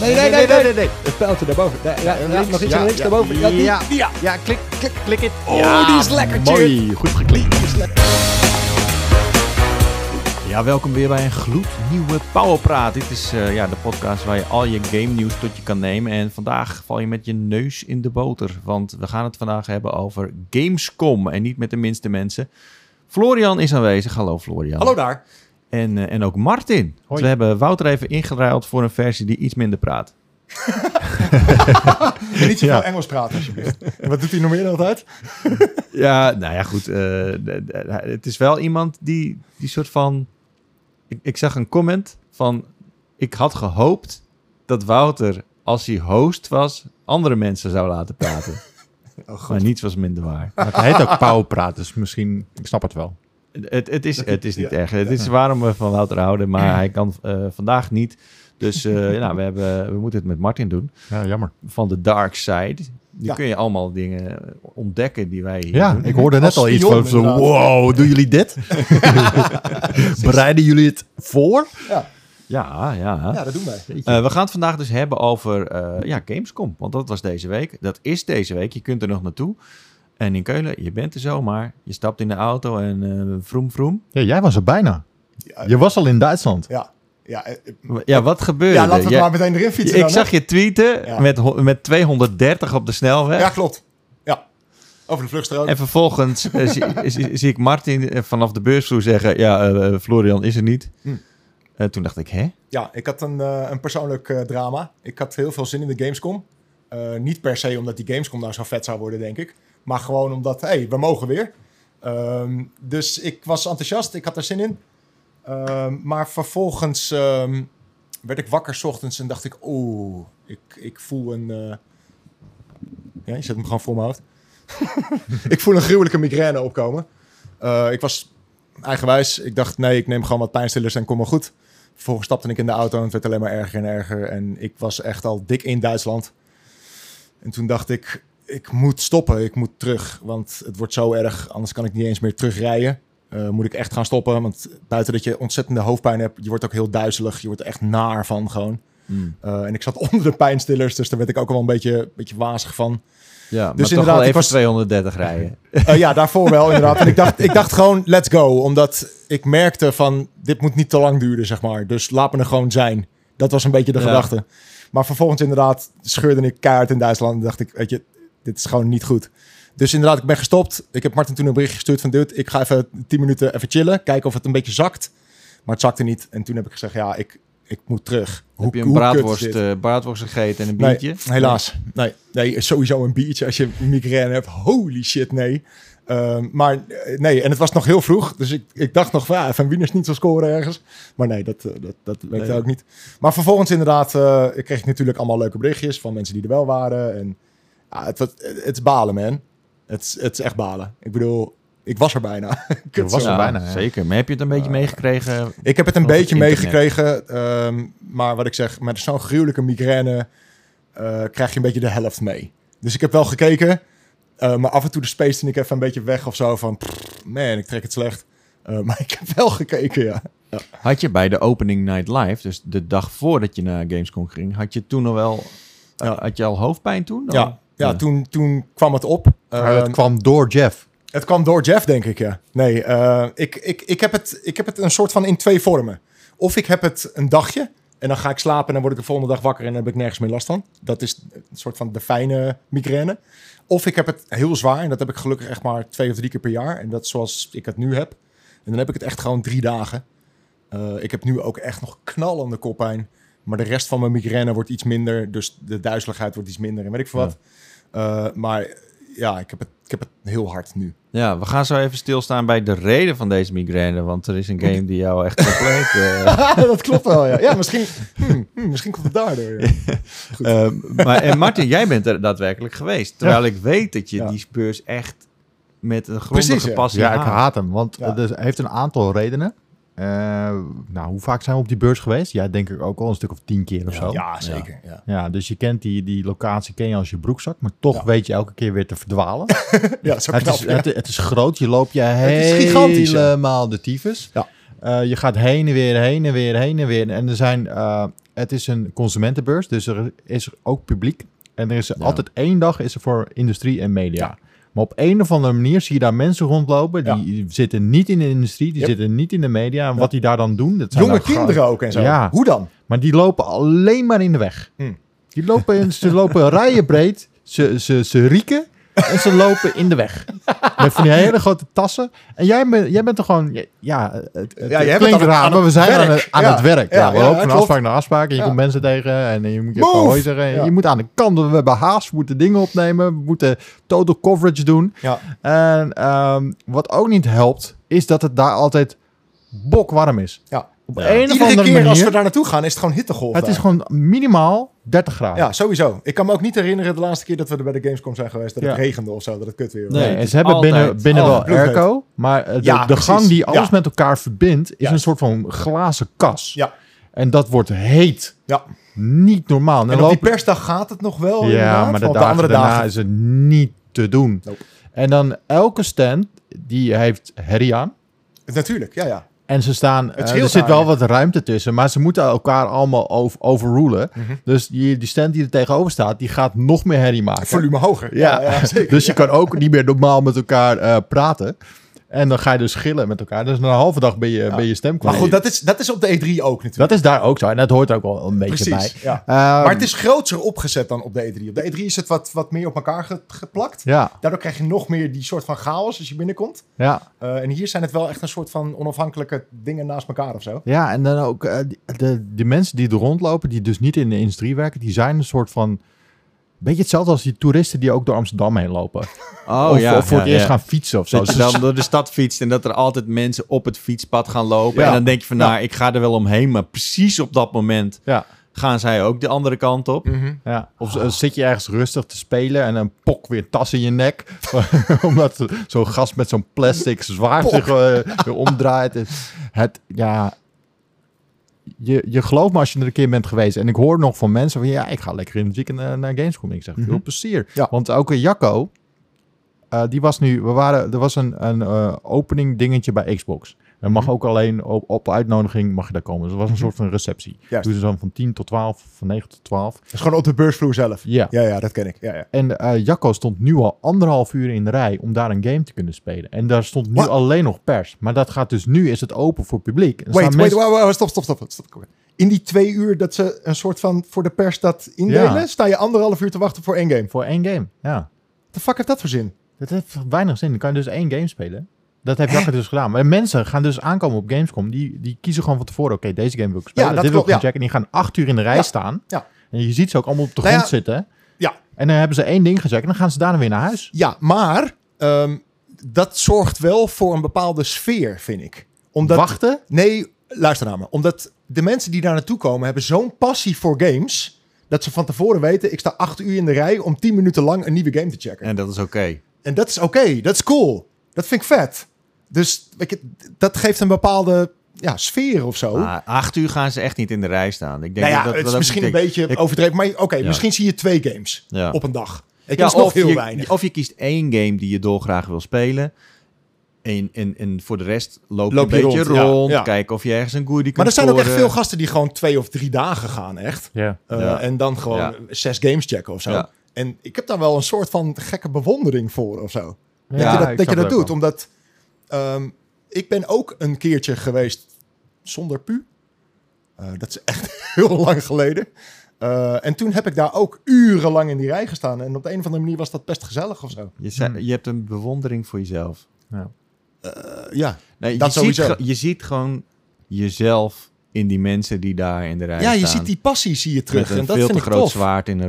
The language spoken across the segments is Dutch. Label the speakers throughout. Speaker 1: Nee, nee, nee, nee, Het pijltje daarboven. Nee, ja, ja, nog iets naar links daarboven. Ja, die.
Speaker 2: ja,
Speaker 3: Ja.
Speaker 2: ja, klik, klik, klik het.
Speaker 3: Oh, die is lekker,
Speaker 2: Mooi, goed geklikt. Ja, welkom weer bij een gloednieuwe Powerpraat. Dit is eh, ja, de podcast waar je al je game nieuws tot je kan nemen. En vandaag val je met je neus in de boter. Want we gaan het vandaag hebben over Gamescom. En niet met de minste mensen. Florian is aanwezig. Hallo Florian.
Speaker 3: Hallo daar.
Speaker 2: En, eh, en ook Martin. Dus we hebben Wouter even ingeruild voor een versie die iets minder praat.
Speaker 3: En niet zoveel
Speaker 1: Ja.
Speaker 3: Engels praten, alsjeblieft. Wat doet hij nog meer dan altijd?
Speaker 2: Ja, nou ja, goed. eh, d- d- het is wel iemand die, die soort van. Ik, ik zag een comment van. Ik had gehoopt dat Wouter, als hij host was, andere mensen zou laten praten.
Speaker 3: Oh,
Speaker 2: maar niets was minder waar.
Speaker 1: Maar hij heet ook pauwpraat, dus misschien... Ik snap het wel.
Speaker 2: Het, het, is, het is niet
Speaker 3: Ja.
Speaker 2: erg. Het is waarom we van Wouter houden, maar hij kan eh, vandaag niet. Dus eh, nou, we, hebben, we moeten het met Martin doen.
Speaker 1: Ja, jammer.
Speaker 2: Van de Dark Side. Die
Speaker 3: Ja.
Speaker 2: kun je allemaal dingen ontdekken die wij hier
Speaker 1: Ja,
Speaker 2: doen.
Speaker 1: ik hoorde net
Speaker 3: Als
Speaker 1: al iets
Speaker 3: spion,
Speaker 1: van zo...
Speaker 3: inderdaad.
Speaker 1: Wow, doen jullie dit? Bereiden jullie het voor?
Speaker 3: Ja,
Speaker 2: Ja, ja.
Speaker 3: ja dat doen wij.
Speaker 2: Eh, we gaan het vandaag dus hebben over eh, ja, Gamescom. Want dat was deze week. Dat is deze week. Je kunt er nog naartoe. En in Keulen, je bent er zomaar. Je stapt in de auto en eh vroom vroom.
Speaker 1: Ja, jij was er bijna.
Speaker 3: Ja.
Speaker 1: Je was al in Duitsland.
Speaker 3: Ja, ja, eh, eh,
Speaker 2: Ja, wat gebeurde
Speaker 3: ja laten we
Speaker 2: Je-
Speaker 3: het maar meteen erin fietsen
Speaker 2: Ik
Speaker 3: dan, hè?
Speaker 2: zag je tweeten
Speaker 3: Ja.
Speaker 2: met, ho- met 230 op de snelweg.
Speaker 3: Ja, klopt. Ja, over de vluchtstrook.
Speaker 2: En vervolgens eh, zie, zie- zie ik Martin eh, vanaf de beursvloer zeggen... Ja, eh, eh, Florian is er niet.
Speaker 3: Hm. Dus
Speaker 2: Eh, toen dacht ik, hè?
Speaker 3: Ja, ik had een, eh, een persoonlijk eh, drama. Ik had heel veel zin in de Gamescom. Eh, niet per se omdat die Gamescom nou zo vet zou worden, denk ik. Maar gewoon omdat, hé, hey, we mogen weer. Ehm, dus ik was enthousiast, ik had er zin in. Ehm, maar vervolgens ehm, werd ik wakker 's ochtends en dacht ik, oeh, ik, ik voel een... eh, Ja, je zet hem gewoon voor mijn hoofd. ik voel een gruwelijke migraine opkomen. Eh, ik was eigenwijs. Ik dacht, nee, ik neem gewoon wat pijnstillers en kom maar goed. Vervolgens stapte ik in de auto en het werd alleen maar erger en erger. En ik was echt al dik in Duitsland. En toen dacht ik, ik moet stoppen, ik moet terug. Want het wordt zo erg, anders kan ik niet eens meer terugrijden. Eh, moet ik echt gaan stoppen, want buiten dat je ontzettende hoofdpijn hebt... je wordt ook heel duizelig, je wordt er echt naar van gewoon. Eh, en ik zat onder de pijnstillers, dus daar werd ik ook wel een beetje, beetje wazig van.
Speaker 2: Ja, maar toch
Speaker 3: inderdaad,
Speaker 2: wel
Speaker 3: ik
Speaker 2: even
Speaker 3: was-
Speaker 2: 230 rijden.
Speaker 3: Eh, ja, daarvoor wel inderdaad. En ik dacht, ik dacht gewoon, let's go. Omdat ik merkte van, dit moet niet te lang duren, zeg maar. Dus laat me er gewoon zijn. Dat was een beetje de
Speaker 2: Ja.
Speaker 3: gedachte. Maar vervolgens inderdaad scheurde ik kaart in Duitsland. En dacht ik, weet je, dit is gewoon niet goed. Dus inderdaad, ik ben gestopt. Ik heb Martin toen een bericht gestuurd van, dude, ik ga even 10 minuten even chillen. Kijken of het een beetje zakt. Maar het zakte niet. En toen heb ik gezegd, ja, ik, ik moet terug.
Speaker 2: Heb je een
Speaker 3: kut is
Speaker 2: braadworst,
Speaker 3: dit?
Speaker 2: eh, braadworst gegeten en een
Speaker 3: Nee,
Speaker 2: biertje?
Speaker 3: helaas. Nee. nee, sowieso een biertje als je migraine hebt. Holy shit, nee. Ehm, maar eh, nee, en het was nog heel vroeg. Dus ik, ik dacht nog van, ja, Van Wieners niet zal scoren ergens. Maar nee, dat, eh, dat, dat werkte
Speaker 2: Nee.
Speaker 3: ook niet. Maar vervolgens inderdaad eh, ik kreeg ik natuurlijk allemaal leuke berichtjes van mensen die er wel waren. En ja, het, was- het, het is balen, man. Het, is- het is echt balen. Ik bedoel, ik was er bijna.
Speaker 1: Je
Speaker 3: Kut,
Speaker 1: was
Speaker 3: zo.
Speaker 1: er
Speaker 2: Ja,
Speaker 1: bijna, ja.
Speaker 2: Zeker. Maar heb je het een beetje meegekregen?
Speaker 3: Ik heb het een
Speaker 2: Over het
Speaker 3: beetje
Speaker 2: internet.
Speaker 3: meegekregen. ehm, maar wat ik zeg, met zo'n gruwelijke migraine eh, krijg je een beetje de helft mee. Dus ik heb wel gekeken. eh, maar af en toe de space en ik even een beetje weg of zo. Van, pff, man, ik trek het slecht. Eh, maar ik heb wel gekeken, ja.
Speaker 2: Had je bij de opening night live, dus de dag voordat je naar Gamescom ging, had je toen al wel, eh,
Speaker 3: Ja.
Speaker 2: had je al hoofdpijn toen?
Speaker 3: Ja, ja,
Speaker 2: Ja.
Speaker 3: Toen, toen kwam het op.
Speaker 1: Maar het
Speaker 3: Ehm,
Speaker 1: kwam door Jeff.
Speaker 3: Het kwam door Jeff, denk ik, ja. Nee, eh, ik, ik, ik, heb het, ik heb het een soort van in twee vormen. Of ik heb het een dagje en dan ga ik slapen en dan word ik de volgende dag wakker en dan heb ik nergens meer last van. Dat is een soort van de fijne migraine. Of ik heb het heel zwaar en dat heb ik gelukkig echt maar twee of drie keer per jaar. En dat is zoals ik het nu heb. En dan heb ik het echt gewoon drie dagen. Eh, ik heb nu ook echt nog knallende koppijn. Maar de rest van mijn migraine wordt iets minder. Dus de duizeligheid wordt iets minder en weet ik veel
Speaker 2: Ja.
Speaker 3: wat. Eh, maar ja, ik heb, het, ik heb het heel hard nu.
Speaker 2: Ja, we gaan zo even stilstaan bij de reden van deze migraine, want er is een game die jou echt compleet... eh,
Speaker 3: Ah, dat klopt wel, ja. Ja, misschien, hmm, hmm, misschien komt het daardoor. Ja.
Speaker 2: eh, maar, en Martin, jij bent er daadwerkelijk geweest, terwijl ik weet dat je
Speaker 3: Ja.
Speaker 2: die beurs echt met een grondige
Speaker 3: Precies, ja.
Speaker 2: passie
Speaker 1: Ja, ik
Speaker 2: haat.
Speaker 1: haat hem, want
Speaker 3: Ja.
Speaker 1: eh, dus hij heeft een aantal redenen. Eh, nou, hoe vaak zijn we op die beurs geweest? Ja, denk ik ook al een stuk of tien keer of zo.
Speaker 3: Ja, zeker. Ja.
Speaker 1: Ja, dus je kent die, die locatie ken je als je broekzak, maar toch
Speaker 3: Ja.
Speaker 1: weet je elke keer weer te verdwalen.
Speaker 3: Ja, zo
Speaker 1: het,
Speaker 3: knap.
Speaker 1: is, het, het is groot, je loopt je
Speaker 3: is gigantisch, ja.
Speaker 1: helemaal de tyfus.
Speaker 3: Ja.
Speaker 1: Eh, je gaat heen en weer, heen en weer, heen en weer. En er zijn, eh, het is een consumentenbeurs, dus er is ook publiek. En er is altijd één dag is er voor industrie en media.
Speaker 3: Ja.
Speaker 1: Maar op een of andere manier zie je daar mensen rondlopen. Die zitten niet in de industrie, die
Speaker 3: Yep.
Speaker 1: zitten niet in de media. En
Speaker 3: Ja.
Speaker 1: wat die daar dan doen, dat zijn
Speaker 3: Jonge
Speaker 1: dan gewoon-
Speaker 3: kinderen ook en zo.
Speaker 1: Ja.
Speaker 3: Hoe dan?
Speaker 1: Maar die lopen alleen maar in de weg.
Speaker 3: Hmm.
Speaker 1: Die lopen, ze lopen rijen breed, ze, ze, ze rieken en ze lopen in de weg. Met van die hele grote tassen. En jij, bent- jij bent toch gewoon, ja, het, het,
Speaker 3: jij
Speaker 1: het
Speaker 3: bent
Speaker 1: klinkt
Speaker 3: aan het-
Speaker 1: raar,
Speaker 3: aan
Speaker 1: maar we
Speaker 3: het
Speaker 1: zijn
Speaker 3: werk.
Speaker 1: aan, het, aan
Speaker 3: Ja.
Speaker 1: het werk. Ja,
Speaker 3: Ja,
Speaker 1: we
Speaker 3: ja,
Speaker 1: lopen van
Speaker 3: klopt.
Speaker 1: afspraak naar afspraak en je
Speaker 3: Ja.
Speaker 1: komt mensen tegen en je moet je even
Speaker 3: Move!
Speaker 1: hoi zeggen. En Je
Speaker 3: Ja.
Speaker 1: moet aan de kant, we hebben haast, we moeten dingen opnemen, we moeten total coverage doen.
Speaker 3: Ja.
Speaker 1: En ehm, wat ook niet helpt, is dat het daar altijd bokwarm is.
Speaker 3: Ja.
Speaker 1: Op een of
Speaker 3: Iedere
Speaker 1: andere
Speaker 3: keer
Speaker 1: manier.
Speaker 3: als we daar naartoe gaan, is het gewoon hittegolf.
Speaker 1: Het
Speaker 3: daar.
Speaker 1: is gewoon minimaal 30 graden.
Speaker 3: Ja, sowieso. Ik kan me ook niet herinneren de laatste keer dat we er bij de Gamescom zijn geweest dat
Speaker 1: Ja.
Speaker 3: het regende of zo, dat het kut weer was.
Speaker 2: Nee,
Speaker 1: Nee,
Speaker 2: het
Speaker 1: en
Speaker 2: is
Speaker 1: ze hebben binnen,
Speaker 2: altijd-
Speaker 1: binnen wel
Speaker 3: altijd bloedheet.
Speaker 1: airco, maar eh, de,
Speaker 3: Ja,
Speaker 1: de
Speaker 3: precies.
Speaker 1: gang die alles
Speaker 3: Ja.
Speaker 1: met elkaar verbindt, is een
Speaker 3: Juist.
Speaker 1: soort van glazen kas.
Speaker 3: Ja.
Speaker 1: En dat wordt heet.
Speaker 3: Ja.
Speaker 1: Niet normaal. En
Speaker 3: En
Speaker 1: dan
Speaker 3: op die
Speaker 1: lopen-
Speaker 3: persdag gaat het nog wel inderdaad,
Speaker 1: ja, maar de,
Speaker 3: op de
Speaker 1: dagen
Speaker 3: andere
Speaker 1: daarna
Speaker 3: dagen...
Speaker 1: is het niet te doen.
Speaker 3: Nope.
Speaker 1: En dan elke stand, die heeft herrie aan.
Speaker 3: Natuurlijk, ja, ja.
Speaker 1: En ze staan, eh, er
Speaker 3: scheelt
Speaker 1: zit wel wat
Speaker 3: eigenlijk.
Speaker 1: ruimte tussen, maar ze moeten elkaar allemaal over, overrulen.
Speaker 3: Mhm.
Speaker 1: Dus die, die stand die er tegenover staat, die gaat nog meer herrie maken.
Speaker 3: Volume hoger.
Speaker 1: Ja,
Speaker 3: Ja, ja, zeker.
Speaker 1: dus je kan ook niet meer normaal met elkaar eh, praten. En dan ga je dus schillen met elkaar. Dus na een halve dag ben je, ben je stem
Speaker 3: Maar
Speaker 1: kwijt.
Speaker 3: goed, dat is, dat is op de E3 ook natuurlijk.
Speaker 1: dat is daar ook zo. En dat hoort er ook wel een beetje bij.
Speaker 3: Precies, ja.
Speaker 1: Ehm,
Speaker 3: Maar het is groter opgezet dan op de E3. Op de E3 is het wat, wat meer op elkaar ge- geplakt.
Speaker 1: Ja,
Speaker 3: Daardoor krijg je nog meer die soort van chaos als je binnenkomt.
Speaker 1: ja,
Speaker 3: Eh, en hier zijn het wel echt een soort van onafhankelijke dingen naast elkaar of zo.
Speaker 1: ja, en dan ook eh, die- de, die mensen die er rondlopen, die dus niet in de industrie werken, die zijn een soort van... Beetje hetzelfde als die toeristen die ook door Amsterdam heen lopen.
Speaker 2: Oh
Speaker 1: of, of voor het eerst gaan fietsen of zo. Dus
Speaker 2: Dat je
Speaker 1: Ze-
Speaker 2: dan door de stad fietst en dat er altijd mensen op het fietspad gaan lopen.
Speaker 1: Ja.
Speaker 2: En dan denk je van, nou,
Speaker 1: Ja.
Speaker 2: ik ga er wel omheen. Maar precies op dat moment
Speaker 1: Ja.
Speaker 2: gaan zij ook de andere kant op.
Speaker 3: Mhm.
Speaker 1: Ja, of eh, zit je ergens rustig te spelen en een pok weer tas in je nek. omdat zo'n gast met zo'n plastic zwaard zich eh, weer omdraait. Het- Het, ja... Je, je gelooft me als je er een keer bent geweest. En ik hoor nog van mensen van... Ja, ik ga lekker in het weekend eh, naar Gamescom. Ik zeg, veel plezier.
Speaker 3: Mhm. Ja.
Speaker 1: Want ook eh, Jacco... eh, die was nu... We waren, er was een, een eh, opening dingetje bij Xbox. En
Speaker 3: Mhm.
Speaker 1: mag ook alleen op, op uitnodiging mag je daar komen. Dus het was een soort van receptie.
Speaker 3: Juist.
Speaker 1: Toen ze dan van 10 tot 12, van 9 tot 12.
Speaker 3: Dat is gewoon op de beursvloer zelf.
Speaker 1: Ja.
Speaker 3: Ja, ja, dat ken ik. Ja, ja.
Speaker 1: En eh, Jacco stond nu al anderhalf uur in de rij om daar een game te kunnen spelen. En daar stond nu
Speaker 3: Wat?
Speaker 1: alleen nog pers. Maar dat gaat dus nu is het open voor publiek. En er
Speaker 3: Wait,
Speaker 1: staan
Speaker 3: wait,
Speaker 1: mensen-
Speaker 3: wait, wait, stop, stop, stop. stop. Kom maar. In die twee uur dat ze een soort van voor de pers dat indelen,
Speaker 1: Ja.
Speaker 3: sta je anderhalf uur te wachten voor één game.
Speaker 1: Voor één game. Ja.
Speaker 3: De fuck heeft dat voor zin?
Speaker 1: Dat heeft weinig zin. Dan kan je dus één game spelen. Dat heeft Jacco dus gedaan. Maar mensen gaan dus aankomen op Gamescom. Die, die kiezen gewoon van tevoren. Oké, deze game wil ik spelen.
Speaker 3: Ja,
Speaker 1: dit
Speaker 3: dat
Speaker 1: wil ik
Speaker 3: klopt,
Speaker 1: gaan checken. En die gaan acht uur in de rij
Speaker 3: Ja.
Speaker 1: staan.
Speaker 3: Ja.
Speaker 1: En je ziet ze ook allemaal op de
Speaker 3: Nou
Speaker 1: grond
Speaker 3: ja.
Speaker 1: zitten.
Speaker 3: Ja.
Speaker 1: En dan hebben ze één ding gecheckt. En dan gaan ze daarna weer naar huis.
Speaker 3: Ja, maar ehm, dat zorgt wel voor een bepaalde sfeer, vind ik. Omdat,
Speaker 1: Wachten.
Speaker 3: Nee, luister naar me. Omdat de mensen die daar naartoe komen hebben zo'n passie voor games... dat ze van tevoren weten, ik sta acht uur in de rij... om tien minuten lang een nieuwe game te checken.
Speaker 2: En dat is oké.
Speaker 3: En dat is oké, dat is cool. Dat vind ik vet. Dus weet je, dat geeft een bepaalde ja, sfeer of zo.
Speaker 2: Maar acht uur gaan ze echt niet in de rij staan. Ik denk
Speaker 3: Oh. nou ja,
Speaker 2: Ah, dat dat
Speaker 3: het is
Speaker 2: dat
Speaker 3: misschien een
Speaker 2: betekent.
Speaker 3: beetje
Speaker 2: Ik-
Speaker 3: overdreven. Maar oké,
Speaker 2: Ja.
Speaker 3: misschien zie je twee games
Speaker 2: Ja.
Speaker 3: op een dag. Ik
Speaker 2: Ja,
Speaker 3: is nog
Speaker 2: of
Speaker 3: heel
Speaker 2: je,
Speaker 3: weinig.
Speaker 2: Of je kiest één game die je dolgraag wil spelen. En, en, en voor de rest loop,
Speaker 3: Loop
Speaker 2: je
Speaker 3: je
Speaker 2: een beetje
Speaker 3: rond, ja,
Speaker 2: rond.
Speaker 3: ja.
Speaker 2: Kijk of je ergens een goodie kunt
Speaker 3: maar er zijn ook echt
Speaker 2: scoren.
Speaker 3: veel gasten die gewoon twee of drie dagen gaan, echt.
Speaker 1: Ja.
Speaker 3: Uh,
Speaker 2: Ja.
Speaker 3: En dan gewoon
Speaker 2: Ja.
Speaker 3: zes games checken of zo.
Speaker 2: Ja.
Speaker 3: En ik heb daar wel een soort van gekke bewondering voor of zo.
Speaker 1: Ja,
Speaker 3: dat je dat,
Speaker 1: ik
Speaker 3: dat, je
Speaker 1: snap
Speaker 3: dat
Speaker 1: het ook
Speaker 3: doet.
Speaker 1: wel.
Speaker 3: Omdat ehm, ik ben ook een keertje geweest zonder pu. Eh, dat is echt heel lang geleden. Eh, en toen heb ik daar ook urenlang in die rij gestaan. En op de een of andere manier was dat best gezellig of zo.
Speaker 2: Je, zei- je hebt een bewondering voor jezelf.
Speaker 3: Eh, ja.
Speaker 2: Nee,
Speaker 3: Dat
Speaker 2: je, ziet,
Speaker 3: sowieso.
Speaker 2: ge- je ziet gewoon jezelf in die mensen die daar in de rij
Speaker 3: ja,
Speaker 2: staan.
Speaker 3: je ziet die passie zie je terug.
Speaker 2: eh, Met een
Speaker 3: en dat
Speaker 2: veel
Speaker 3: vind
Speaker 2: te
Speaker 3: ik
Speaker 2: groot
Speaker 3: tof.
Speaker 2: zwaard in een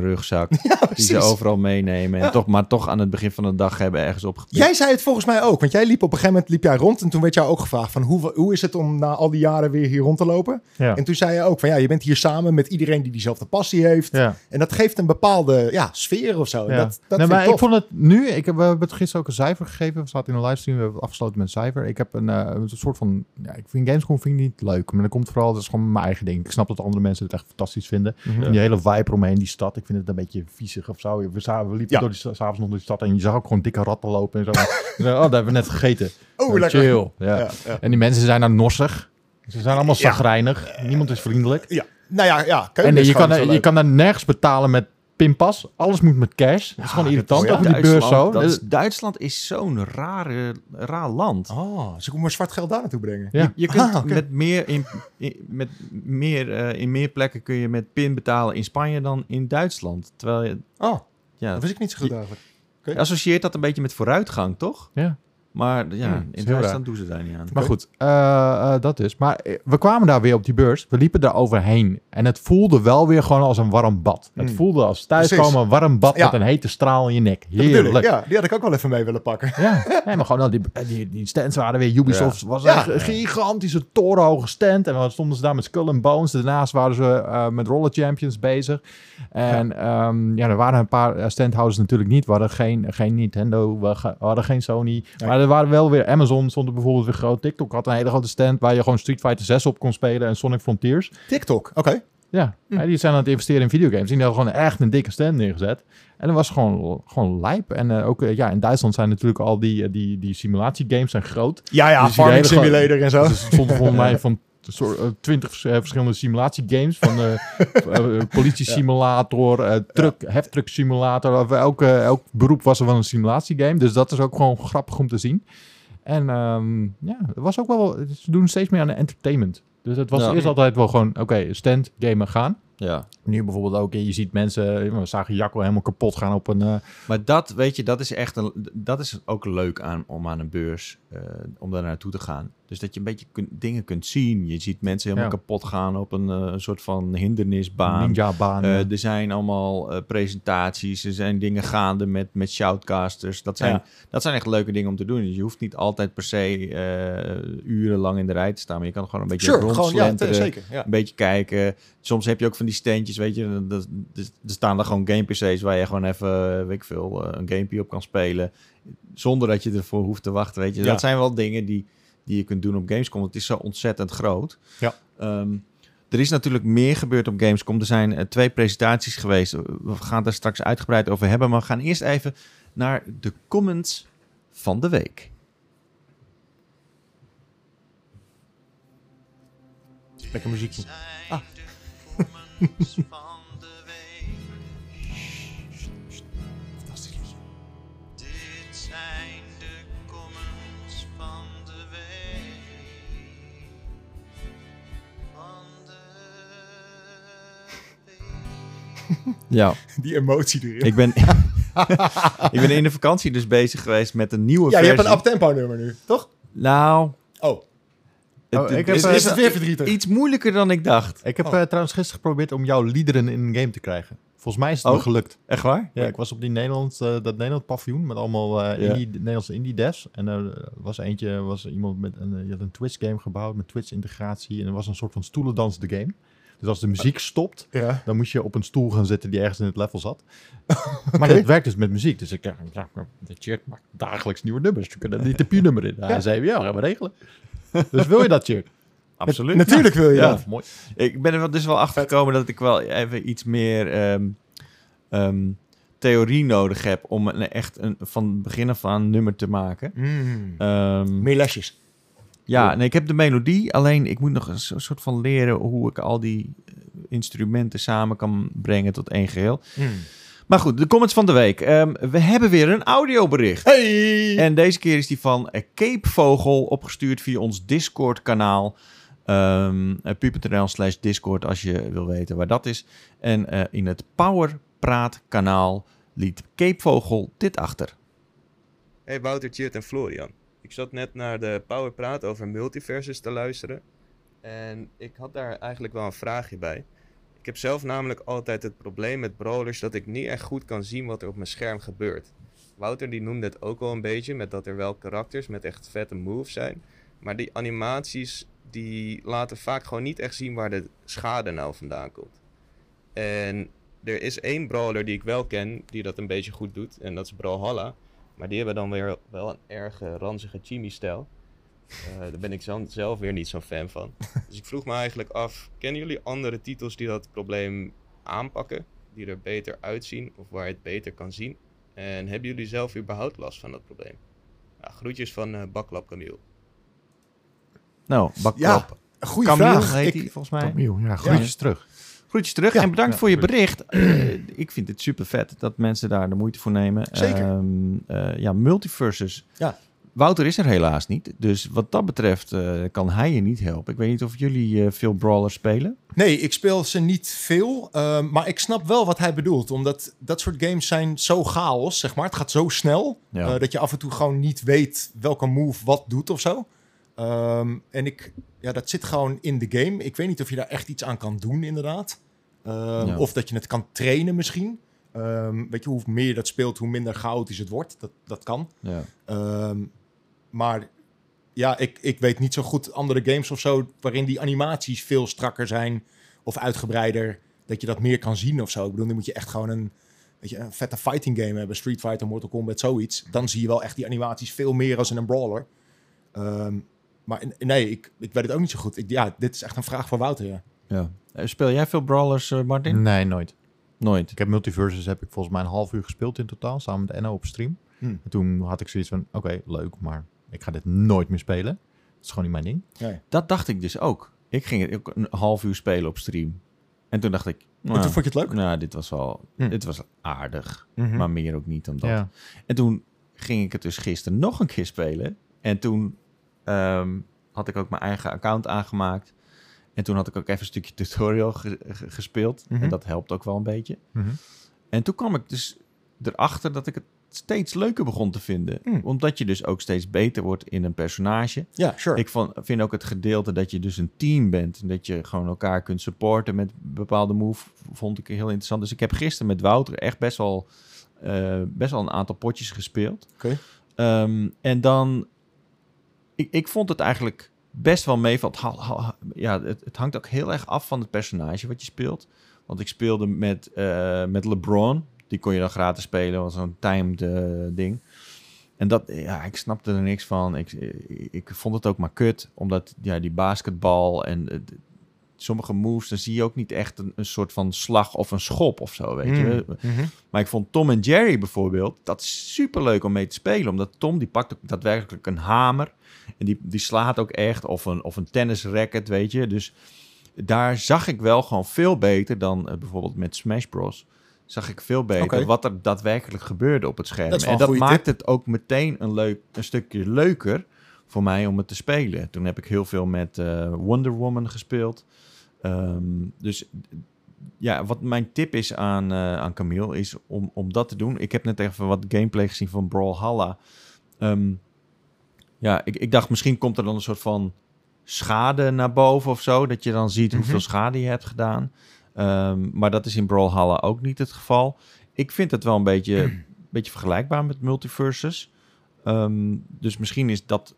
Speaker 2: rugzak.
Speaker 3: Ja,
Speaker 2: die ze
Speaker 3: precies.
Speaker 2: overal meenemen. En
Speaker 3: Ja.
Speaker 2: toch, maar toch aan het begin van de dag hebben ergens opgepikt.
Speaker 3: Jij zei het volgens mij ook. Want jij liep op een gegeven moment liep jij rond. En toen werd jou ook gevraagd van hoe, hoe is het om na al die jaren weer hier rond te lopen?
Speaker 1: Ja.
Speaker 3: En toen zei je ook van ja, je bent hier samen met iedereen die diezelfde passie heeft.
Speaker 1: Ja.
Speaker 3: En dat geeft een bepaalde ja, sfeer of zo. En
Speaker 1: Ja.
Speaker 3: Oh, Dat, dat
Speaker 1: nee,
Speaker 3: vind
Speaker 1: maar
Speaker 3: ik
Speaker 1: ik
Speaker 3: tof.
Speaker 1: vond het nu, ik heb, we hebben het gisteren ook een cijfer gegeven. We zaten in een livestream, we hebben het afgesloten met een cijfer. Ik heb een, eh, een soort van, ja, ik vind Gamescom vind ik niet leuk. Maar dat komt vooral, dat is gewoon mijn eigen ding. Ik snap dat andere mensen het echt fantastisch vinden. En die hele vibe omheen die stad, ik vind het een beetje viezig of zo. We, za- we liepen
Speaker 3: Ja.
Speaker 1: door die, sta- s'avonds nog door die stad en je zag ook gewoon dikke ratten lopen en zo. En zo, oh, daar hebben we net gegeten.
Speaker 3: Oh,
Speaker 1: Eh,
Speaker 3: lekker.
Speaker 1: Chill. Ja.
Speaker 3: Ja, ja.
Speaker 1: En die mensen zijn dan norsig. Ze zijn allemaal
Speaker 3: Ja.
Speaker 1: zagrijnig. Niemand is vriendelijk.
Speaker 3: Ja. Nou ja, ja
Speaker 1: En
Speaker 3: keuken
Speaker 1: eh,
Speaker 3: is
Speaker 1: je
Speaker 3: gewoon
Speaker 1: kan,
Speaker 3: niet
Speaker 1: er-
Speaker 3: zo
Speaker 1: je
Speaker 3: leuk.
Speaker 1: kan daar nergens betalen met pinpas. Alles moet met cash. dat is
Speaker 2: Ah,
Speaker 1: gewoon irritant.
Speaker 3: is-
Speaker 1: ook in die beurs zo.
Speaker 2: Dat is-
Speaker 1: Dat-
Speaker 2: Duitsland is zo'n rare, raar land.
Speaker 3: Oh, ze komen maar zwart geld daar naartoe brengen.
Speaker 1: ja.
Speaker 2: Je kunt
Speaker 3: Ah, oké.
Speaker 2: met meer in, in- met meer, eh, in meer plekken kun je met pin betalen in Spanje dan in Duitsland. Terwijl je
Speaker 3: Oh,
Speaker 2: ja,
Speaker 3: dat wist ik niet zo goed eigenlijk.
Speaker 2: je associeert dat een beetje met vooruitgang, toch?
Speaker 1: Ja.
Speaker 2: Maar ja,
Speaker 1: Hmm, is
Speaker 2: in
Speaker 1: heel
Speaker 2: Duitsland doen ze daar niet aan.
Speaker 1: Maar goed, eh, eh, dat is. Maar eh, we kwamen daar weer op die beurs. We liepen daar overheen. En het voelde wel weer gewoon als een warm bad. Het
Speaker 3: Mm.
Speaker 1: voelde als thuiskomen
Speaker 3: Precies.
Speaker 1: een warm bad
Speaker 3: Ja.
Speaker 1: met een hete straal in je nek.
Speaker 3: Dat bedoel ik.
Speaker 1: Heerlijk.
Speaker 3: Ja, die had ik ook wel even mee willen pakken.
Speaker 1: Ja, nee, maar gewoon, nou, die, eh, die, die stands waren weer Ubisoft. was
Speaker 3: Ja.
Speaker 1: echt een gigantische torenhoge stand. En dan stonden ze daar met Skull and Bones. Daarnaast waren ze eh, met Roller Champions bezig. En ja. ja, er waren een paar eh, standhouders natuurlijk niet. We hadden geen, geen Nintendo, we ge- we hadden geen Sony.
Speaker 3: Nee.
Speaker 1: Maar er waren wel weer Amazon, stond er bijvoorbeeld weer groot. TikTok had een hele grote stand waar je gewoon Street Fighter 6 op kon spelen en Sonic Frontiers.
Speaker 3: TikTok, oké.
Speaker 1: Ja, hè, die zijn aan het investeren in videogames. Die hadden gewoon echt een dikke stand neergezet. En dat was gewoon, gewoon lijp. En eh, ook eh, ja, in Duitsland zijn natuurlijk al die, eh, die, die simulatiegames zijn groot.
Speaker 3: Ja, ja,
Speaker 1: Dus die
Speaker 3: Farming
Speaker 1: hele gewoon-
Speaker 3: Simulator en zo.
Speaker 1: Dus er stonden volgens mij van eh, twintig verschillende simulatiegames. Van eh eh, politiesimulator, eh truck, heftrucksimulator. Of Elk, eh, elk beroep was er wel een simulatiegame. Dus dat is ook gewoon grappig om te zien. En ehm, ja, het was ook wel... Ze doen steeds meer aan de entertainment. Dus het was
Speaker 2: Ja.
Speaker 1: eerst altijd wel gewoon... Oké, stand, gamen, gaan.
Speaker 2: Ja.
Speaker 1: Nu bijvoorbeeld ook, je ziet mensen, eh, we zagen Jacco helemaal kapot gaan op een... eh,
Speaker 2: Maar dat, weet je, dat is echt een, dat is ook leuk aan, om aan een beurs, eh, om daar naartoe te gaan. Dus dat je een beetje kunt- dingen kunt zien. Je ziet mensen helemaal
Speaker 1: Ja.
Speaker 2: kapot gaan op een eh, soort van hindernisbaan.
Speaker 1: ninja-baan.
Speaker 2: Eh, er zijn allemaal eh, presentaties, er zijn dingen gaande met, met shoutcasters. Dat zijn,
Speaker 3: Ja.
Speaker 2: dat zijn echt leuke dingen om te doen. Dus je hoeft niet altijd per se eh, urenlang in de rij te staan. Maar je kan gewoon een beetje
Speaker 3: Sure, gewoon, ja,
Speaker 2: rondslenteren,
Speaker 3: zeker. Ja.
Speaker 2: een beetje kijken. Soms heb je ook van die standjes, weet je. dat- dat- Er staan daar gewoon game PC's waar je gewoon even, weet ik veel, eh, een gamepje op kan spelen. Zonder dat je ervoor hoeft te wachten, weet je.
Speaker 3: Ja.
Speaker 2: Dat zijn wel dingen die, die je kunt doen op Gamescom. want Het is zo ontzettend groot.
Speaker 3: Ja.
Speaker 2: Ehm, er is natuurlijk meer gebeurd op Gamescom. Er zijn eh, twee presentaties geweest. We gaan daar straks uitgebreid over hebben. Maar we gaan eerst even naar de comments van de week.
Speaker 3: Lekker muziekje.
Speaker 4: Ah. van de week.
Speaker 3: Fantastisch liedje.
Speaker 4: Dit zijn de comments van de week. Van de week.
Speaker 2: Ja,
Speaker 3: Die emotie erin.
Speaker 2: ik ben, ik ben in de vakantie dus bezig geweest met een nieuwe
Speaker 3: ja, je hebt
Speaker 2: versie.
Speaker 3: een uptempo nummer nu, toch?
Speaker 2: Nou,
Speaker 3: Oh,
Speaker 1: Oh,
Speaker 2: het,
Speaker 1: ik
Speaker 2: het
Speaker 1: heb,
Speaker 2: is,
Speaker 1: eh,
Speaker 2: is
Speaker 3: het weer verdrietig?
Speaker 2: iets moeilijker dan ik dacht.
Speaker 1: Ik heb
Speaker 3: Oh.
Speaker 1: eh, trouwens gisteren geprobeerd om jouw liederen in een game te krijgen. Volgens mij is het
Speaker 2: Oh.
Speaker 1: me gelukt.
Speaker 2: Echt waar?
Speaker 1: Ja, ik was op die Nederland, eh, dat Nederland paviljoen met allemaal eh,
Speaker 2: Ja.
Speaker 1: indie, Nederlandse indie devs. En er eh, was eentje, was iemand met een, eh, die had een Twitch game gebouwd met Twitch integratie. En er was een soort van stoelendans de game. Dus als de muziek stopt,
Speaker 3: ja.
Speaker 1: dan moest je op een stoel gaan zitten die ergens in het level zat. Maar dat werkt dus met muziek. Dus ik dacht, ja, maar de Tjerk maakt dagelijks nieuwe nummers. We kunnen er niet de P-nummer in. Hij zei, ja, gaan we regelen. Dus wil je dat, Tjerk?
Speaker 2: Absoluut.
Speaker 3: Natuurlijk wil je
Speaker 2: Ja.
Speaker 3: dat.
Speaker 1: mooi.
Speaker 2: Ik ben er wel- dus wel achter gekomen dat ik wel even iets meer ehm, ehm, theorie nodig heb om een, echt een, van begin af aan een nummer te maken.
Speaker 3: Mm.
Speaker 2: Ehm,
Speaker 3: Meer lesjes.
Speaker 2: ja, nee, ik heb de melodie, alleen ik moet nog een so- soort van leren hoe ik al die eh, instrumenten samen kan brengen tot één geheel.
Speaker 1: Hmm.
Speaker 2: Maar goed, de comments van de week. Ehm, we hebben weer een audiobericht.
Speaker 3: Hey!
Speaker 2: En deze keer is die van eh, Capevogel opgestuurd via ons Discord-kanaal. Ehm eh, pu.nl slash Discord als je wil weten waar dat is. En eh, in het Powerpraat-kanaal liet Capevogel dit achter.
Speaker 5: Hey Wouter, Tjert en Florian. Ik zat net naar de Power Praat over multiverses te luisteren. En ik had daar eigenlijk wel een vraagje bij. Ik heb zelf namelijk altijd het probleem met brawlers dat ik niet echt goed kan zien wat er op mijn scherm gebeurt. Wouter die noemde het ook al een beetje met dat er wel karakters met echt vette moves zijn. Maar die animaties die laten vaak gewoon niet echt zien waar de schade nou vandaan komt. En er is één brawler die ik wel ken die dat een beetje goed doet. En dat is Brawlhalla. Maar die hebben dan weer wel een erg eh, ranzige chimie-stijl. Eh, daar ben ik zelf, zelf weer niet zo'n fan van. Dus ik vroeg me eigenlijk af, kennen jullie andere titels die dat probleem aanpakken? Die er beter uitzien of waar je het beter kan zien? En hebben jullie zelf überhaupt last van dat probleem? Ja, groetjes van eh Baklap Camille.
Speaker 2: Nou,
Speaker 3: Ja,
Speaker 2: baklap.
Speaker 3: Goeie
Speaker 2: Camille
Speaker 3: vraag.
Speaker 2: heet
Speaker 3: Ik-
Speaker 2: hij volgens mij.
Speaker 1: Camille, ja, groetjes terug.
Speaker 2: Groetjes terug
Speaker 3: Ja.
Speaker 2: en bedankt
Speaker 1: Ja,
Speaker 2: voor je bericht. Eh, ik vind het super vet dat mensen daar de moeite voor nemen.
Speaker 3: Zeker.
Speaker 2: Ehm, eh, ja, multiverses.
Speaker 3: Ja.
Speaker 2: Wouter is er helaas niet. Dus wat dat betreft eh, kan hij je niet helpen. Ik weet niet of jullie eh, veel brawlers spelen.
Speaker 3: Nee, ik speel ze niet veel. ehm, maar ik snap wel wat hij bedoelt. Omdat dat soort games zijn zo chaos, zeg maar. Het gaat zo snel.
Speaker 2: Ja.
Speaker 3: eh, dat je af en toe gewoon niet weet welke move wat doet of zo. Ehm, en ik, ja, dat zit gewoon in de game. Ik weet niet of je daar echt iets aan kan doen, inderdaad. Ehm,
Speaker 2: Ja.
Speaker 3: Of dat je het kan trainen misschien. Ehm, weet je, hoe meer je dat speelt, hoe minder chaotisch het wordt. Dat, dat kan.
Speaker 2: Ja.
Speaker 3: Ehm, maar ja, ik, ik weet niet zo goed andere games of zo... waarin die animaties veel strakker zijn of uitgebreider. Dat je dat meer kan zien of zo. Ik bedoel, dan moet je echt gewoon een, weet je, een vette fighting game hebben. Street Fighter, Mortal Kombat, zoiets. Dan zie je wel echt die animaties veel meer als in een brawler. Ehm, maar in- nee, ik, ik weet het ook niet zo goed. Ik, ja, dit is echt een vraag voor Wouter, ja.
Speaker 2: Ja. Eh, speel jij veel brawlers, eh, Martin?
Speaker 3: Mm.
Speaker 1: Nee, nooit.
Speaker 2: Nooit.
Speaker 1: Ik heb Multiverses heb ik volgens mij een half uur gespeeld in totaal, samen met Enno op stream.
Speaker 3: Hmm.
Speaker 1: En toen had ik zoiets van, oké, leuk, maar ik ga dit nooit meer spelen. Het is gewoon niet mijn ding.
Speaker 2: Dat dacht ik dus ook. Ik ging het ook een half uur spelen op stream. En toen dacht ik,
Speaker 3: Maar
Speaker 2: nou,
Speaker 3: toen vond je het leuk?
Speaker 2: nou dit was wel
Speaker 3: Hm.
Speaker 2: dit was aardig.
Speaker 3: Mhm.
Speaker 2: Maar meer ook niet dan dat.
Speaker 1: Ja.
Speaker 2: En toen ging ik het dus gisteren nog een keer spelen. En toen ehm, had ik ook mijn eigen account aangemaakt. En toen had ik ook even een stukje tutorial ge- ge- gespeeld.
Speaker 3: Mhm.
Speaker 2: En dat helpt ook wel een beetje.
Speaker 1: Mhm.
Speaker 2: En toen kwam ik dus erachter dat ik het steeds leuker begon te vinden.
Speaker 3: Hm.
Speaker 2: Omdat je dus ook steeds beter wordt in een personage.
Speaker 3: Ja, sure.
Speaker 2: Ik van- vind ook het gedeelte dat je dus een team bent. En dat je gewoon elkaar kunt supporten met bepaalde move. Vond ik heel interessant. Dus ik heb gisteren met Wouter echt best wel, eh, best wel een aantal potjes gespeeld.
Speaker 3: Oké.
Speaker 2: Ehm, en dan... Ik, ik vond het eigenlijk best wel mee. Van, ha- ha- ha- ja, het, het hangt ook heel erg af van het personage wat je speelt. Want ik speelde met, eh, met LeBron. Die kon je dan gratis spelen. was zo'n timed eh, ding. En dat, ja, ik snapte er niks van. Ik, ik, ik vond het ook maar kut, omdat ja, die basketbal en eh, d- sommige moves, dan zie je ook niet echt een, een soort van slag of een schop of zo, weet je.
Speaker 3: Mhm.
Speaker 2: Maar ik vond Tom en Jerry bijvoorbeeld, dat is superleuk om mee te spelen, omdat Tom die pakt ook daadwerkelijk een hamer en die, die slaat ook echt of een, of een tennisracket, weet je. Dus daar zag ik wel gewoon veel beter dan eh, bijvoorbeeld met Smash Bros. Zag ik veel beter
Speaker 3: Oké.
Speaker 2: wat er daadwerkelijk gebeurde op het scherm.
Speaker 3: Dat is wel
Speaker 2: en
Speaker 3: een
Speaker 2: dat
Speaker 3: goede
Speaker 2: maakt het ook meteen een, leuk, een stukje leuker voor mij om het te spelen. Toen heb ik heel veel met eh, Wonder Woman gespeeld. Ehm, dus ja, wat mijn tip is aan, eh, aan Camille is om, om dat te doen. Ik heb net even wat gameplay gezien van Brawlhalla. Ehm, ja, ik, ik dacht misschien komt er dan een soort van schade naar boven of zo. Dat je dan ziet hoeveel
Speaker 3: Mhm.
Speaker 2: schade je hebt gedaan. Ehm, maar dat is in Brawlhalla ook niet het geval. Ik vind het wel een beetje, beetje vergelijkbaar met multiverses. Ehm, dus misschien is dat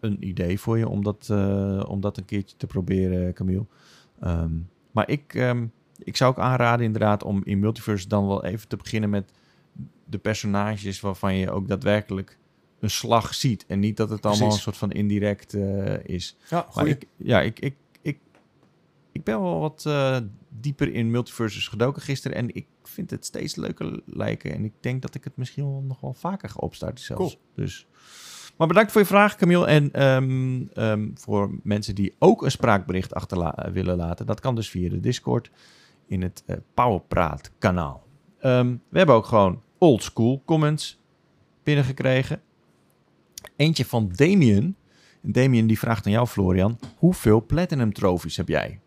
Speaker 2: een idee voor je om dat, eh, om dat een keertje te proberen, Camille. Ehm, maar ik, ehm, ik zou ook aanraden inderdaad om in multiverse dan wel even te beginnen met de personages waarvan je ook daadwerkelijk een slag ziet. En niet dat het allemaal
Speaker 3: Precies.
Speaker 2: een soort van indirect eh, is.
Speaker 3: Ja,
Speaker 2: Maar
Speaker 3: goeie.
Speaker 2: ik, ja, ik, ik, ik, ik ben wel wat eh, dieper in multiverses gedoken gisteren. En ik vind het steeds leuker lijken. En ik denk dat ik het misschien wel nog wel vaker ga opstarten zelfs.
Speaker 3: Cool.
Speaker 2: Dus. Maar bedankt voor je vraag, Camille. En ehm, ehm, voor mensen die ook een spraakbericht achter willen laten. Dat kan dus via de Discord in het eh, Powerpraat kanaal. Ehm, we hebben ook gewoon old school comments binnengekregen. Eentje van Damien. Damien die vraagt aan jou, Florian. Hoeveel platinum trofies heb jij?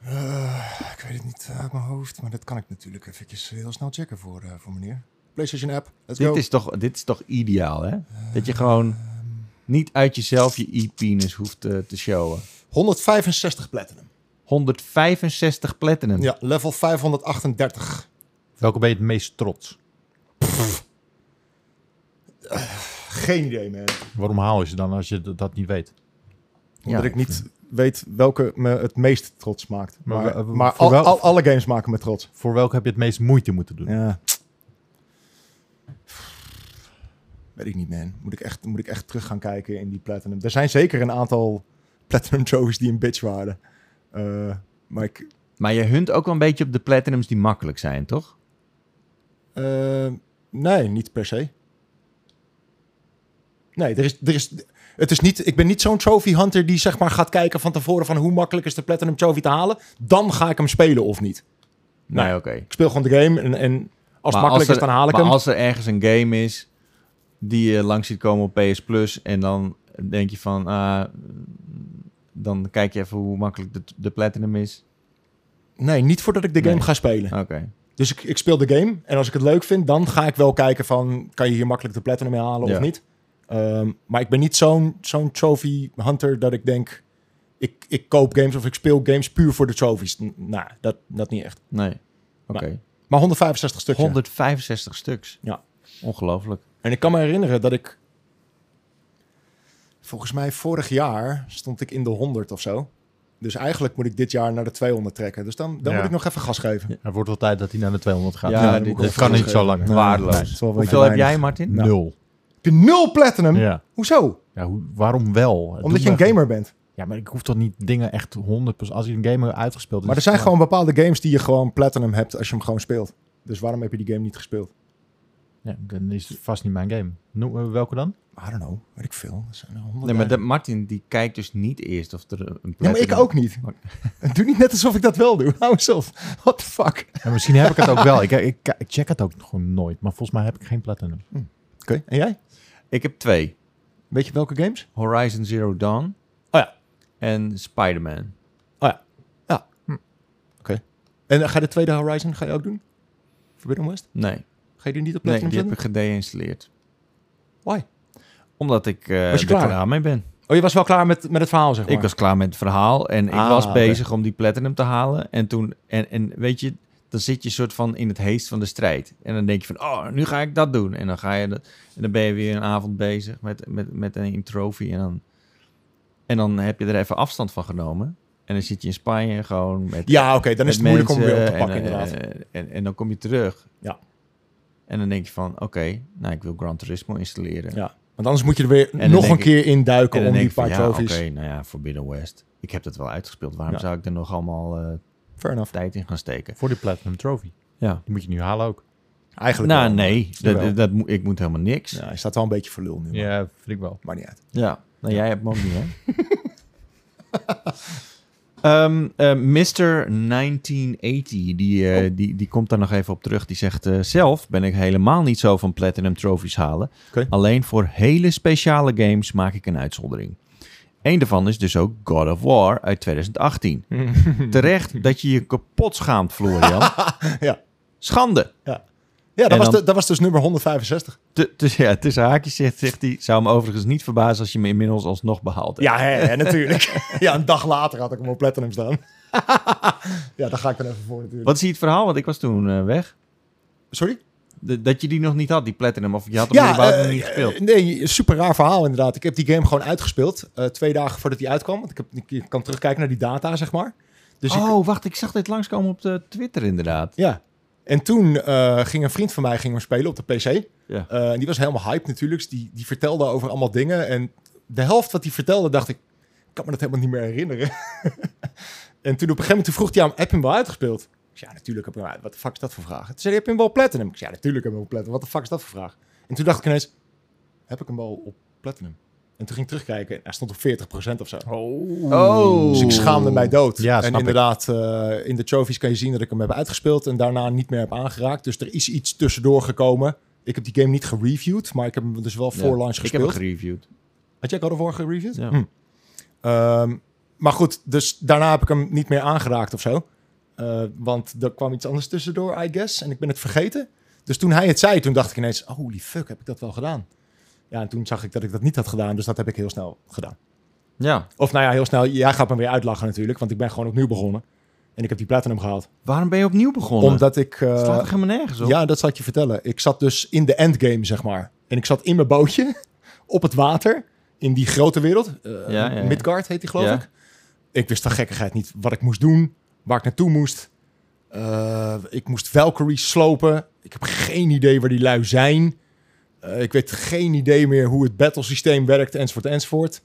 Speaker 3: Eh, ik weet het niet uit mijn hoofd, maar dat kan ik natuurlijk eventjes heel snel checken voor, eh, voor meneer. PlayStation app, let's go.
Speaker 2: Dit is, toch, dit is toch ideaal, hè? Dat je gewoon niet uit jezelf je e-penis hoeft eh, te showen.
Speaker 3: 165 platinum.
Speaker 2: 165 platinum.
Speaker 3: Ja, level 538.
Speaker 1: Welke ben je het meest trots?
Speaker 3: Geen idee meer.
Speaker 1: Waarom haal je ze dan als je d- dat niet weet?
Speaker 3: Omdat ik niet weet welke me het meest trots maakt.
Speaker 1: Maar
Speaker 3: Maar,
Speaker 1: we- we-
Speaker 3: maar
Speaker 1: voor
Speaker 3: al,
Speaker 1: wel-
Speaker 3: al- alle games maken me trots.
Speaker 1: Voor welke heb je het meest moeite moeten doen?
Speaker 3: Ja. Weet ik niet, man. Moet ik, echt, moet ik echt terug gaan kijken in die platinum. Er zijn zeker een aantal platinum trophies die een bitch waren. Eh, maar ik,
Speaker 2: Maar je hunt ook wel een beetje op de platinums die makkelijk zijn, toch?
Speaker 3: Ehm, Eh, nee, niet per se. Nee, er is, er is, Het is niet, ik ben niet zo'n trophy hunter die zeg maar gaat kijken van tevoren van hoe makkelijk is de platinum trophy te halen. Dan ga ik hem spelen of niet.
Speaker 2: Nee, oké.
Speaker 3: Ik speel gewoon de game en, en als het
Speaker 2: Maar
Speaker 3: makkelijk
Speaker 2: er-
Speaker 3: is dan haal ik
Speaker 2: maar
Speaker 3: hem.
Speaker 2: als er ergens een game is die je langs ziet komen op PS Plus en dan denk je van, ah, dan kijk je even hoe makkelijk de, de platinum is.
Speaker 3: Nee, niet voordat ik de game
Speaker 2: Nee.
Speaker 3: ga spelen.
Speaker 2: Oké.
Speaker 3: Dus ik, ik speel de game. En als ik het leuk vind, dan ga ik wel kijken van... kan je hier makkelijk de platinum mee halen
Speaker 2: Ja.
Speaker 3: of niet? Ehm, maar ik ben niet zo'n zo'n trophy hunter dat ik denk... Ik, ik koop games of ik speel games puur voor de trophies. N- Nou, dat, dat niet echt.
Speaker 2: Nee. Oké.
Speaker 3: Maar 165 stuk. ja.
Speaker 2: 165 stuks.
Speaker 3: Ja.
Speaker 2: Ongelooflijk.
Speaker 3: En ik kan me herinneren dat ik... Volgens mij vorig jaar stond ik in de 100 of zo. Dus eigenlijk moet ik dit jaar naar de 200 trekken. Dus dan, dan
Speaker 1: Ja.
Speaker 3: moet ik nog even gas geven.
Speaker 1: Het wordt wel tijd dat hij naar de 200 gaat.
Speaker 2: Ja,
Speaker 1: Ja,
Speaker 2: dit-
Speaker 1: dit,
Speaker 2: dit
Speaker 1: kan
Speaker 3: is- eh,
Speaker 1: niet zo lang.
Speaker 3: Nee,
Speaker 2: Waardeloos.
Speaker 3: nee, het Nou, is wel een beetje
Speaker 2: Hoeveel heb
Speaker 3: weinig.
Speaker 2: jij, Martin?
Speaker 3: Nou.
Speaker 1: Nul.
Speaker 3: Heb je nul platinum?
Speaker 1: Ja.
Speaker 3: Hoezo?
Speaker 1: ja hoe, waarom wel? Het
Speaker 3: Hm? Omdat
Speaker 1: doet
Speaker 3: je een
Speaker 1: me-
Speaker 3: gamer bent.
Speaker 1: Ja, maar ik hoef toch niet dingen echt 100%. Als je een gamer uitgespeeld is.
Speaker 3: Maar er zijn gewoon bepaalde games die je gewoon platinum hebt als je hem gewoon speelt. Dus waarom heb je die game niet gespeeld?
Speaker 1: Ja, dan is het vast niet mijn game. Noem, eh, welke dan?
Speaker 3: I don't know, weet ik veel. Er zijn er honderd
Speaker 2: Nee, maar
Speaker 3: bij.
Speaker 2: de, Martin die kijkt dus niet eerst of er een
Speaker 3: Ja, maar
Speaker 2: platinum-
Speaker 3: ik ook niet. Doe niet net alsof ik dat wel doe. Hou eens op. What the fuck? Oké,
Speaker 1: En misschien heb ik het ook wel. Ik, ik, ik check het ook gewoon nooit. Maar volgens mij heb ik geen platinum.
Speaker 3: en jij?
Speaker 2: Ik heb twee.
Speaker 3: Weet je welke games?
Speaker 2: Horizon Zero Dawn.
Speaker 3: Oh ja.
Speaker 2: En Spider-Man. Hm.
Speaker 3: En eh, ga je de tweede Horizon ga je ook doen? Forbidden West?
Speaker 2: Nee.
Speaker 3: Ga je die niet op
Speaker 2: Nee,
Speaker 3: platinum
Speaker 2: die heb
Speaker 3: zetten?
Speaker 2: ik gedeïnstalleerd.
Speaker 3: Why?
Speaker 2: Omdat ik eh
Speaker 3: Was je
Speaker 2: er
Speaker 3: klaar?
Speaker 2: klaar mee ben.
Speaker 3: Oh, je was wel klaar met, met het verhaal, zeg maar.
Speaker 2: Ik was klaar met het verhaal en ik
Speaker 3: Ah,
Speaker 2: was
Speaker 3: oké.
Speaker 2: bezig om die platinum te halen. En toen, en, en weet je, dan zit je soort van in het heest van de strijd. En dan denk je van, oh, nu ga ik dat doen. En dan ga je dat, en dan ben je weer een avond bezig met, met, met een trophy. En dan, en dan heb je er even afstand van genomen. En dan zit je in Spanje gewoon met.
Speaker 3: Ja, oké, dan is
Speaker 2: met
Speaker 3: het moeilijk om weer op te
Speaker 2: mensen
Speaker 3: pakken,
Speaker 2: en, eh,
Speaker 3: inderdaad.
Speaker 2: En, en, dan kom je terug.
Speaker 3: Ja.
Speaker 2: En dan denk je van, oké, nou, ik wil Gran Turismo installeren.
Speaker 3: ja. Want anders moet je er weer
Speaker 2: dan
Speaker 3: nog
Speaker 2: denk
Speaker 3: een
Speaker 2: ik-
Speaker 3: keer in duiken
Speaker 2: En dan
Speaker 3: om
Speaker 2: denk
Speaker 3: die
Speaker 2: ik van,
Speaker 3: paar
Speaker 2: ja, oké,
Speaker 3: trophies.
Speaker 2: nou ja, Forbidden West. Ik heb dat wel uitgespeeld. Waarom
Speaker 3: Ja.
Speaker 2: zou ik er nog allemaal eh,
Speaker 3: Fair enough.
Speaker 2: tijd in gaan steken?
Speaker 1: Voor die platinum trophy.
Speaker 2: Ja.
Speaker 1: Die moet je nu halen ook.
Speaker 3: Eigenlijk
Speaker 2: Nou,
Speaker 3: wel.
Speaker 2: nee. Dat,
Speaker 3: Jawel.
Speaker 2: dat, moet- ik moet helemaal niks. Ja.
Speaker 3: Ja, hij staat wel een beetje voor lul nu. maar-
Speaker 1: Ja, vind ik wel.
Speaker 3: Maar niet uit.
Speaker 2: Nou, jij hebt hem ook niet, hè? Ehm eh, Mr. 1980, die,
Speaker 3: Oh.
Speaker 2: eh, die, die komt daar nog even op terug. Die zegt, eh, zelf ben ik helemaal niet zo van Platinum Trophies halen.
Speaker 3: Oké.
Speaker 2: Alleen voor hele speciale games maak ik een uitzondering. Eén daarvan is dus ook God of War uit 2018. Terecht dat je je kapot schaamt, Florian.
Speaker 3: Ja.
Speaker 2: Schande.
Speaker 3: Ja, dat
Speaker 2: En
Speaker 3: was,
Speaker 2: dan-
Speaker 3: de- dat was dus nummer 165.
Speaker 2: T- t- ja, tussen haakjes zegt, zegt hij, zou me overigens niet verbazen als je me inmiddels alsnog behaalt. hebt.
Speaker 3: Ja, hè, hè, natuurlijk. ja, een dag later had ik hem op Platinum staan. ja, daar ga ik dan even voor natuurlijk.
Speaker 2: Wat is hier het verhaal? Want ik was toen eh, weg.
Speaker 3: Sorry?
Speaker 2: D- dat je die nog niet had, die Platinum. Of je had hem
Speaker 3: Ja,
Speaker 2: überhaupt nog
Speaker 3: eh,
Speaker 2: niet gespeeld.
Speaker 3: eh, nee, super raar verhaal inderdaad. Ik heb die game gewoon uitgespeeld. eh, twee dagen voordat die uitkwam. Want ik, heb, ik- ik kan terugkijken naar die data, zeg maar. Dus ik,
Speaker 2: oh, wacht, ik zag dit langskomen op de Twitter inderdaad.
Speaker 3: ja. En toen eh, ging een vriend van mij ging hem spelen op de PC.
Speaker 2: Ja.
Speaker 3: Eh, en die was helemaal hype natuurlijk. Dus Die, die vertelde over allemaal dingen. En de helft wat hij vertelde, dacht ik, ik kan me dat helemaal niet meer herinneren. en toen op een gegeven moment toen vroeg hij aan, hem, heb je hem wel uitgespeeld? Ik zei, ja, natuurlijk heb ik hem uit. Wat de fuck is dat voor vraag? Toen zei hij, heb je hem wel platinum? Ik zei, ja, natuurlijk heb ik hem wel platinum. Wat de fuck is dat voor vraag? En toen dacht ik ineens, heb ik hem wel op platinum? En toen ging ik terugkijken en hij stond op 40% of zo.
Speaker 2: Oh.
Speaker 3: Dus ik schaamde mij dood.
Speaker 1: Ja,
Speaker 3: en
Speaker 1: snap ik.
Speaker 3: inderdaad, eh, in de trophies kan je zien dat ik hem heb uitgespeeld en daarna niet meer heb aangeraakt. Dus er is iets tussendoor gekomen. Ik heb die game niet gereviewd, maar ik heb hem dus wel voor launch
Speaker 2: Ik heb hem
Speaker 3: gespeeld.
Speaker 2: gereviewd.
Speaker 3: Had jij God of War gereviewd?
Speaker 2: Ja.
Speaker 3: Hm. Ehm, maar goed, dus daarna heb ik hem niet meer aangeraakt of zo. Eh, want er kwam iets anders tussendoor, I guess. En ik ben het vergeten. Dus toen hij het zei, toen dacht ik ineens... Holy fuck, heb ik dat wel gedaan? Ja, en toen zag ik dat ik dat niet had gedaan. Dus dat heb ik heel snel gedaan.
Speaker 2: Ja.
Speaker 3: Of nou ja, heel snel. Jij gaat me weer uitlachen natuurlijk. Want ik ben gewoon opnieuw begonnen. En ik heb die platinum gehaald.
Speaker 2: Waarom ben je opnieuw begonnen?
Speaker 3: Omdat ik... eh,
Speaker 2: Het slaat toch helemaal nergens op?
Speaker 3: ja, dat zal ik je vertellen. Ik zat dus in de endgame, zeg maar. En ik zat in mijn bootje, op het water, in die grote wereld. Eh,
Speaker 2: ja, ja.
Speaker 3: Midgard heet die, geloof
Speaker 2: Ja.
Speaker 3: ik. Ik wist van gekkigheid niet wat ik moest doen, waar ik naartoe moest. Eh, ik moest Valkyrie slopen. Ik heb geen idee waar die lui zijn. Eh, ik weet geen idee meer hoe het battlesysteem werkt, enzovoort, enzovoort.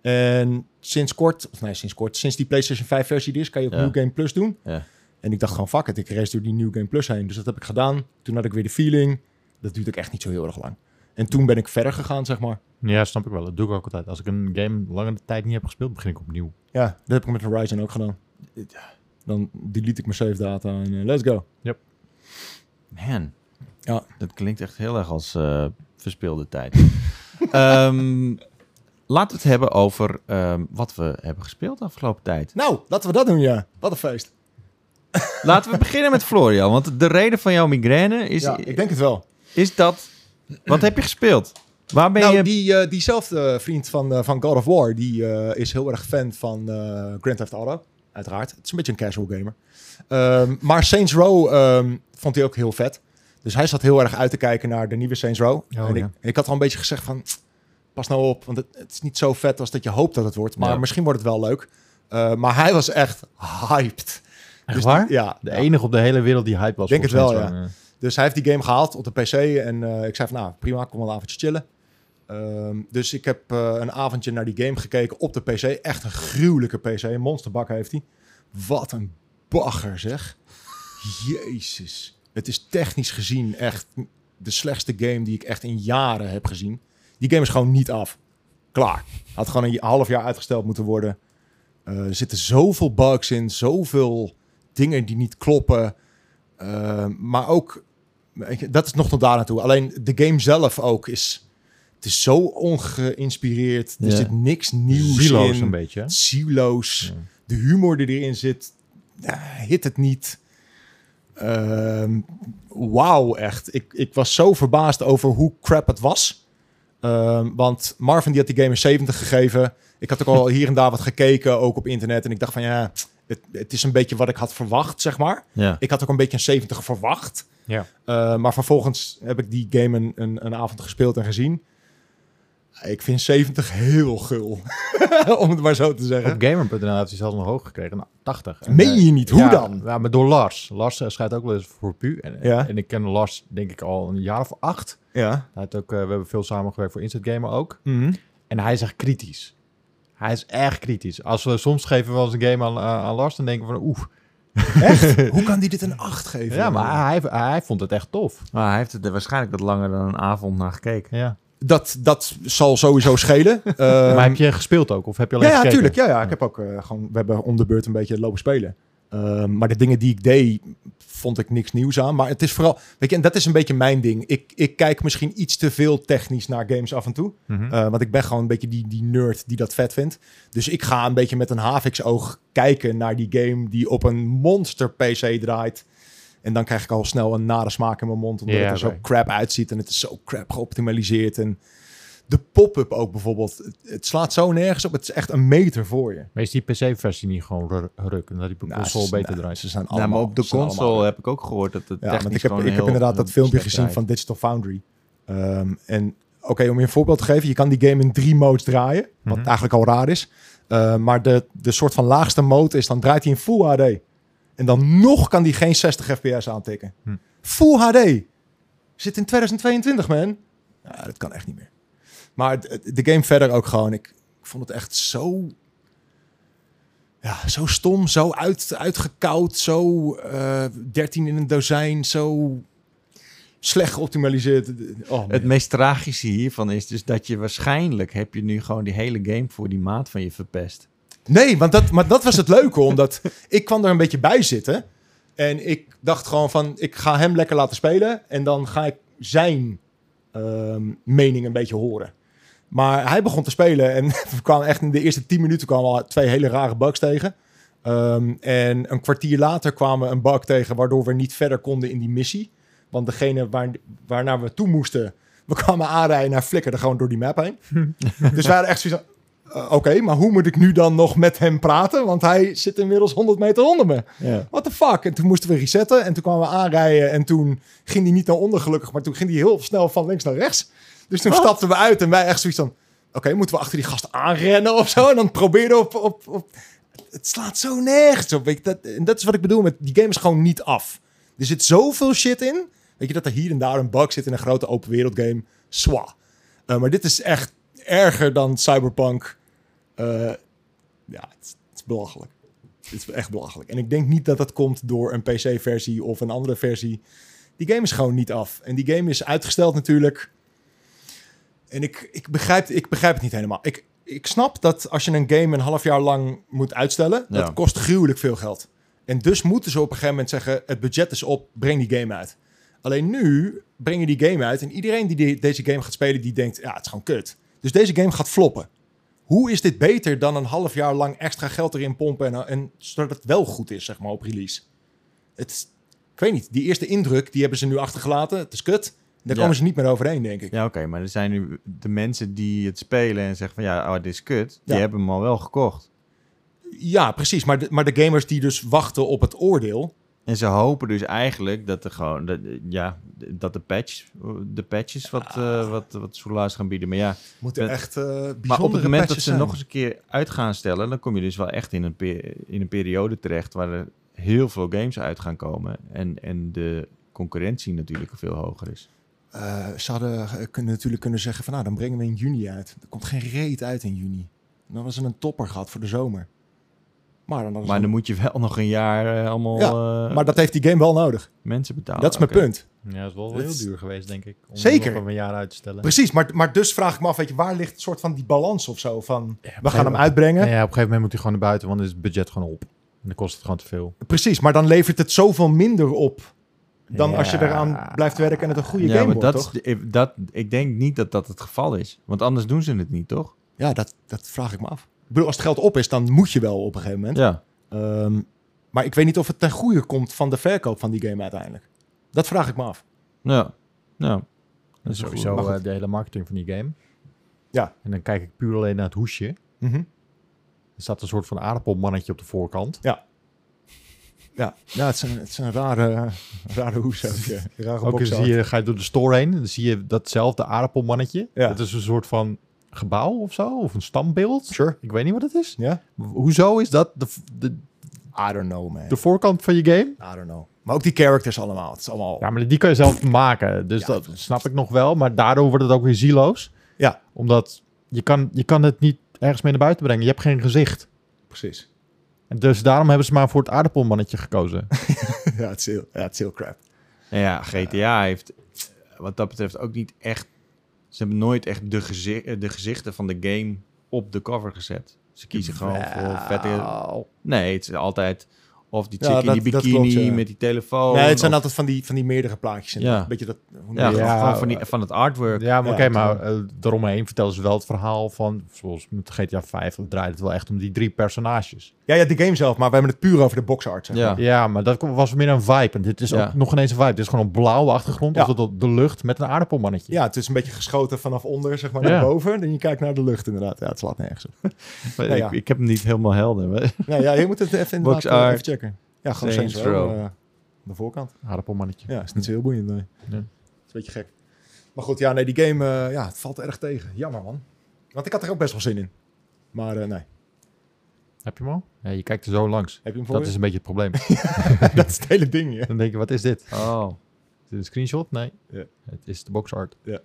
Speaker 3: En sinds kort, of nee, sinds kort, sinds die PlayStation 5 versie er is, kan je ook
Speaker 2: Ja.
Speaker 3: New Game Plus doen.
Speaker 2: Ja.
Speaker 3: En ik dacht gewoon, fuck it, ik race door die New Game Plus heen. Dus dat heb ik gedaan. Toen had ik weer de feeling. Dat duurt ook echt niet zo heel erg lang. En toen ben ik verder gegaan, zeg maar.
Speaker 1: Ja, snap ik wel. Dat doe ik ook altijd. Als ik een game langere tijd niet heb gespeeld, begin ik opnieuw.
Speaker 3: Ja, dat heb ik met Horizon ook gedaan. Dan delete ik mijn save data en eh, let's go.
Speaker 2: Man.
Speaker 3: Ja.
Speaker 2: Dat klinkt echt heel erg als eh, verspeelde tijd. Ehm, laten we het hebben over ehm, wat we hebben gespeeld de afgelopen tijd.
Speaker 3: Nou, laten we dat doen, ja. Wat een feest.
Speaker 2: Laten we beginnen met Florian. Want de reden van jouw migraine is,
Speaker 3: ja, ik denk het wel.
Speaker 2: is dat... Wat heb je gespeeld? Waar ben
Speaker 3: nou,
Speaker 2: je...
Speaker 3: die, eh, diezelfde vriend van, eh, van God of War, die eh, is heel erg fan van eh, Grand Theft Auto. Uiteraard. Het is een beetje een casual gamer. Ehm, maar Saints Row ehm, vond hij ook heel vet. Dus hij zat heel erg uit te kijken naar de nieuwe Saints Row.
Speaker 2: Oh,
Speaker 3: en, ik,
Speaker 1: ja.
Speaker 3: en ik had al een beetje gezegd van, pas nou op, want het, het is niet zo vet als dat je hoopt dat het wordt. Maar
Speaker 2: Ja.
Speaker 3: misschien wordt het wel leuk. Eh, maar hij was echt hyped.
Speaker 1: Echt
Speaker 3: Dus
Speaker 1: waar?
Speaker 3: die- Ja,
Speaker 1: De
Speaker 3: ja.
Speaker 1: enige op de hele wereld die hype was.
Speaker 3: Denk het
Speaker 1: volgens
Speaker 3: wel,
Speaker 1: mij.
Speaker 3: Dus hij heeft die game gehaald op de PC. En eh, ik zei van, nou prima, kom wel een avondje chillen. Ehm, dus ik heb eh, een avondje naar die game gekeken op de PC. Echt een gruwelijke PC. Een monsterbak heeft hij. Wat een bagger zeg. Jezus. Het is technisch gezien echt de slechtste game die ik echt in jaren heb gezien. Die game is gewoon niet af. Klaar. Had gewoon een half jaar uitgesteld moeten worden. Eh, er zitten zoveel bugs in. Zoveel dingen die niet kloppen. Eh, maar ook ik- dat is nog tot daar naartoe. Alleen de game zelf ook is. Het is zo ongeïnspireerd. Er
Speaker 1: Ja.
Speaker 3: zit niks nieuws
Speaker 1: Zieloos
Speaker 3: in.
Speaker 1: een eh, beetje. hè?
Speaker 3: Zieloos.
Speaker 1: Ja.
Speaker 3: De humor die erin zit, ja, hit het niet. Ehm, Wauw, echt. Ik, ik was zo verbaasd over hoe crap het was. Ehm, want Marvin die had die game een 70 gegeven. Ik had ook al hier en daar wat gekeken, ook op internet. En ik dacht van ja, het, het is een beetje wat ik had verwacht, zeg maar.
Speaker 2: Ja.
Speaker 3: Ik had ook een beetje een 70 verwacht.
Speaker 1: Ja.
Speaker 3: Eh, maar vervolgens heb ik die game een, een, een avond gespeeld en gezien. Ik vind 70 heel gul. Om het maar zo te zeggen.
Speaker 1: Op gamer.nl had hij zelfs nog hoog gekregen. Nou, 80. En,
Speaker 3: Meen
Speaker 1: eh,
Speaker 3: je niet? Hoe
Speaker 1: ja,
Speaker 3: dan?
Speaker 1: Ja, maar door Lars. Lars eh, schijnt ook wel eens voor pu. En,
Speaker 3: Ja.
Speaker 1: en ik ken Lars denk ik al een jaar of acht.
Speaker 3: Ja.
Speaker 1: Hij heeft ook, eh, we hebben veel samengewerkt voor Instant Gamer ook.
Speaker 3: Mhm.
Speaker 1: En hij is echt kritisch. Hij is erg kritisch. Als we soms geven we wel eens een game aan, eh, aan- aan Lars, dan denken we van oeh.
Speaker 3: Echt? ah, Hoe kan die dit een 8 geven?
Speaker 1: Ja, maar hij, hij vond het echt tof.
Speaker 2: Maar hij heeft er waarschijnlijk wat langer dan een avond naar gekeken.
Speaker 1: Ja.
Speaker 3: Dat, dat zal sowieso schelen. Ehm,
Speaker 1: maar heb je gespeeld ook? Of heb je alleen
Speaker 3: ja, ja,
Speaker 1: gekeken?
Speaker 3: tuurlijk. Ja, ja, ik heb ook eh, gewoon... We hebben om de beurt een beetje lopen spelen. Ehm, maar de dingen die ik deed, vond ik niks nieuws aan. Maar het is vooral... Weet je, en dat is een beetje mijn ding. Ik, ik kijk misschien iets te veel technisch naar games af en toe.
Speaker 1: Mhm.
Speaker 3: Eh, want ik ben gewoon een beetje die, die nerd die dat vet vindt. Dus ik ga een beetje met een Havix-oog kijken naar die game die op een monster PC draait. En dan krijg ik al snel een nare smaak in mijn mond. Omdat
Speaker 1: Ja,
Speaker 3: het er
Speaker 1: oké.
Speaker 3: zo crap uitziet. En het is zo crap geoptimaliseerd. En de pop-up ook bijvoorbeeld. Het, het slaat zo nergens op. Het is echt een meter voor je.
Speaker 1: Maar is die PC-versie niet gewoon ru- ruk? En dat die
Speaker 3: Nou,
Speaker 1: console
Speaker 3: ze-
Speaker 1: beter
Speaker 3: nou,
Speaker 1: draait?
Speaker 3: Ze zijn
Speaker 2: Nou,
Speaker 3: allemaal,
Speaker 2: maar op de
Speaker 3: ze zijn
Speaker 2: console
Speaker 3: allemaal-
Speaker 2: heb ik ook gehoord dat het
Speaker 3: Ja,
Speaker 2: technisch
Speaker 3: want ik heb,
Speaker 2: gewoon
Speaker 3: ik heb
Speaker 2: heel,
Speaker 3: inderdaad dat
Speaker 2: eh,
Speaker 3: filmpje
Speaker 2: slecht
Speaker 3: gezien
Speaker 2: draait.
Speaker 3: van Digital Foundry. Ehm, en oké, om je een voorbeeld te geven. Je kan die game in drie modes draaien. Wat
Speaker 1: Mhm.
Speaker 3: eigenlijk al raar is. Eh, maar de, de soort van laagste mode is, dan draait hij in Full HD. En dan nog kan die geen 60 fps aantikken.
Speaker 1: Hm.
Speaker 3: Full HD. Zit in 2022, man. Ja, dat kan echt niet meer. Maar d- de game verder ook gewoon. Ik vond het echt zo... Ja, zo stom, zo uit, uitgekoud, zo eh 13 in een dozijn, zo slecht geoptimaliseerd. Oh,
Speaker 2: Het meest tragische hiervan is dus dat je waarschijnlijk heb je nu gewoon die hele game voor die maat van je verpest.
Speaker 3: Nee, want dat, maar dat was het leuke, omdat ik kwam er een beetje bij zitten. En ik dacht gewoon van, ik ga hem lekker laten spelen en dan ga ik zijn ehm, mening een beetje horen. Maar hij begon te spelen en we kwamen echt in de eerste 10 minuten kwamen we al twee hele rare bugs tegen. Ehm, en een kwartier later kwamen we een bug tegen waardoor we niet verder konden in die missie. Want degene waar, waarnaar we toe moesten, we kwamen aanrijden en hij flikkerde gewoon door die map heen. dus we hadden echt zoiets van, eh, Oké, maar hoe moet ik nu dan nog met hem praten? Want hij zit inmiddels 100 meter onder me.
Speaker 2: Ja.
Speaker 3: What the fuck? En toen moesten we resetten en toen kwamen we aanrijden. En toen ging hij niet naar onder gelukkig, maar toen ging hij heel snel van links naar rechts. Dus toen stapten we uit en wij echt zoiets van... Oké, moeten we achter die gast aanrennen of zo? En dan proberen op... op, op het slaat zo nergens op. Weet je, dat, en dat is wat ik bedoel met... Die game is gewoon niet af. Er zit zoveel shit in. Weet je, dat er hier en daar een bug zit in een grote open wereld game. Swa. Eh, maar dit is echt erger dan Cyberpunk. Eh, ja, het is, het is belachelijk. Het is echt belachelijk. En ik denk niet dat dat komt door een PC-versie of een andere versie. Die game is gewoon niet af. En die game is uitgesteld natuurlijk. En ik, ik, begrijp, ik begrijp het niet helemaal. Ik, ik snap dat als je een game een half jaar lang moet uitstellen,
Speaker 2: Ja.
Speaker 3: dat kost gruwelijk veel geld. En dus moeten ze op een gegeven moment zeggen, het budget is op, breng die game uit. Alleen nu breng je die game uit en iedereen die, die deze game gaat spelen, die denkt, ja, het is gewoon kut. Dus deze game gaat floppen. Hoe is dit beter dan een half jaar lang extra geld erin pompen en, en zodat het wel goed is, zeg maar, op release? Het, is- ik weet niet, die eerste indruk, die hebben ze nu achtergelaten. Het is kut. Daar
Speaker 2: Ja.
Speaker 3: komen ze niet meer overheen, denk ik.
Speaker 2: Ja, oké, maar er zijn nu de mensen die het spelen en zeggen van ja, oh, dit is kut. Die
Speaker 3: Ja.
Speaker 2: hebben hem al wel gekocht.
Speaker 3: Ja, precies. Maar de, maar de gamers die dus wachten op het oordeel.
Speaker 2: En ze hopen dus eigenlijk dat er gewoon, dat, ja, dat de patch, de patches wat, eh wat, wat soelaars gaan bieden. Maar ja,
Speaker 3: Moeten
Speaker 2: Het-
Speaker 3: echt eh bijzondere
Speaker 2: maar op het moment dat
Speaker 3: patches
Speaker 2: ze
Speaker 3: zijn.
Speaker 2: nog eens een keer uit gaan stellen, dan kom je dus wel echt in een, pe- in een periode terecht waar er heel veel games uit gaan komen. En, en de concurrentie natuurlijk veel hoger is.
Speaker 3: Eh, ze hadden eh, kunnen, natuurlijk kunnen zeggen van... nou, dan brengen we in juni uit. Er komt geen reet uit in juni. En dan was er een topper gehad voor de zomer. Maar, dan hadden ze-
Speaker 2: Maar dan moet je wel nog een jaar eh, allemaal eh,
Speaker 3: maar dat heeft die game wel nodig.
Speaker 2: mensen betalen.
Speaker 3: dat is mijn
Speaker 2: Ah, Oké.
Speaker 3: punt.
Speaker 1: Ja, dat is wel
Speaker 3: Dat
Speaker 1: heel
Speaker 3: is-
Speaker 1: duur geweest, denk ik. Om
Speaker 3: Zeker.
Speaker 1: nog een jaar uit te stellen.
Speaker 3: Precies, maar, maar dus vraag ik me af... Weet je, waar ligt een soort van die balans of zo? Van, we gaan
Speaker 1: geen-
Speaker 3: hem uitbrengen.
Speaker 1: Nou ja, op een gegeven moment moet hij gewoon naar buiten, want dan is het budget gewoon op. En dan kost het gewoon te veel.
Speaker 3: Precies, maar dan levert het zoveel minder op... dan als je
Speaker 1: Ja.
Speaker 3: eraan blijft werken en het een goede
Speaker 2: Ja,
Speaker 3: game
Speaker 2: maar
Speaker 3: wordt,
Speaker 2: dat,
Speaker 3: toch?
Speaker 2: is de- dat, ik denk niet dat dat het geval is. Want anders doen ze het niet, toch?
Speaker 3: Ja, dat, dat vraag ik me af. Ik bedoel, als het geld op is, dan moet je wel op een gegeven moment.
Speaker 2: Ja.
Speaker 3: Ehm, maar ik weet niet of het ten goede komt van de verkoop van die game uiteindelijk. Dat vraag ik me af.
Speaker 2: Ja. ja.
Speaker 1: Dat is
Speaker 2: wel goed.
Speaker 1: sowieso
Speaker 2: Maar goed.
Speaker 1: eh, de hele marketing van die game.
Speaker 3: Ja.
Speaker 1: En dan kijk ik puur alleen naar het hoesje.
Speaker 3: Mhm.
Speaker 1: Er staat een soort van aardappelmannetje op de voorkant.
Speaker 3: Ja, ja het, is een, het is een rare, rare hoes ook. ja. Rare
Speaker 1: Ook
Speaker 3: box
Speaker 1: eens
Speaker 3: art.
Speaker 1: zie je, ga je door de store heen, dan zie je datzelfde aardappelmannetje.
Speaker 3: Ja.
Speaker 1: Dat is een soort van gebouw of zo, of een standbeeld.
Speaker 3: Sure.
Speaker 1: Ik weet niet wat het is.
Speaker 3: Ja?
Speaker 1: Hoezo is dat de, de,
Speaker 3: I don't know, man.
Speaker 1: de voorkant van je game?
Speaker 3: I don't know. Maar ook die characters allemaal. Het is allemaal...
Speaker 1: Ja, maar die kan je zelf maken. Dus
Speaker 3: Ja.
Speaker 1: dat snap ik nog wel. Maar daardoor wordt het ook weer zieloos.
Speaker 3: Ja.
Speaker 1: Omdat je kan, je kan het niet ergens mee naar buiten brengen. Je hebt geen gezicht.
Speaker 3: Precies.
Speaker 1: En dus daarom hebben ze maar voor het aardappelmannetje gekozen.
Speaker 3: ja, het is heel, ja, het is heel crap. eh,
Speaker 2: Nou ja, GTA heeft eh, wat dat betreft ook niet echt... Ze hebben nooit echt de, gezi- eh, de gezichten van de game op de cover gezet. Ze kiezen gewoon voor vette...
Speaker 3: Oh,
Speaker 1: Wauw.
Speaker 2: Nee, het is altijd... Of die
Speaker 3: Ja,
Speaker 2: chick in die
Speaker 3: dat- dat
Speaker 2: bikini
Speaker 3: klopt, ja.
Speaker 2: met die telefoon.
Speaker 3: nee, het zijn
Speaker 2: of-
Speaker 3: altijd van die, van die meerdere plaatjes.
Speaker 2: Oh, Ja.
Speaker 3: Een beetje dat... Hoe
Speaker 2: ja,
Speaker 3: noem je dat?
Speaker 1: Ja,
Speaker 2: gewoon van, die, van het artwork.
Speaker 1: Ja, maar
Speaker 3: Ja,
Speaker 1: oké,
Speaker 3: het-
Speaker 1: maar eh, daaromheen vertellen ze wel het verhaal van... Zoals met GTA 5 draait het wel echt om die drie personages.
Speaker 3: ja, ja, de game zelf. Maar we hebben het puur over de box art. zeg
Speaker 2: Ja.
Speaker 1: Ja, maar dat was meer een vibe. En dit is
Speaker 2: Ja.
Speaker 1: ook nog ineens een vibe. Dit is gewoon een blauwe achtergrond.
Speaker 3: Ja.
Speaker 1: Of dat de lucht met een aardappelmannetje.
Speaker 3: Ja, het is een beetje geschoten vanaf onder, zeg maar,
Speaker 1: Ja.
Speaker 3: naar boven. En je kijkt naar de lucht inderdaad. Ja, het slaat nergens op.
Speaker 2: Maar
Speaker 3: Ja, ja.
Speaker 2: Ik, ik heb hem niet helemaal helder. maar-
Speaker 3: nou ja, je moet het even, inderdaad,
Speaker 2: Box
Speaker 3: eh,
Speaker 2: art,
Speaker 3: even checken. Ja, gewoon
Speaker 2: Saints
Speaker 3: Saints Row.
Speaker 2: Row.
Speaker 3: eh, de voorkant.
Speaker 1: Aardappelmannetje.
Speaker 3: Ja, is niet zo heel boeiend, nee.
Speaker 1: Nee.
Speaker 3: Het is een beetje gek. Maar goed, ja, nee, die game, eh, ja, het valt erg tegen. Jammer, man. Want ik had er ook best wel zin in. Maar eh, nee,
Speaker 1: Heb je hem al? Ja, je kijkt er zo langs.
Speaker 3: heb je hem voor
Speaker 1: Dat
Speaker 3: je?
Speaker 1: is een beetje het probleem.
Speaker 3: dat is het hele ding, ja.
Speaker 1: Dan denk je, wat is dit?
Speaker 2: Oh.
Speaker 1: Is dit een screenshot? Nee.
Speaker 3: Ja.
Speaker 1: Het is de box art.
Speaker 3: Ik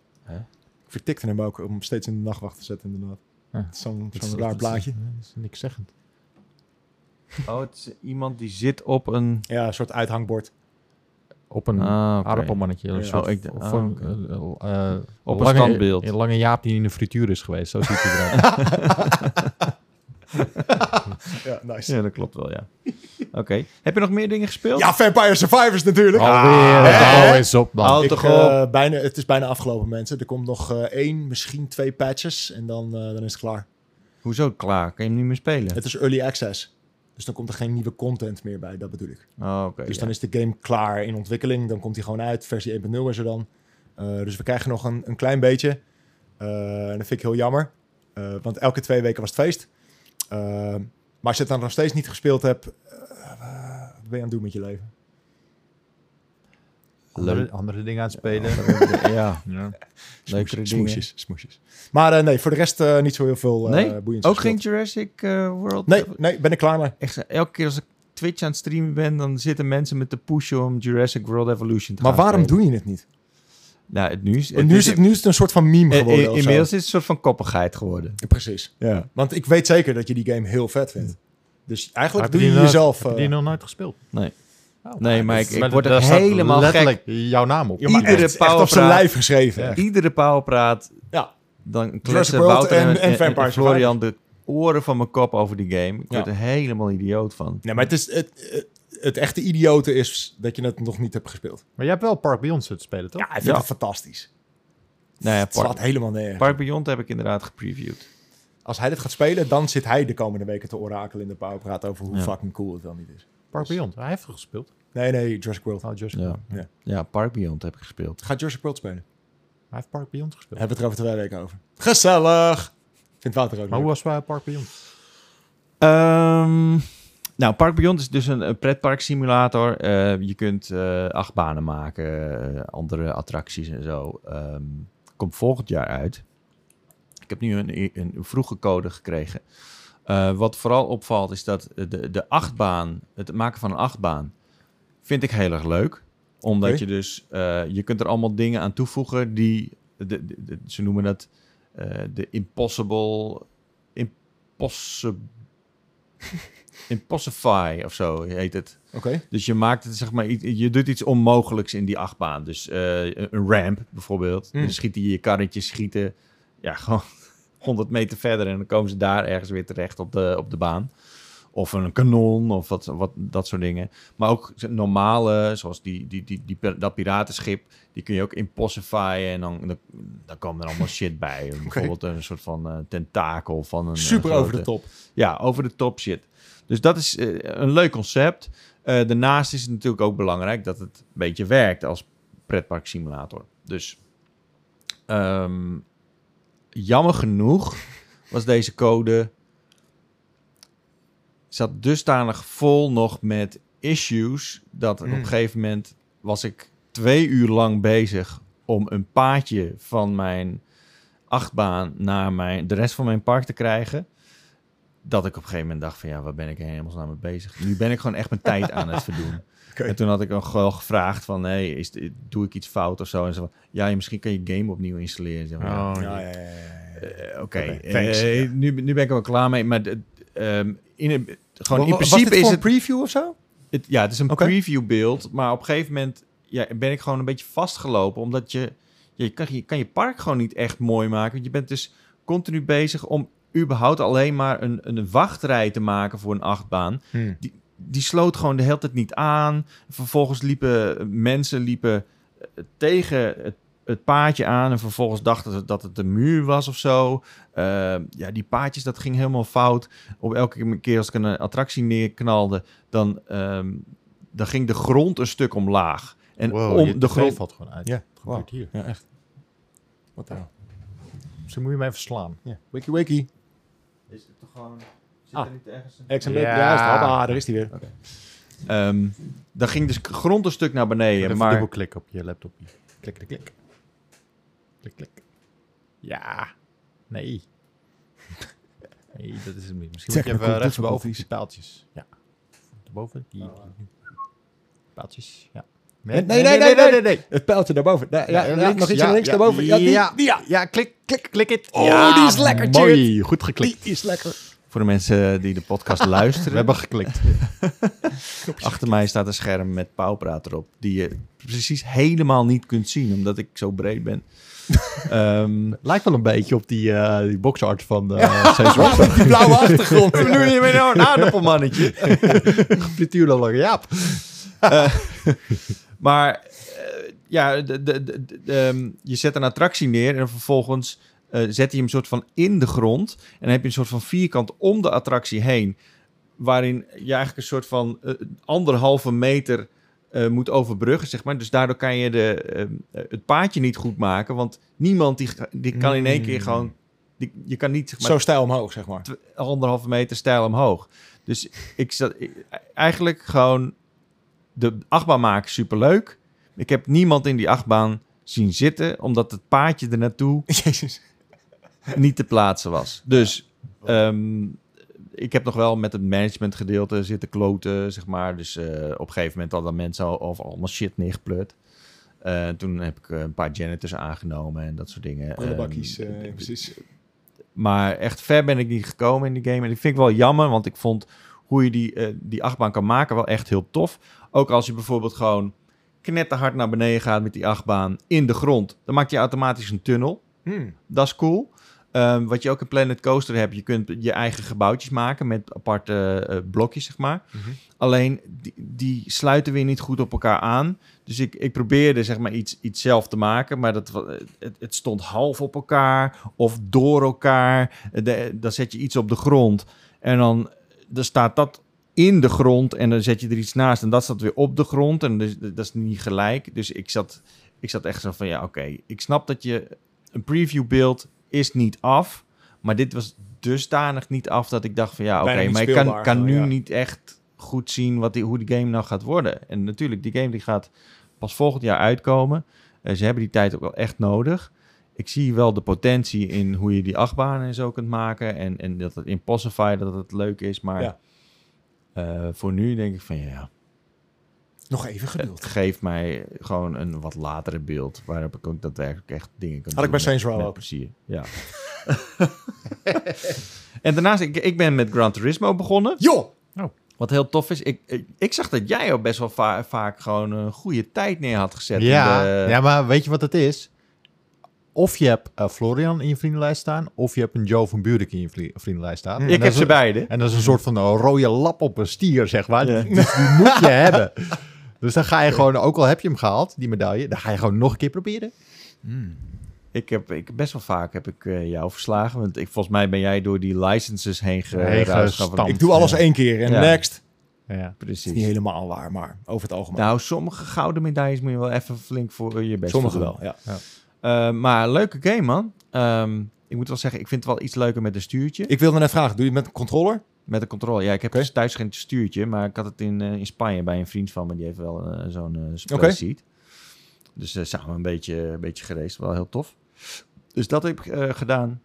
Speaker 3: vertikte hem ook om steeds in de nachtwacht te zetten, inderdaad.
Speaker 1: Ja.
Speaker 3: Het is Zo'n
Speaker 1: Het
Speaker 3: zo'n
Speaker 1: is-
Speaker 3: raar
Speaker 1: het is-
Speaker 3: blaadje.
Speaker 1: ja, Dat is niks zeggend.
Speaker 2: oh, het is iemand die zit op een...
Speaker 3: Ja, een soort uithangbord.
Speaker 1: Op een
Speaker 2: Ah, oké.
Speaker 1: aardappelmannetje.
Speaker 3: Ja.
Speaker 1: Een soort
Speaker 2: Oh, ik d-
Speaker 1: of
Speaker 2: ah,
Speaker 1: een,
Speaker 2: oké.
Speaker 1: eh, eh,
Speaker 2: Op een
Speaker 1: lange-
Speaker 2: standbeeld.
Speaker 1: Een lange jaap die in de frituur is geweest. Zo ziet hij eruit.
Speaker 3: Ja, nice.
Speaker 2: Ja, dat klopt wel, ja. Oké. Heb je nog meer dingen gespeeld?
Speaker 3: Ja, Vampire Survivors natuurlijk. hè?
Speaker 1: Alweer. hou eens op, man.
Speaker 2: Al- Houd
Speaker 3: Ik,
Speaker 2: toch
Speaker 3: eh, bijna, het is bijna afgelopen, mensen. Er komt nog eh, één, misschien twee patches en dan, eh, dan is het klaar.
Speaker 2: Hoezo klaar? Kan je hem niet meer spelen?
Speaker 3: Het is early access. Dus dan komt er geen nieuwe content meer bij, dat bedoel ik.
Speaker 2: Oh, oké.
Speaker 3: Dus
Speaker 2: ja.
Speaker 3: dan is de game klaar in ontwikkeling. Dan komt hij gewoon uit. Versie 1.0 is er dan. Eh, dus we krijgen nog een, een klein beetje. Eh, en dat vind ik heel jammer. Eh, want elke twee weken was het feest. Eh, maar als je het dan nog steeds niet gespeeld hebt... eh, wat ben je aan het doen met je leven?
Speaker 1: andere,
Speaker 2: Leuk.
Speaker 1: andere dingen aan het spelen.
Speaker 2: Ja.
Speaker 1: Ja.
Speaker 2: Leukere
Speaker 3: Smoesjes,
Speaker 2: dingen.
Speaker 3: smoesjes, smoesjes. Maar eh, nee, voor de rest eh, niet zo heel veel eh
Speaker 2: Nee?
Speaker 3: boeiends
Speaker 2: Ook geen
Speaker 3: gespeeld.
Speaker 2: Jurassic eh, World?
Speaker 3: Nee, nee, ben ik klaar mee.
Speaker 2: Echt, eh, elke keer als ik Twitch aan het streamen ben, dan zitten mensen met de push om Jurassic World Evolution te
Speaker 3: Maar
Speaker 2: gaan
Speaker 3: waarom
Speaker 2: spelen.
Speaker 3: doe je het niet?
Speaker 2: Nou, het nu is...
Speaker 3: En nu is het, nu is het een soort van meme
Speaker 2: eh, eh,
Speaker 3: geworden. of zo.
Speaker 2: inmiddels is het een soort van koppigheid geworden.
Speaker 3: Precies.
Speaker 2: Ja.
Speaker 3: Want ik weet zeker dat je die game heel vet vindt. Dus eigenlijk
Speaker 1: Heb
Speaker 3: doe je
Speaker 1: die nog-
Speaker 3: jezelf...
Speaker 1: Heb je
Speaker 3: eh,
Speaker 1: die nog nooit gespeeld?
Speaker 2: Nee.
Speaker 1: Oh,
Speaker 2: Nee, maar
Speaker 1: dat-
Speaker 2: ik- ik
Speaker 1: maar
Speaker 2: word
Speaker 1: daar
Speaker 2: er
Speaker 1: staat
Speaker 2: helemaal
Speaker 1: letterlijk jouw naam op.
Speaker 3: Ja, maar echt,
Speaker 2: Iedere
Speaker 3: echt op zijn
Speaker 2: powerpraat.
Speaker 3: lijf geschreven.
Speaker 1: Ja.
Speaker 2: Iedere pauwpraat
Speaker 3: Ja.
Speaker 2: dan
Speaker 3: Jurassic
Speaker 2: kletsen
Speaker 3: World
Speaker 2: Wouter en,
Speaker 3: en- en
Speaker 2: en- en
Speaker 3: Vampire
Speaker 2: Florian de oren van mijn kop over die game. Ik
Speaker 3: Ja.
Speaker 2: word er helemaal idioot van.
Speaker 3: Nee, maar het, is, het, het, het echte idiote is dat je het nog niet hebt gespeeld.
Speaker 1: Maar jij hebt wel Park Beyond zitten spelen, toch?
Speaker 3: Ja, ik vind
Speaker 2: Ja.
Speaker 3: het fantastisch.
Speaker 2: Nou ja,
Speaker 3: Het slaat
Speaker 2: Park,
Speaker 3: helemaal neer.
Speaker 2: Park Beyond heb ik inderdaad gepreviewd.
Speaker 3: Als hij dit gaat spelen, dan zit hij de komende weken te orakelen in de pauwpraat over hoe
Speaker 2: Ja.
Speaker 3: fucking cool het wel niet is.
Speaker 1: Park Beyond. Hij heeft er gespeeld.
Speaker 3: Nee, nee, Jurassic World.
Speaker 1: Oh, Jurassic
Speaker 2: Ja.
Speaker 3: Ja.
Speaker 2: Ja. Park Beyond heb ik gespeeld.
Speaker 3: Gaat Jurassic World spelen?
Speaker 1: Hij heeft Park Beyond gespeeld.
Speaker 3: Hebben we het er over twee weken over. Gezellig! Vindt Wouter ook
Speaker 1: Maar
Speaker 3: leuk.
Speaker 1: hoe was wij Park Beyond?
Speaker 2: Ehm, nou, Park Beyond is dus een, een pretparksimulator. Eh, je kunt eh acht banen maken, eh, andere attracties en zo. Ehm, komt volgend jaar uit. Ik heb nu een, een vroege code gekregen. Eh, wat vooral opvalt is dat de, de achtbaan, het maken van een achtbaan, vind ik heel erg leuk. Omdat
Speaker 3: Oké.
Speaker 2: je dus, eh, je kunt er allemaal dingen aan toevoegen die, de, de- de- ze noemen dat eh, de impossible, impossible, impossify of zo heet het.
Speaker 3: Oké.
Speaker 2: Dus je maakt het, zeg maar, iets- je doet iets onmogelijks in die achtbaan. Dus eh, een- een ramp bijvoorbeeld.
Speaker 3: Mm.
Speaker 2: Dan schiet die je karretje, schieten. Ja, gewoon 100 meter verder. En dan komen ze daar ergens weer terecht op de, op de baan. Of een kanon of wat, wat, dat soort dingen. Maar ook normale, zoals die, die, die, die, pir- dat piratenschip, die kun je ook impossifyen. En dan, dan, dan komen er allemaal shit bij. Bijvoorbeeld een soort van eh, tentakel van een. eh,
Speaker 3: Super over de
Speaker 2: grote-
Speaker 3: top.
Speaker 2: ja, over de top shit. Dus dat is eh, een leuk concept. Eh, daarnaast is het natuurlijk ook belangrijk dat het een beetje werkt als pretparksimulator. Dus ehm, jammer genoeg was deze code zat dusdanig vol nog met issues dat op
Speaker 3: Mm.
Speaker 2: een gegeven moment was ik twee uur lang bezig om een paadje van mijn achtbaan naar mijn, de rest van mijn park te krijgen. Dat ik op een gegeven moment dacht van ja, waar ben ik helemaal nou mee bezig? Nu ben ik gewoon echt mijn tijd aan het verdoen.
Speaker 3: Oké.
Speaker 2: En toen had ik nog wel gevraagd van hey, is, dit- doe ik iets fout of zo? En ze van ja, je- misschien kan je game opnieuw installeren. Ik zeg
Speaker 1: Oh.
Speaker 2: maar, ja,
Speaker 3: Oh, Ja, ja, ja, ja, ja.
Speaker 2: eh, Oké,
Speaker 3: thanks.
Speaker 2: eh, nu, nu ben ik er wel klaar mee. Maar d- ehm, in, een- gewoon in
Speaker 3: Was dit
Speaker 2: principe
Speaker 3: voor
Speaker 2: is
Speaker 3: een
Speaker 2: het,
Speaker 3: preview of zo?
Speaker 2: het- Ja, het is een
Speaker 3: Oké.
Speaker 2: preview beeld. Maar op een gegeven moment ja, ben ik gewoon een beetje vastgelopen. Omdat je, ja, je, kan, je kan je park gewoon niet echt mooi maken. Want je bent dus continu bezig om überhaupt alleen maar een, een wachtrij te maken voor een achtbaan
Speaker 1: Hmm.
Speaker 2: die sloot gewoon de hele tijd niet aan. Vervolgens liepen mensen liepen eh, tegen het, het paadje aan. En vervolgens dachten ze dat het de muur was of zo. Eh, ja, die paadjes, dat ging helemaal fout. Op elke keer als ik een attractie neerknalde, dan, ehm, dan ging de grond een stuk omlaag. En
Speaker 1: Wow, Oh, je
Speaker 2: om de
Speaker 1: tv
Speaker 2: grond.
Speaker 1: valt gewoon uit.
Speaker 3: Ja,
Speaker 1: Het gebeurt hier.
Speaker 3: Ja, echt. Wat nou?
Speaker 1: Misschien moet je hem even slaan.
Speaker 3: Ja. Wiki wiki.
Speaker 2: Is het toch gewoon. Zit
Speaker 3: er
Speaker 2: niet ergens een
Speaker 3: Ex en
Speaker 1: Ja.
Speaker 3: Juist, hoppa, daar is hij weer.
Speaker 2: Ehm dan ging dus grond een stuk naar beneden.
Speaker 1: Even
Speaker 2: Maar
Speaker 1: dubbel klik op je laptop. hier. Klik, klik, klik. Klik, klik. Ja. Nee. Nee, dat is het niet. Misschien moet je
Speaker 3: Technical
Speaker 1: even rechtsboven op
Speaker 3: difficulties.
Speaker 1: die paaltjes. Ja. Daarboven. Die, die- paaltjes. Ja.
Speaker 3: Nee, nee, nee, nee, nee, Het pijltje daarboven. Ja, ja, ja, nog iets naar links daarboven. Ja, die,
Speaker 1: ja,
Speaker 3: die, ja.
Speaker 1: ja, klik, klik, klik het.
Speaker 3: Oh,
Speaker 1: ja,
Speaker 3: die is lekker,
Speaker 1: Mooi, goed geklikt.
Speaker 3: Die is lekker.
Speaker 2: voor de mensen die de podcast
Speaker 1: We
Speaker 2: luisteren.
Speaker 1: hebben geklikt.
Speaker 2: Achter mij staat een scherm met pauwpraat erop, die je precies helemaal niet kunt zien, omdat ik zo breed ben. Ehm,
Speaker 1: Lijkt wel een beetje op die, eh die boxart van eh Saints Row.
Speaker 3: Die blauwe achtergrond.
Speaker 2: Wat bedoel je met nou een aardappelmannetje?
Speaker 1: Frituur dan langer. Ja.
Speaker 2: Maar eh, ja, de, de, de, de- ehm, je zet een attractie neer en vervolgens eh, zet je hem soort van in de grond. En dan heb je een soort van vierkant om de attractie heen, waarin je eigenlijk een soort van eh, anderhalve meter eh, moet overbruggen, zeg maar. Dus daardoor kan je de, ehm, eh, het paadje niet goed maken, want niemand die, ga- die kan in één keer
Speaker 3: Mm.
Speaker 2: gewoon... Die, je kan niet zeg maar,
Speaker 3: Zo stijl omhoog, zeg maar.
Speaker 2: tw- anderhalve meter stijl omhoog. Dus ik zat ik- eigenlijk gewoon de achtbaan maken superleuk. Ik heb niemand in die achtbaan zien zitten, omdat het paadje er naartoe
Speaker 3: Jezus.
Speaker 2: niet te plaatsen was. Dus ehm, ik heb nog wel met het management gedeelte zitten kloten, zeg maar. Dus eh, op een gegeven moment hadden mensen al, over allemaal shit neergeplut. Eh, toen heb ik eh, een paar janitors aangenomen en dat soort dingen.
Speaker 3: Prullenbakjes,
Speaker 2: Ehm,
Speaker 3: eh, precies.
Speaker 2: maar echt ver ben ik niet gekomen in die game. En dat vind ik wel jammer, want ik vond hoe je die, eh, die achtbaan kan maken wel echt heel tof. Ook als je bijvoorbeeld gewoon knetterhard naar beneden gaat met die achtbaan in de grond. Dan maakt je automatisch een tunnel.
Speaker 3: Hmm.
Speaker 2: Dat is cool. Ehm, wat je ook in Planet Coaster hebt, je kunt je eigen gebouwtjes maken met aparte eh, blokjes, zeg maar.
Speaker 3: Mhm.
Speaker 2: Alleen die, die sluiten weer niet goed op elkaar aan. Dus ik, ik probeerde zeg maar iets, iets zelf te maken, maar dat, wa- het, het stond half op elkaar of door elkaar. De- dan zet je iets op de grond en dan, dan staat dat in de grond en dan zet je er iets naast en dat staat weer op de grond en dus, dat is niet gelijk. Dus ik zat, ik zat echt zo van ja, oké, ik snap dat je een preview beeld is niet af. Maar dit was dusdanig niet af dat ik dacht van ja, oké,
Speaker 3: Bijna niet
Speaker 2: maar ik kan,
Speaker 3: speelbaar
Speaker 2: kan
Speaker 3: gewoon,
Speaker 2: nu
Speaker 3: ja.
Speaker 2: niet echt goed zien wat die, hoe die game nou gaat worden. En natuurlijk, die game die gaat pas volgend jaar uitkomen. Eh, ze hebben die tijd ook wel echt nodig. Ik zie wel de potentie in hoe je die achtbanen en zo kunt maken. En, en dat het in Possify, dat het leuk is. Maar
Speaker 3: Ja.
Speaker 2: eh, voor nu denk ik van ja,
Speaker 3: Nog even geduld.
Speaker 2: het geeft mij gewoon een wat latere beeld. Waarop ik ook daadwerkelijk echt dingen kan
Speaker 3: Had ik bij
Speaker 2: doen
Speaker 3: Saints
Speaker 2: met-
Speaker 3: Row
Speaker 2: met
Speaker 3: ook.
Speaker 2: plezier, ja. en daarnaast, ik, ik ben met Gran Turismo begonnen.
Speaker 3: Joh!
Speaker 2: Wat heel tof is, ik, ik, ik zag dat jij ook best wel va- vaak gewoon een goede tijd neer had gezet.
Speaker 1: Ja,
Speaker 2: in de-
Speaker 1: ja, maar weet je wat het is? Of je hebt eh, Florian in je vriendenlijst staan, of je hebt een Joe van Buurik in je vri- vriendenlijst staan. En
Speaker 2: Hm. ik
Speaker 1: dat
Speaker 2: heb
Speaker 1: is
Speaker 2: ze
Speaker 1: een-
Speaker 2: beide.
Speaker 1: En dat is een soort van een rode lap op een stier, zeg maar.
Speaker 2: Ja.
Speaker 1: Dus die moet je hebben. Dus dan ga je gewoon, ook al heb je hem gehaald, die medaille, dan ga je gewoon nog een keer proberen.
Speaker 2: Ik heb ik, best wel vaak heb ik eh, jou verslagen. Want ik, volgens mij ben jij door die licenses heen
Speaker 1: Heen
Speaker 2: geruisd.
Speaker 1: gestampt.
Speaker 3: Ik doe alles
Speaker 1: Ja.
Speaker 3: één keer en
Speaker 2: Ja.
Speaker 3: next. Het
Speaker 1: Ja.
Speaker 3: is
Speaker 2: Precies.
Speaker 3: niet helemaal waar, maar over het algemeen.
Speaker 2: Nou, sommige gouden medailles moet je wel even flink voor eh, je best
Speaker 3: Sommige
Speaker 2: doen.
Speaker 3: wel, ja.
Speaker 2: Eh, maar leuke game, man. Ehm, ik moet wel zeggen, ik vind het wel iets leuker met een stuurtje.
Speaker 3: Ik wilde net vragen, doe je het met een controller?
Speaker 2: Met een controle. Ja, ik heb
Speaker 3: Oké.
Speaker 2: dus thuis geen stuurtje, maar ik had het in, eh, in Spanje bij een vriend van me. Die heeft wel eh, zo'n eh spreadsheet. Dus eh, samen een beetje, een beetje gereisd. Wel heel tof. Dus dat heb ik eh, gedaan.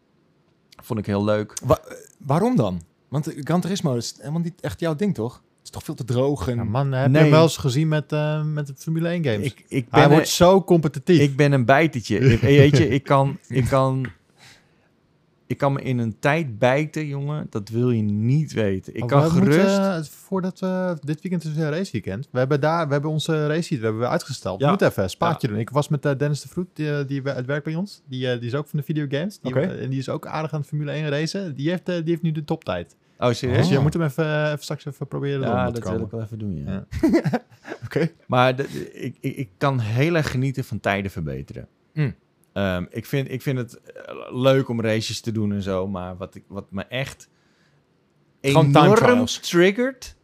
Speaker 2: Vond ik heel leuk.
Speaker 3: Wa- eh, waarom dan? Want eh, Gran Turismo is helemaal niet echt jouw ding, toch? Het is toch veel te droog en...
Speaker 1: Ja, man, heb
Speaker 2: Nee.
Speaker 1: je hem wel eens gezien met, eh, met de Formule 1 games?
Speaker 2: Ik,
Speaker 3: Ah,
Speaker 2: ik ben
Speaker 1: Hij
Speaker 2: een-
Speaker 1: wordt zo competitief.
Speaker 2: Ik ben een bijtetje. Ik, weet je, ik kan, ik kan, ik kan me in een tijd bijten, jongen. Dat wil je niet weten. Ik
Speaker 1: Maar
Speaker 2: kan
Speaker 1: we
Speaker 2: gerust.
Speaker 1: moeten, Oh, eh, voordat we dit weekend is weer een raceweekend. We hebben daar, we hebben onze race we hebben we uitgesteld.
Speaker 2: Ja.
Speaker 1: We moeten even een spaatje doen. Ik was met eh, Dennis de Vroet, die, eh, die we- het werkt bij ons. Die, eh, die is ook van de videogames. Die,
Speaker 3: Oké.
Speaker 1: eh, En die is ook aardig aan het Formule 1 racen. Die heeft, eh, die heeft nu de toptijd.
Speaker 2: Oh, serieus?
Speaker 1: Dus je
Speaker 3: Oh.
Speaker 1: moet hem even, eh, even straks even proberen eronder
Speaker 2: Ja,
Speaker 1: te
Speaker 2: dat
Speaker 1: komen.
Speaker 2: wil ik wel even doen, ja.
Speaker 1: Ja.
Speaker 3: Oké.
Speaker 2: Maar de- de- ik, ik, ik kan heel erg genieten van tijden verbeteren.
Speaker 3: Mm.
Speaker 2: Ehm, ik, vind, ik vind het eh, leuk om races te doen en zo. Maar wat, ik, wat me echt
Speaker 3: Gewoon time
Speaker 2: enorm
Speaker 3: trials.
Speaker 2: triggert...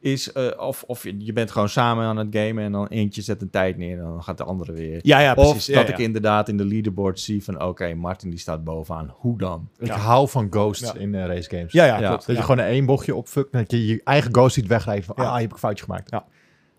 Speaker 2: is eh, of, of je, je bent gewoon samen aan het gamen... en dan eentje zet een tijd neer en dan gaat de andere weer.
Speaker 3: Ja, ja, precies.
Speaker 2: of
Speaker 3: Ja,
Speaker 2: dat
Speaker 3: ja.
Speaker 2: ik inderdaad in de leaderboard zie van... oké, Martin die staat bovenaan. Hoe dan?
Speaker 1: Ik
Speaker 3: Ja.
Speaker 1: hou van ghosts
Speaker 3: Ja.
Speaker 1: in eh, racegames.
Speaker 3: Ja, ja,
Speaker 2: Ja.
Speaker 3: klopt.
Speaker 1: Dat
Speaker 3: Ja.
Speaker 1: je gewoon één bochtje opfuckt. en Dat je je eigen ghost ziet wegrijden. Van,
Speaker 3: Ja.
Speaker 1: ah, hier heb ik een foutje gemaakt.
Speaker 3: Ja.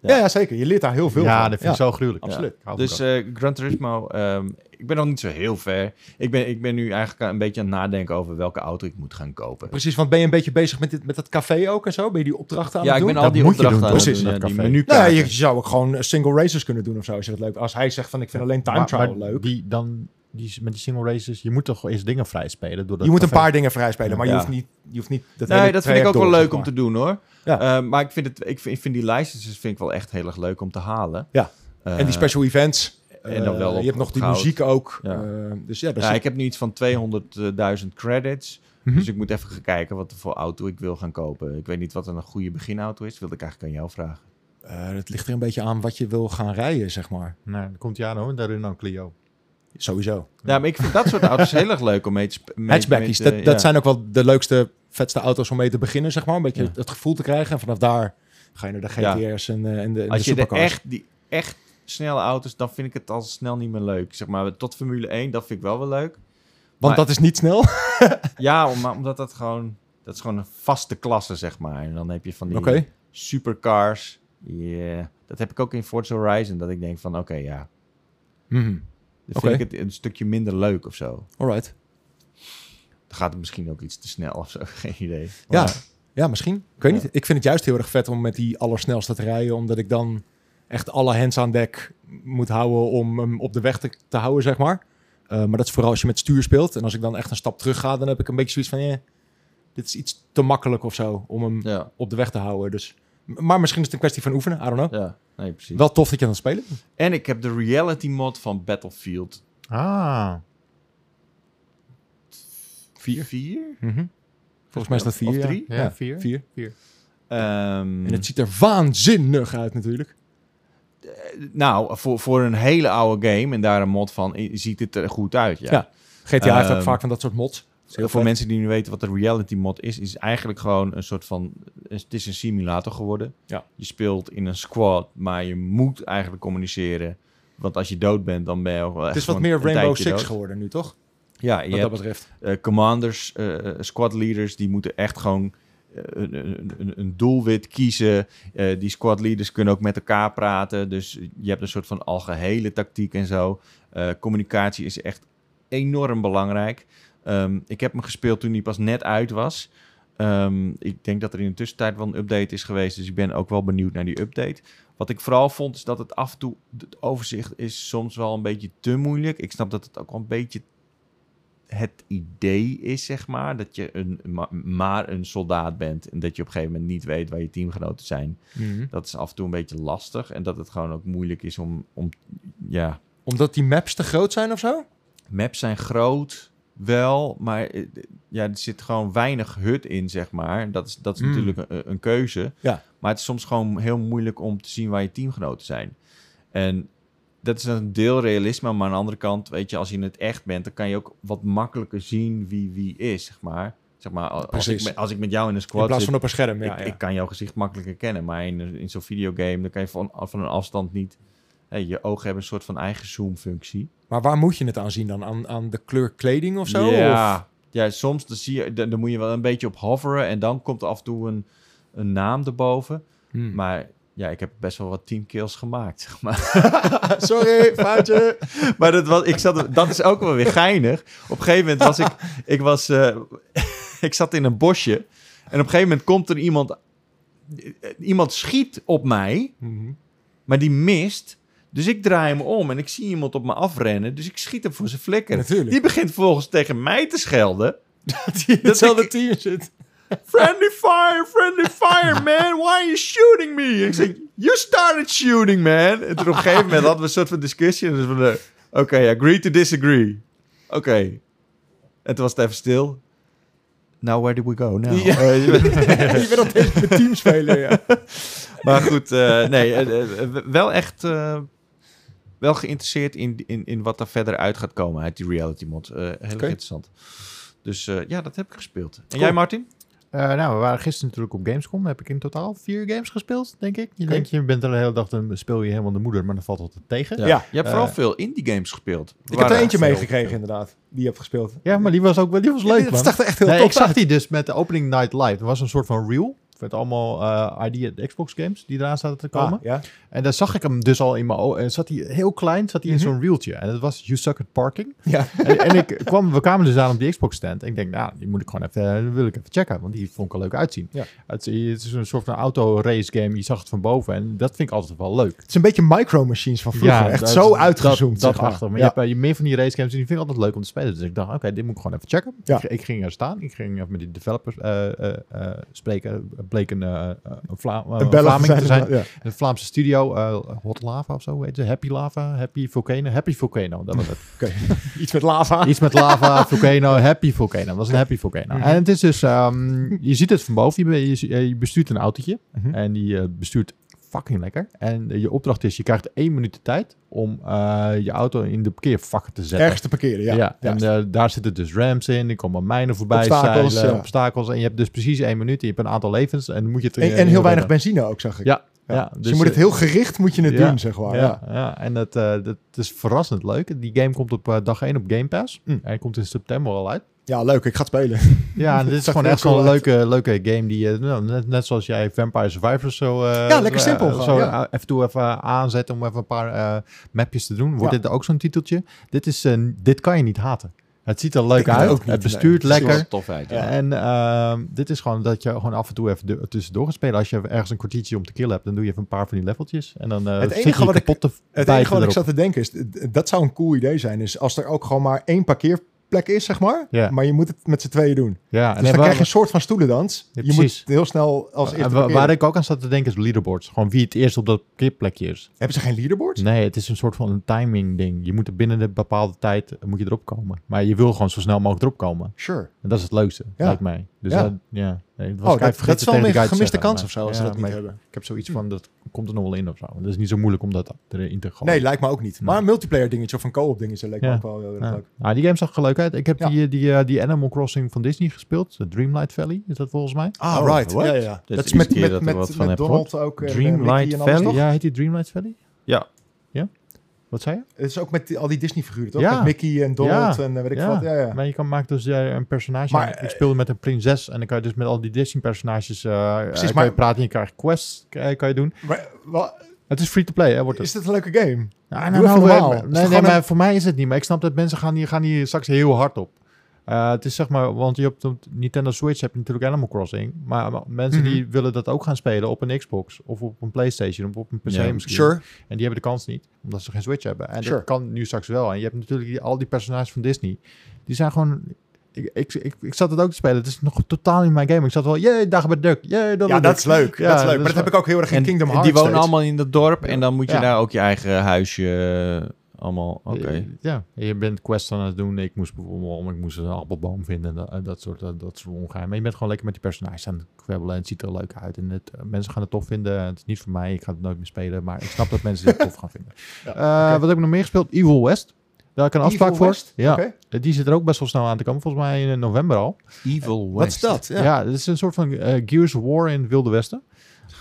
Speaker 3: Ja, ja, zeker. Je leert daar heel veel
Speaker 1: ja
Speaker 3: van.
Speaker 1: dat vind ik zo gruwelijk.
Speaker 3: Absoluut.
Speaker 1: Ik hou van
Speaker 2: Dus eh Gran Turismo, ehm, ik ben nog niet zo heel ver. Ik ben, ik ben nu eigenlijk een beetje aan het nadenken... over welke auto ik moet gaan kopen.
Speaker 3: Precies, want ben je een beetje bezig met, dit, met dat café ook en zo? Ben je die opdrachten aan
Speaker 2: Ja,
Speaker 3: het
Speaker 2: ik
Speaker 3: doen?
Speaker 2: ben al
Speaker 1: Dat
Speaker 2: die
Speaker 1: moet je
Speaker 2: opdrachten
Speaker 1: doen,
Speaker 2: aan het
Speaker 1: precies,
Speaker 2: doen, ja,
Speaker 1: in dat
Speaker 2: die
Speaker 1: café.
Speaker 2: menukaarten.
Speaker 3: Nou, ja, je zou ook gewoon single racers kunnen doen of zo, is dat leuk. Als hij zegt van, ik vind alleen time
Speaker 1: Maar-
Speaker 3: trial
Speaker 1: maar
Speaker 3: leuk.
Speaker 1: Die, dan, die, met die single races, je moet toch eerst dingen vrij spelen. Door dat
Speaker 3: je moet een
Speaker 1: café.
Speaker 3: paar dingen vrijspelen, maar
Speaker 2: Ja.
Speaker 3: je hoeft niet, je hoeft niet dat
Speaker 2: Nee,
Speaker 3: hele
Speaker 2: dat vind ik ook
Speaker 3: traject door,
Speaker 2: wel leuk
Speaker 3: zeg
Speaker 2: om
Speaker 3: maar.
Speaker 2: te doen hoor.
Speaker 3: Ja.
Speaker 2: Eh, maar ik vind, het, ik, vind, ik vind die licenses vind ik wel echt heel erg leuk om te halen.
Speaker 3: Ja.
Speaker 2: Eh,
Speaker 3: En die special events.
Speaker 2: en dan
Speaker 3: eh,
Speaker 2: wel op-
Speaker 3: je hebt nog
Speaker 2: op
Speaker 3: die
Speaker 2: goud.
Speaker 3: muziek ook.
Speaker 2: Ja.
Speaker 3: eh, dus ja, best
Speaker 2: ja, ik heb nu iets van 200.000 credits.
Speaker 3: Mhm.
Speaker 2: Dus ik moet even gaan kijken wat voor auto ik wil gaan kopen. Ik weet niet wat een goede beginauto is. wilde ik eigenlijk aan jou vragen.
Speaker 3: Eh, het ligt er een beetje aan wat je wil gaan rijden, zeg maar.
Speaker 1: Nee, Nou, dan komt hij aan hoor, de Renault Clio.
Speaker 3: Sowieso.
Speaker 2: Ja, maar ik vind dat soort auto's heel erg leuk om mee eh, te spelen.
Speaker 3: Hatchbackies, dat, dat zijn ook wel de leukste, vetste auto's om mee te beginnen, zeg maar. Een beetje
Speaker 2: Ja.
Speaker 3: het gevoel te krijgen. En vanaf daar ga je naar de
Speaker 2: Ja.
Speaker 3: GTR's en, eh, en de, en de
Speaker 2: Als je de
Speaker 3: supercars.
Speaker 2: echt, die echt snelle auto's, dan vind ik het al snel niet meer leuk. Zeg maar, tot Formule 1, dat vind ik wel wel leuk.
Speaker 3: Want
Speaker 2: maar-
Speaker 3: dat is niet snel.
Speaker 2: Ja, om- maar omdat dat gewoon... Dat is gewoon een vaste klasse, zeg maar. En dan heb je van die
Speaker 3: Oké.
Speaker 2: supercars. Yeah. Dat heb ik ook in Forza Horizon. Dat ik denk van, oké, ja.
Speaker 3: Mhm.
Speaker 2: Dan
Speaker 3: Oké.
Speaker 2: vind ik het een stukje minder leuk of zo.
Speaker 3: Alright.
Speaker 2: Dan gaat het misschien ook iets te snel of zo. Geen idee.
Speaker 3: Ja,
Speaker 2: Maar-
Speaker 3: ja, misschien. Ik weet
Speaker 2: Ja.
Speaker 3: niet. Ik vind het juist heel erg vet om met die allersnelste te rijden. Omdat ik dan echt alle hands aan dek moet houden om hem op de weg te, te houden, zeg maar. Eh, maar dat is vooral als je met stuur speelt. En als ik dan echt een stap terug ga, dan heb ik een beetje zoiets van... eh, dit is iets te makkelijk of zo om hem
Speaker 2: ja.
Speaker 3: op de weg te houden. Dus. M- Maar misschien is het een kwestie van oefenen. I don't know.
Speaker 2: Ja, nee, precies.
Speaker 3: Wel tof dat je aan het spelen bent.
Speaker 2: En ik heb de reality mod van Battlefield.
Speaker 1: Ah, Vier.
Speaker 2: Vier?
Speaker 1: Mhm. Volgens mij is dat
Speaker 2: Of
Speaker 1: vier, ja.
Speaker 2: drie?
Speaker 1: Ja,
Speaker 3: Ja,
Speaker 1: vier.
Speaker 3: Vier.
Speaker 2: Ehm,
Speaker 3: En het ziet er waanzinnig uit natuurlijk.
Speaker 2: nou, voor, voor een hele oude game en daar een mod van, i- ziet het er goed uit. Ja.
Speaker 3: Ja, GTA heeft ook
Speaker 2: Ehm,
Speaker 3: vaak van dat soort mods.
Speaker 2: Heel voor mensen die nu weten wat de reality mod is, is eigenlijk gewoon een soort van. Het is een simulator geworden.
Speaker 3: Ja.
Speaker 2: Je speelt in een squad, maar je moet eigenlijk communiceren. Want als je dood bent, dan ben je ook wel
Speaker 3: Het
Speaker 2: echt
Speaker 3: is Dus wat
Speaker 2: gewoon
Speaker 3: meer
Speaker 2: een
Speaker 3: Rainbow
Speaker 2: tijdje
Speaker 3: Six
Speaker 2: dood.
Speaker 3: geworden nu, toch?
Speaker 2: Ja, je
Speaker 3: Wat dat
Speaker 2: hebt
Speaker 3: betreft.
Speaker 2: eh, commanders, eh, eh, squad leaders, die moeten echt gewoon eh, een, een, een- een doelwit kiezen. Eh, die squad leaders kunnen ook met elkaar praten. Dus je hebt een soort van algehele tactiek en zo. Eh, communicatie is echt enorm belangrijk. Ehm, ik heb hem gespeeld toen hij pas net uit was. Ehm, ik denk dat er in de tussentijd wel een update is geweest. Dus ik ben ook wel benieuwd naar die update. Wat ik vooral vond is dat het af en toe... Het overzicht is soms wel een beetje te moeilijk. Ik snap dat het ook wel een beetje het idee is, zeg maar, dat je een, ma- maar een soldaat bent en dat je op een gegeven moment niet weet waar je teamgenoten zijn. Dat is af en toe een beetje lastig en dat het gewoon ook moeilijk is om, om ja,
Speaker 3: Omdat die maps te groot zijn of zo?
Speaker 2: maps zijn groot wel, maar eh, ja, er zit gewoon weinig hut in, zeg maar. Dat is, dat is
Speaker 3: Mm.
Speaker 2: natuurlijk een, een keuze.
Speaker 3: Ja.
Speaker 2: Maar het is soms gewoon heel moeilijk om te zien waar je teamgenoten zijn. En dat is een deel realisme, maar aan de andere kant, weet je, als je in het echt bent, dan kan je ook wat makkelijker zien wie wie is, zeg maar. Zeg maar al- als, ik
Speaker 3: Precies.
Speaker 2: met, als ik met jou in een
Speaker 3: In
Speaker 2: squad
Speaker 3: plaats
Speaker 2: zit,
Speaker 3: van op een scherm, ja.
Speaker 2: ik,
Speaker 3: ja.
Speaker 2: ik kan jouw gezicht makkelijk herkennen, maar in, in zo'n videogame, dan kan je van, van een afstand niet... Hey, je ogen hebben een soort van eigen zoom-functie.
Speaker 3: Maar waar moet je het aan zien dan? Aan, aan de kleur kleding of zo?
Speaker 2: Ja,
Speaker 3: Of-
Speaker 2: ja soms dan zie je, dan, dan moet je wel een beetje op hoveren. En dan komt er af en toe een, een naam erboven.
Speaker 3: Hmm.
Speaker 2: Maar ja, ik heb best wel wat teamkills gemaakt. Zeg maar.
Speaker 3: Sorry, foutje.
Speaker 2: maar dat, was, ik zat, dat is ook wel weer geinig. Op een gegeven moment was ik... Ik, was, eh, ik zat in een bosje. En op een gegeven moment komt er iemand... eh, Iemand schiet op mij,
Speaker 3: Mhm.
Speaker 2: maar die mist. Dus ik draai hem om en ik zie iemand op me afrennen. Dus ik schiet hem voor zijn flikker.
Speaker 3: Natuurlijk.
Speaker 2: Die begint volgens tegen mij te schelden.
Speaker 3: Dat
Speaker 2: zal
Speaker 3: zal de
Speaker 2: de
Speaker 3: team zit.
Speaker 2: Friendly fire, friendly fire, man. Why are you shooting me? Ik zeg, you started shooting, man. En toen op een gegeven moment hadden we een soort van discussie. En dus van, eh, oké, agree to disagree. Oké. En toen was het even stil. Now where do we go now?
Speaker 3: Ja.
Speaker 2: Eh, je weet-
Speaker 3: je bent altijd met team spelen, ja.
Speaker 2: maar goed, eh, nee, eh, eh, wel echt... eh, wel geïnteresseerd in, in, in wat er verder uit gaat komen uit die reality mod. Eh, heel erg interessant. Dus eh, ja, dat heb ik gespeeld. En jij, Martin?
Speaker 1: Eh, nou, we waren gisteren natuurlijk op Gamescom. Heb ik in totaal vier games gespeeld, denk ik. Je
Speaker 3: Oké.
Speaker 1: denkt, je bent er de hele dag, dan speel je helemaal de moeder, maar dat valt altijd tegen.
Speaker 3: Ja,
Speaker 2: Je hebt vooral
Speaker 1: Eh,
Speaker 2: veel indie games gespeeld.
Speaker 3: ik heb er eentje
Speaker 5: veel.
Speaker 3: meegekregen inderdaad. Die heb gespeeld.
Speaker 1: Ja, maar die was ook wel, die was
Speaker 3: Ja,
Speaker 1: leuk,
Speaker 3: Dat
Speaker 1: man.
Speaker 3: zag er echt heel
Speaker 1: Nee,
Speaker 3: top
Speaker 1: ik zag
Speaker 3: uit.
Speaker 1: die dus met de opening Night Live. Er was een soort van reel met allemaal eh ID Xbox games die eraan zaten te komen.
Speaker 3: Ah, ja.
Speaker 1: En daar zag ik hem dus al in mijn ogen. En zat hij heel klein, zat hij in zo'n reeltje. En dat was You Suck at Parking.
Speaker 3: Mhm. Ja.
Speaker 1: En, en ik kwam, we kwamen dus aan op die Xbox stand. En ik denk, nou, die moet ik gewoon even, eh, wil ik even checken. Want die vond ik er leuk uitzien.
Speaker 3: Ja.
Speaker 1: Het, is- het is een soort van auto race game. Je zag het van boven. En dat vind ik altijd wel leuk.
Speaker 3: Het is een beetje micro-machines van vroeger. echt
Speaker 1: dat-
Speaker 3: zo
Speaker 1: dat-
Speaker 3: uitgezoomd.
Speaker 1: Dat,
Speaker 3: zeg maar.
Speaker 1: achter. Maar
Speaker 3: Ja.
Speaker 1: je hebt eh, meer van die race games en die vind ik altijd leuk om te spelen. Dus ik dacht, oké, dit moet ik gewoon even checken.
Speaker 3: Ja.
Speaker 1: Ik, ik ging er staan. Ik ging even met die developers eh, eh, eh, spreken. Het bleek een, eh, eh, een, Vla eh,
Speaker 3: Een
Speaker 1: een
Speaker 3: Belg
Speaker 1: Vlaming te zijn.
Speaker 3: Ja.
Speaker 1: Een Vlaamse studio. eh, Hot Lava of zo heet ze. Happy Lava. Happy Volcano. Happy Volcano, dat was het.
Speaker 3: Iets met lava.
Speaker 1: Iets met lava, volcano, happy volcano. Dat was een happy volcano.
Speaker 3: Mhm.
Speaker 1: En het is dus, ehm, je ziet het van boven. Je, be- je, zie- eh, je bestuurt een autootje.
Speaker 3: Mhm.
Speaker 1: En die eh, bestuurt fucking lekker. En eh, je opdracht is, je krijgt één minuut de tijd om eh, je auto in de parkeervakken te zetten.
Speaker 3: Ergens te parkeren, ja.
Speaker 1: Ja, en
Speaker 3: Juist.
Speaker 1: eh, daar zitten dus ramps in, er komen mijnen voorbij,
Speaker 3: Obstakels,
Speaker 1: zeilen,
Speaker 3: ja.
Speaker 1: obstakels. En je hebt dus precies één minuut en je hebt een aantal levens en dan moet je het...
Speaker 3: en, en heel weinig benzine ook, zag ik.
Speaker 1: Ja, ja.
Speaker 3: dus,
Speaker 1: dus,
Speaker 3: je moet het
Speaker 1: eh,
Speaker 3: heel gericht moet je het
Speaker 1: ja.
Speaker 3: doen, zeg maar.
Speaker 1: ja,
Speaker 3: Ja.
Speaker 1: ja, en dat, eh, dat is verrassend leuk. Die game komt op eh, dag 1 op Game Pass.
Speaker 3: Mm.
Speaker 1: Hij komt in september al uit.
Speaker 3: Ja, leuk. Ik ga het spelen.
Speaker 1: Ja, en dit is
Speaker 3: zag
Speaker 1: gewoon
Speaker 3: er
Speaker 1: echt
Speaker 3: heel
Speaker 1: zo'n
Speaker 3: cool uit.
Speaker 1: leuke, leuke game die je, nou, net, net zoals jij Vampire Survivors zo... eh,
Speaker 3: Ja, lekker
Speaker 1: eh,
Speaker 3: simpel gewoon,
Speaker 1: zo
Speaker 3: ja.
Speaker 1: eh, Even toe even aanzetten om even een paar eh, mapjes te doen. Wordt
Speaker 3: Ja.
Speaker 1: dit ook zo'n titeltje? Dit, is, eh, dit kan je niet haten. Het ziet er leuk
Speaker 3: Ik
Speaker 1: uit,
Speaker 3: ook niet,
Speaker 1: het bestuurt
Speaker 3: nee.
Speaker 1: lekker.
Speaker 2: Zoals tof uit.
Speaker 3: Ja.
Speaker 1: En ehm, dit is gewoon dat je gewoon af en toe even de- tussendoor gaat spelen. Als je ergens een kwartiertje om te killen hebt, dan doe je even een paar van die leveltjes. En dan eh
Speaker 3: Het
Speaker 1: zit
Speaker 3: enige
Speaker 1: je
Speaker 3: wat ik-
Speaker 1: kapot te
Speaker 3: Het
Speaker 1: bijten
Speaker 3: enige wat ik
Speaker 1: erop.
Speaker 3: zat te denken is, d- dat zou een cool idee zijn, is als er ook gewoon maar één parkeerplek plek is, zeg maar.
Speaker 1: Ja.
Speaker 3: Maar je moet het met z'n tweeën doen.
Speaker 1: Ja, en
Speaker 3: Dus dan
Speaker 1: waar-
Speaker 3: krijg je een soort van stoelendans.
Speaker 1: Ja,
Speaker 3: je moet
Speaker 1: precies.
Speaker 3: heel snel als
Speaker 1: en
Speaker 3: eerste
Speaker 1: wa-
Speaker 3: parkeren.
Speaker 1: waar ik ook aan zat te denken is leaderboards. Gewoon wie het eerst op dat plekje is.
Speaker 3: Hebben ze geen leaderboard?
Speaker 1: Nee, het is een soort van een timing ding. Je moet er binnen de bepaalde tijd eh, moet je erop komen. Maar je wil gewoon zo snel mogelijk erop komen.
Speaker 3: Sure.
Speaker 1: En dat is het leukste,
Speaker 3: Ja.
Speaker 1: lijkt mij. Dus
Speaker 3: Ja.
Speaker 1: dat, ja. Nee, dat was
Speaker 3: Oh,
Speaker 1: ik eigenlijk
Speaker 3: dat,
Speaker 1: vergeten
Speaker 3: dat is wel
Speaker 1: tegen
Speaker 3: een
Speaker 1: die guy te
Speaker 3: gemiste
Speaker 1: zeggen,
Speaker 3: kans
Speaker 1: maar-
Speaker 3: of zo, als
Speaker 1: Ja,
Speaker 3: ze dat niet
Speaker 1: maar
Speaker 3: hebben.
Speaker 1: Ik heb zoiets van, dat komt er nog wel in of zo. Dat is niet zo moeilijk om dat erin te gooien.
Speaker 3: Nee, lijkt me ook niet. Maar een multiplayer dingetje of een co-op dingetje leek me
Speaker 1: Ja.
Speaker 3: ook wel heel erg
Speaker 1: Ja.
Speaker 3: leuk.
Speaker 1: Nou, die game zag er leuk uit. Ik heb
Speaker 3: Ja.
Speaker 1: die, eh, die, eh, die Animal Crossing van Disney gespeeld. De Dreamlight Valley is dat volgens mij.
Speaker 3: Ah,
Speaker 2: Oh,
Speaker 3: right.
Speaker 2: what?
Speaker 3: Ja, ja, ja.
Speaker 2: de
Speaker 3: Dat is
Speaker 2: eerste
Speaker 3: met,
Speaker 2: keer
Speaker 3: met,
Speaker 2: dat ik er wat
Speaker 3: met,
Speaker 2: van
Speaker 3: met
Speaker 2: heb
Speaker 3: Donald ook. eh,
Speaker 2: Dreamlight
Speaker 3: Mickey en alles,
Speaker 2: Valley?
Speaker 3: toch?
Speaker 1: Ja, heet die Dreamlight Valley?
Speaker 2: Ja.
Speaker 1: Ja? Wat zei je?
Speaker 3: Het is ook met die- al die Disney-figuren, toch?
Speaker 1: Ja.
Speaker 3: Met Mickey en Donald
Speaker 1: Ja.
Speaker 3: en eh, weet ik
Speaker 1: Ja.
Speaker 3: wat. Ja, ja.
Speaker 1: Maar je kan maken dus eh, een personage.
Speaker 3: Maar,
Speaker 1: ik speelde met een prinses en dan kan je dus met al die Disney personages eh kan
Speaker 3: maar-
Speaker 1: je praten en je krijgt quests eh, kan je doen.
Speaker 3: Maar, wa-
Speaker 1: Het is free to play, hè, wordt het.
Speaker 3: is dit een leuke game?
Speaker 1: Nou,
Speaker 3: Doe
Speaker 1: nou,
Speaker 3: even
Speaker 1: nou,
Speaker 3: normaal.
Speaker 1: eh,
Speaker 3: Is het
Speaker 1: nee, nee
Speaker 3: gewoon
Speaker 1: maar
Speaker 3: een-
Speaker 1: voor mij is het niet. Maar ik snap dat mensen gaan hier, gaan hier straks heel hard op. Eh, het is zeg maar, want je hebt op de Nintendo Switch heb je natuurlijk Animal Crossing. Maar, maar mensen
Speaker 3: Mhm.
Speaker 1: die willen dat ook gaan spelen op een Xbox of op een Playstation of op een PC
Speaker 2: Ja,
Speaker 1: misschien.
Speaker 3: Sure.
Speaker 1: En die hebben de kans niet, omdat ze geen Switch hebben. En
Speaker 3: Sure.
Speaker 1: dat kan nu straks wel. En je hebt natuurlijk die, al die personages van Disney. Die zijn gewoon... Ik, ik, ik, ik zat het ook te spelen. Het is nog totaal niet mijn game. Ik zat wel, jee, dag bij Duck.
Speaker 3: Ja,
Speaker 1: Jee,
Speaker 3: dat is leuk.
Speaker 1: Ja,
Speaker 3: dat
Speaker 1: dus
Speaker 3: is leuk.
Speaker 1: dat
Speaker 3: Maar
Speaker 1: is
Speaker 3: dat heb ik ook heel erg in Kingdom Hearts.
Speaker 2: die wonen
Speaker 3: steeds.
Speaker 2: allemaal in dat dorp en dan moet je
Speaker 1: Ja.
Speaker 2: daar ook je eigen huisje eh, allemaal... Oké.
Speaker 1: Ja, je bent quests aan het doen. Ik moest bijvoorbeeld om, ik moest een appelboom vinden. en Dat, en dat soort, dat, dat soort ongeheim. Maar je bent gewoon lekker met die personages aan het kwebbelen. En het ziet er leuk uit. En het, mensen gaan het tof vinden. Het is niet voor mij. Ik ga het nooit meer spelen. Maar ik snap dat mensen dit tof gaan vinden.
Speaker 3: Ja,
Speaker 1: Eh, Wat heb ik nog meer gespeeld? Evil West. Daar heb ik een
Speaker 3: Evil
Speaker 1: afspraak voor.
Speaker 3: West?
Speaker 1: Ja,
Speaker 3: Oké.
Speaker 1: Eh, die zit er ook best wel snel aan te komen. Volgens mij in eh, november al.
Speaker 2: Evil
Speaker 3: Wat is dat? Ja.
Speaker 1: Ja, het is een soort van eh, Gears of War in het Wilde Westen.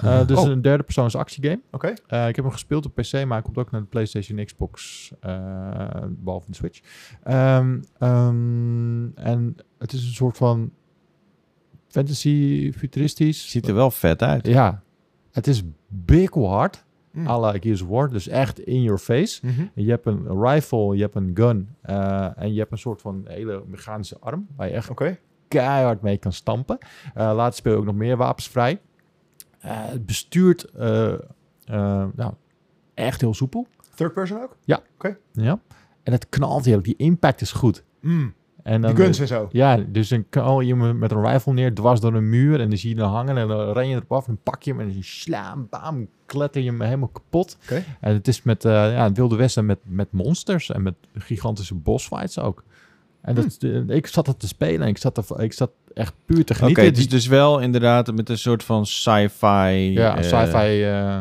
Speaker 1: Eh, dus
Speaker 3: Oh.
Speaker 1: een derde persoons actiegame.
Speaker 3: Oké.
Speaker 1: Eh, ik heb hem gespeeld op PC, maar hij komt ook naar de PlayStation, en Xbox, eh, behalve de Switch. Ehm, ehm, en het is een soort van fantasy futuristisch.
Speaker 2: Ziet er wel vet uit.
Speaker 1: Ja, het is big hard,
Speaker 3: Mm.
Speaker 1: à la Gears of War, dus echt in your face.
Speaker 3: Mhm.
Speaker 1: Je hebt een rifle, je hebt een gun eh, en je hebt een soort van hele mechanische arm waar je echt
Speaker 3: Oké.
Speaker 1: keihard mee kan stampen. Eh later speel je ook nog meer wapens vrij. Eh, het bestuurt eh, eh, nou, echt heel soepel.
Speaker 3: Third person ook?
Speaker 1: Ja. En het knalt heel. Die impact is goed.
Speaker 3: Mm. Die
Speaker 1: En dan,
Speaker 3: guns en zo.
Speaker 1: Ja, dus dan knal je hem met een rifle neer, dwars door een muur. En dan zie je hem hangen en dan ren je erop af en dan pak je hem. En dan slaam, bam, kletter je hem helemaal kapot.
Speaker 3: Oké.
Speaker 1: En het is met eh, ja, het Wilde Westen met, met monsters en met gigantische bossfights ook. En
Speaker 2: Hmm.
Speaker 1: dat, ik zat dat te spelen en ik zat, er, ik zat echt puur te
Speaker 2: Oké,
Speaker 1: genieten.
Speaker 2: het
Speaker 1: Die-
Speaker 2: is dus wel inderdaad met een soort van sci-fi...
Speaker 1: Ja,
Speaker 2: eh,
Speaker 1: sci-fi eh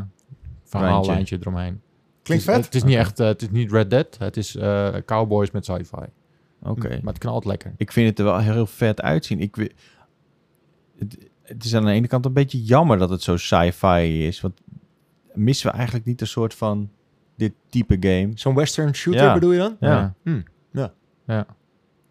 Speaker 1: verhaallijntje eromheen.
Speaker 3: Klinkt
Speaker 1: het is,
Speaker 3: vet.
Speaker 1: Het is niet echt, eh, het is niet Red Dead. Het is eh, cowboys met sci-fi.
Speaker 2: Oké.
Speaker 1: Maar het knalt lekker.
Speaker 2: Ik vind het er wel heel vet uitzien. Ik, wi- het, het is aan de ene kant een beetje jammer dat het zo sci-fi is. Want missen we eigenlijk niet een soort van dit type game?
Speaker 3: Zo'n western shooter
Speaker 2: Ja.
Speaker 3: bedoel je dan?
Speaker 2: Ja.
Speaker 1: Ja.
Speaker 3: Hm, ja.
Speaker 1: ja.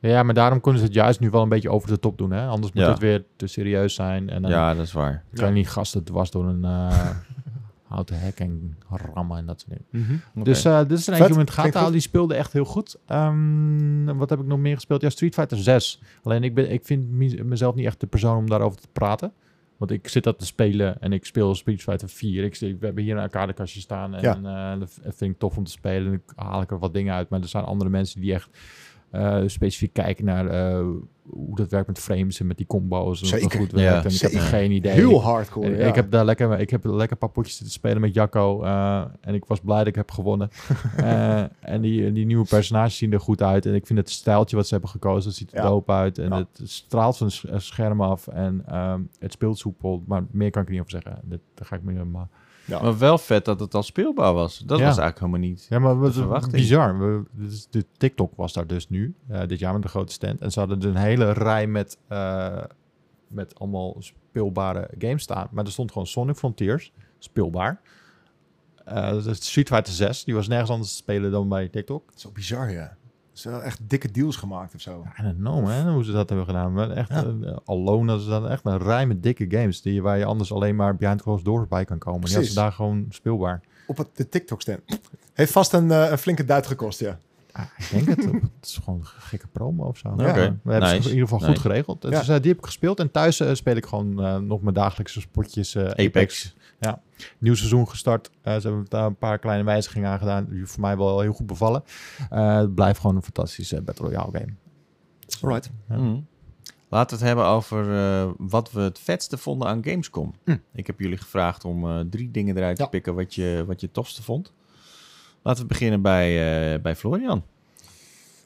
Speaker 1: Ja, maar daarom kunnen ze het juist nu wel een beetje over de top doen. Hè? Anders moet
Speaker 2: Ja.
Speaker 1: het weer te serieus zijn. En dan
Speaker 2: Ja, dat is waar.
Speaker 1: kan je niet gasten dwars door een eh, houten hek en rammen en dat soort dingen. Dus eh, dit is
Speaker 3: Mhm. Vet.
Speaker 1: er eentje om in het
Speaker 3: Klinkt
Speaker 1: gaten te houden.
Speaker 3: goed.
Speaker 1: Die speelde echt heel goed. Ehm, wat heb ik nog meer gespeeld? Ja, Street Fighter 6. Alleen ik, ben, ik vind mi- mezelf niet echt de persoon om daarover te praten. Want ik zit dat te spelen en ik speel Street Fighter 4. Ik, zit- we hebben hier een arcadekastje staan en eh, dat v- dat vind ik tof om te spelen. En dan haal ik er wat dingen uit. Maar er zijn andere mensen die echt eh, specifiek kijken naar eh, hoe dat werkt met frames en met die combo's. En of dat
Speaker 3: Zeker.
Speaker 1: goed werkt.
Speaker 2: Ja,
Speaker 1: en ik heb
Speaker 3: zeker.
Speaker 1: geen idee. Ik-
Speaker 3: Heel hardcore.
Speaker 1: ik-
Speaker 3: ja.
Speaker 1: Ik heb daar lekker, ik heb lekker een paar potjes zitten spelen met Jacco. eh, en ik was blij dat ik heb gewonnen. Eh, en die, die nieuwe personages zien er goed uit. En ik vind het stijltje wat ze hebben gekozen, dat ziet er
Speaker 3: Ja.
Speaker 1: dope uit. En
Speaker 3: Ja.
Speaker 1: het straalt van het s- eh, scherm af. En ehm, het speelt soepel. Maar meer kan ik er niet over zeggen. Dat, daar ga ik me maar.
Speaker 2: Maar wel vet dat het al speelbaar was. Dat
Speaker 1: Ja.
Speaker 2: was eigenlijk helemaal niet.
Speaker 1: Ja, maar wat
Speaker 2: verwachting.
Speaker 1: bizar. We, dit is- de TikTok was daar dus nu, eh, dit jaar met de grote stand. En ze hadden dus een hele rij met, eh, met allemaal speelbare games staan. Maar er stond gewoon Sonic Frontiers, speelbaar. Eh, dat is Street Fighter 6, die was nergens anders te spelen dan bij TikTok.
Speaker 3: Zo bizar, ja. Er zijn wel echt dikke deals gemaakt of zo.
Speaker 1: I don't know, man, hoe ze dat hebben gedaan. Maar echt,
Speaker 3: Ja.
Speaker 1: eh, alone, dat is dan echt een rij met dikke games... Die, waar je anders alleen maar behind closed doors bij kan komen. Die hadden
Speaker 3: Precies.
Speaker 1: ze daar gewoon speelbaar.
Speaker 3: Op het, de TikTok-stand. Heeft vast een, eh, een flinke duit gekost, ja.
Speaker 1: Ah, ik denk het. Het is gewoon een gekke promo of zo.
Speaker 3: Ja.
Speaker 1: Maar
Speaker 2: Oké,
Speaker 1: We hebben
Speaker 2: nice.
Speaker 1: ze in ieder geval goed
Speaker 2: Nice.
Speaker 1: geregeld. Dus
Speaker 3: Ja.
Speaker 1: eh, die heb ik gespeeld. En thuis eh, speel ik gewoon eh, nog mijn dagelijkse spotjes. eh, Apex.
Speaker 2: Apex.
Speaker 1: Nieuw seizoen gestart. Eh, ze hebben daar een paar kleine wijzigingen aan gedaan. Die voor mij wel heel goed bevallen. Eh, het blijft gewoon een fantastische eh, Battle Royale game.
Speaker 3: Alright.
Speaker 1: Ja.
Speaker 2: Mm. Laten we het hebben over eh, wat we het vetste vonden aan Gamescom.
Speaker 3: Mm.
Speaker 2: Ik heb jullie gevraagd om eh, drie dingen eruit
Speaker 3: Ja.
Speaker 2: te pikken wat je, wat je het tofste vond. Laten we beginnen bij, eh, bij Florian.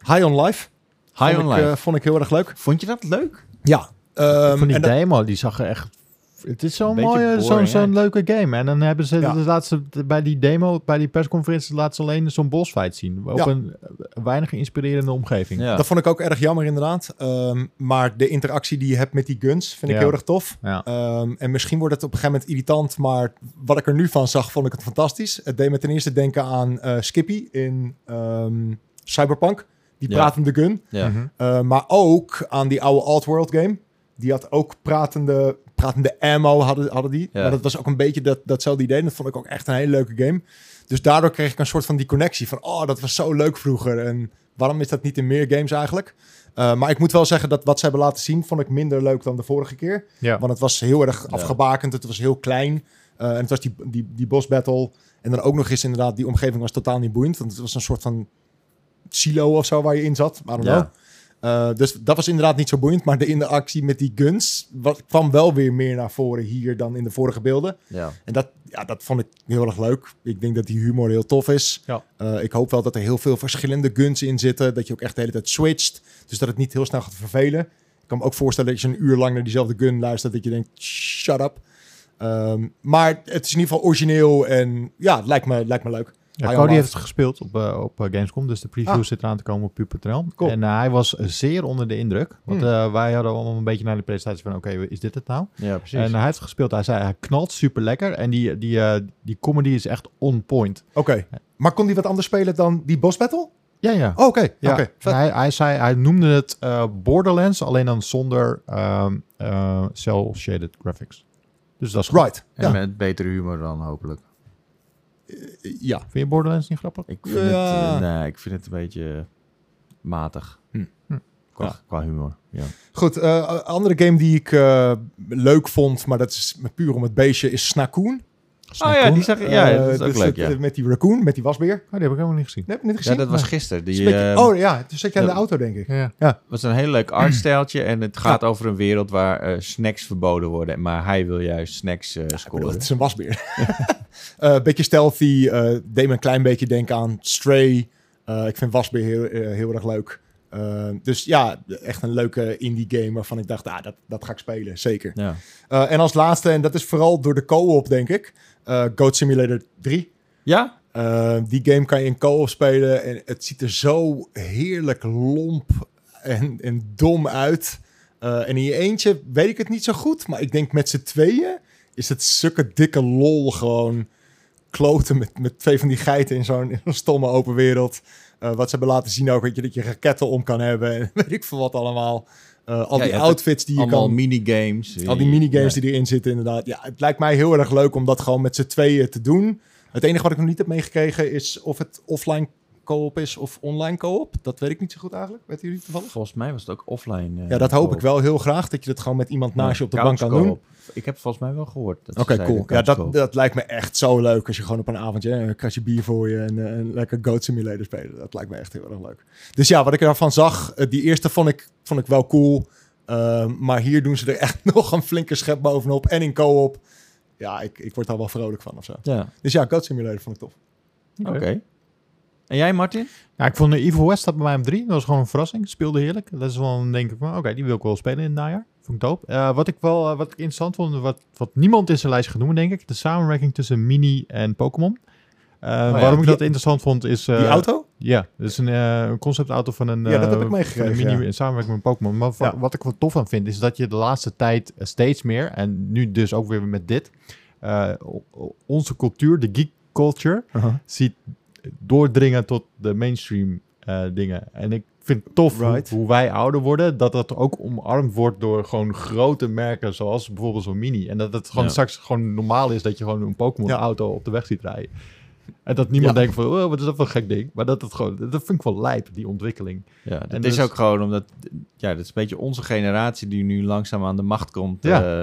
Speaker 3: High on Life.
Speaker 2: High
Speaker 3: vond
Speaker 2: on
Speaker 3: ik, eh,
Speaker 2: Life.
Speaker 3: vond ik heel erg leuk.
Speaker 2: vond je dat leuk?
Speaker 3: Ja. ehm,
Speaker 1: van die
Speaker 3: en dat-
Speaker 1: demo, die zag er echt... Het is zo'n
Speaker 2: Beetje
Speaker 1: mooie,
Speaker 2: boring,
Speaker 1: zo'n
Speaker 2: hè?
Speaker 1: zo'n leuke game. En dan hebben ze
Speaker 3: Ja.
Speaker 1: de laatste, bij die demo, bij die persconferentie, laten ze alleen zo'n bosfight zien. Op
Speaker 3: Ja.
Speaker 1: een eh, weinig inspirerende omgeving.
Speaker 2: Ja.
Speaker 3: dat vond ik ook erg jammer inderdaad. Ehm, maar de interactie die je hebt met die guns vind ik
Speaker 1: Ja.
Speaker 3: heel erg tof.
Speaker 1: Ja.
Speaker 3: Ehm, en misschien wordt het op een gegeven moment irritant, maar wat ik er nu van zag, vond ik het fantastisch. Het deed me ten eerste denken aan eh, Skippy in ehm, Cyberpunk. Die
Speaker 2: Ja.
Speaker 3: pratende gun.
Speaker 2: Ja.
Speaker 1: Mhm.
Speaker 3: Eh, maar ook aan die oude Altworld game. Die had ook pratende, pratende ammo, hadden, hadden die.
Speaker 2: Ja.
Speaker 3: Maar dat was ook een beetje dat, datzelfde idee. En dat vond ik ook echt een hele leuke game. Dus daardoor kreeg ik een soort van die connectie van... oh, dat was zo leuk vroeger. En waarom is dat niet in meer games eigenlijk? Eh, maar ik moet wel zeggen dat wat ze hebben laten zien... vond ik minder leuk dan de vorige keer.
Speaker 1: Ja.
Speaker 3: Want het was heel erg
Speaker 2: Ja.
Speaker 3: afgebakend. Het was heel klein. Eh, en het was die, die, die boss battle. En dan ook nog eens inderdaad, die omgeving was totaal niet boeiend. Want het was een soort van silo of zo waar je in zat. I don't
Speaker 2: Ja.
Speaker 3: know. Eh, dus dat was inderdaad niet zo boeiend. Maar de interactie met die guns wat, kwam wel weer meer naar voren hier dan in de vorige beelden.
Speaker 2: Ja.
Speaker 3: En dat, ja, dat vond ik heel erg leuk. Ik denk dat die humor heel tof is.
Speaker 1: Ja.
Speaker 3: Eh, ik hoop wel dat er heel veel verschillende guns in zitten. Dat je ook echt de hele tijd switcht. Dus dat het niet heel snel gaat vervelen. Ik kan me ook voorstellen dat je een uur lang naar diezelfde gun luistert. Dat je denkt, shut up. Ehm, maar het is in ieder geval origineel. En ja, het lijkt me, lijkt me leuk.
Speaker 1: Ja,
Speaker 3: High on
Speaker 1: Cody
Speaker 3: Life.
Speaker 1: heeft het gespeeld op, eh, op eh, Gamescom, dus de preview
Speaker 3: Ah.
Speaker 1: zit eraan te komen op puur.nl.
Speaker 3: Cool.
Speaker 1: En eh, hij was zeer onder de indruk, want
Speaker 3: Hmm.
Speaker 1: eh, wij hadden allemaal een beetje naar de presentatie van, oké, is dit het nou?
Speaker 2: ja, precies.
Speaker 3: eh,
Speaker 1: En hij heeft gespeeld, hij zei, hij knalt super lekker en die, die, eh, die comedy is echt on point.
Speaker 3: Oké. Maar kon die wat anders spelen dan die boss battle?
Speaker 1: Ja, ja.
Speaker 3: Oh, Oké,
Speaker 1: ja.
Speaker 3: oké. vet.
Speaker 1: hij, hij, zei, hij noemde het eh, Borderlands, alleen dan zonder ehm, eh, cel-shaded graphics. Dus dat is goed.
Speaker 3: Right.
Speaker 2: En
Speaker 3: Ja.
Speaker 2: met betere humor dan hopelijk.
Speaker 3: ja.
Speaker 1: Vind je Borderlands niet grappig?
Speaker 2: Ik vind,
Speaker 3: Ja.
Speaker 2: het, eh, nee, ik vind het een beetje matig.
Speaker 3: Hm.
Speaker 1: Hm.
Speaker 2: Qua,
Speaker 3: Ja.
Speaker 2: qua humor. Ja.
Speaker 3: Goed, eh, andere game die ik eh, leuk vond, maar dat is puur om het beestje, is Snakoon.
Speaker 2: Oh ja, die zag, ja,
Speaker 3: Eh,
Speaker 2: dat is ook
Speaker 3: dus
Speaker 2: leuk.
Speaker 3: het-
Speaker 2: Ja.
Speaker 3: Met die raccoon, met die wasbeer.
Speaker 1: Oh, die heb ik helemaal niet gezien.
Speaker 3: Nee, heb je niet
Speaker 2: ja,
Speaker 3: gezien?
Speaker 2: dat was gisteren. Die,
Speaker 3: Spik-
Speaker 2: eh,
Speaker 3: oh ja, toen zat jij in de
Speaker 2: dat-
Speaker 3: auto, denk ik.
Speaker 1: Ja.
Speaker 2: was een heel leuk artstijltje. En het gaat over een wereld waar eh, snacks verboden worden. Maar hij wil juist snacks eh,
Speaker 3: Ik bedoel,
Speaker 2: scoren.
Speaker 3: Het is een wasbeer. Eh beetje stealthy. eh, deed me een klein beetje denken aan Stray. Eh, ik vind wasbeer heel, eh, heel erg leuk. Eh, dus ja, echt een leuke indie game waarvan ik dacht, ah, dat, dat ga ik spelen, zeker.
Speaker 2: Ja.
Speaker 3: Eh, en als laatste, en dat is vooral door de co-op, denk ik, eh, Goat Simulator 3.
Speaker 2: ja?
Speaker 3: Eh, die game kan je in co-op spelen en het ziet er zo heerlijk lomp en, en dom uit. Eh, en in je eentje weet ik het niet zo goed, maar ik denk met z'n tweeën is het zulke dikke lol gewoon kloten met, met twee van die geiten in zo'n in zo'n stomme open wereld. Eh, wat ze hebben laten zien ook, weet je, dat je raketten om kan hebben en weet ik veel wat allemaal. Eh, al
Speaker 2: Ja, je
Speaker 3: die
Speaker 2: hebt
Speaker 3: outfits die je
Speaker 2: Allemaal
Speaker 3: kan...
Speaker 2: minigames. eh,
Speaker 3: Al die minigames die erin zitten, inderdaad. Ja, het lijkt mij heel erg leuk om dat gewoon met z'n tweeën te doen. Het enige wat ik nog niet heb meegekregen is of het offline co-op is of online co-op. Dat weet ik niet zo goed eigenlijk. Weten jullie toevallig?
Speaker 2: Volgens mij was het ook offline. eh,
Speaker 3: Ja, dat hoop
Speaker 2: co-op.
Speaker 3: ik wel heel graag. Dat je dat gewoon met iemand naast je op de
Speaker 2: Couch
Speaker 3: bank kan doen.
Speaker 2: co-op. Ik heb volgens mij wel gehoord. dat ze
Speaker 3: Oké,
Speaker 2: zeiden
Speaker 3: cool. Ja,
Speaker 2: couch
Speaker 3: dat,
Speaker 2: co-op.
Speaker 3: dat lijkt me echt zo leuk. Als je gewoon op een avondje hè, een kratje bier voor je en, eh, en lekker Goat Simulator spelen. Dat lijkt me echt heel erg leuk. Dus ja, wat ik ervan zag, eh, die eerste vond ik, vond ik wel cool. Ehm, maar hier doen ze er echt nog een flinke schep bovenop. En in co-op. Ja, ik, ik word daar wel vrolijk van of zo.
Speaker 2: Ja,
Speaker 3: Dus ja, Goat Simulator vond ik tof.
Speaker 2: oké. En jij, Martin?
Speaker 1: Ja, Nou, ik vond de Evil West dat bij mij op drie. Dat was gewoon een verrassing. Speelde heerlijk. Dat is wel, een- denk ik, van oké, die wil ik wel spelen in het najaar. Vond ik dope. Eh, wat ik wel eh, wat ik interessant vond, wat, wat niemand in zijn lijst gaat noemen, denk ik. De samenwerking tussen Mini en Pokémon. Eh, waarom ik
Speaker 3: Oh die-
Speaker 1: dat interessant vond is... eh,
Speaker 3: die auto?
Speaker 1: Ja, dat is een eh, een conceptauto van een...
Speaker 3: Ja, dat heb
Speaker 1: eh,
Speaker 3: ik meegekregen,
Speaker 1: van een Mini
Speaker 3: ja.
Speaker 1: in samenwerking met Pokémon. Maar wa-
Speaker 3: Ja.
Speaker 1: wat ik er tof aan vind, is dat je de laatste tijd steeds meer... en nu dus ook weer met dit... eh, o- o- onze cultuur, de geek culture ziet doordringen tot de mainstream eh, dingen. En ik vind het tof hoe-
Speaker 3: Right.
Speaker 1: hoe, wij ouder worden, dat dat ook omarmd wordt door gewoon grote merken zoals bijvoorbeeld zo'n Mini. En dat het gewoon
Speaker 2: Ja.
Speaker 1: straks gewoon normaal is dat je gewoon een Pokémon
Speaker 3: Ja.
Speaker 1: auto op de weg ziet rijden. En dat niemand denkt van, oh, wat is dat voor een gek ding? Maar dat, het gewoon, dat vind ik wel lijp, die ontwikkeling.
Speaker 2: Ja, dat
Speaker 1: En
Speaker 2: is
Speaker 1: dus-
Speaker 2: ook gewoon omdat... Ja, dat is een beetje onze generatie die nu langzaam aan de macht komt
Speaker 1: Ja.
Speaker 2: eh,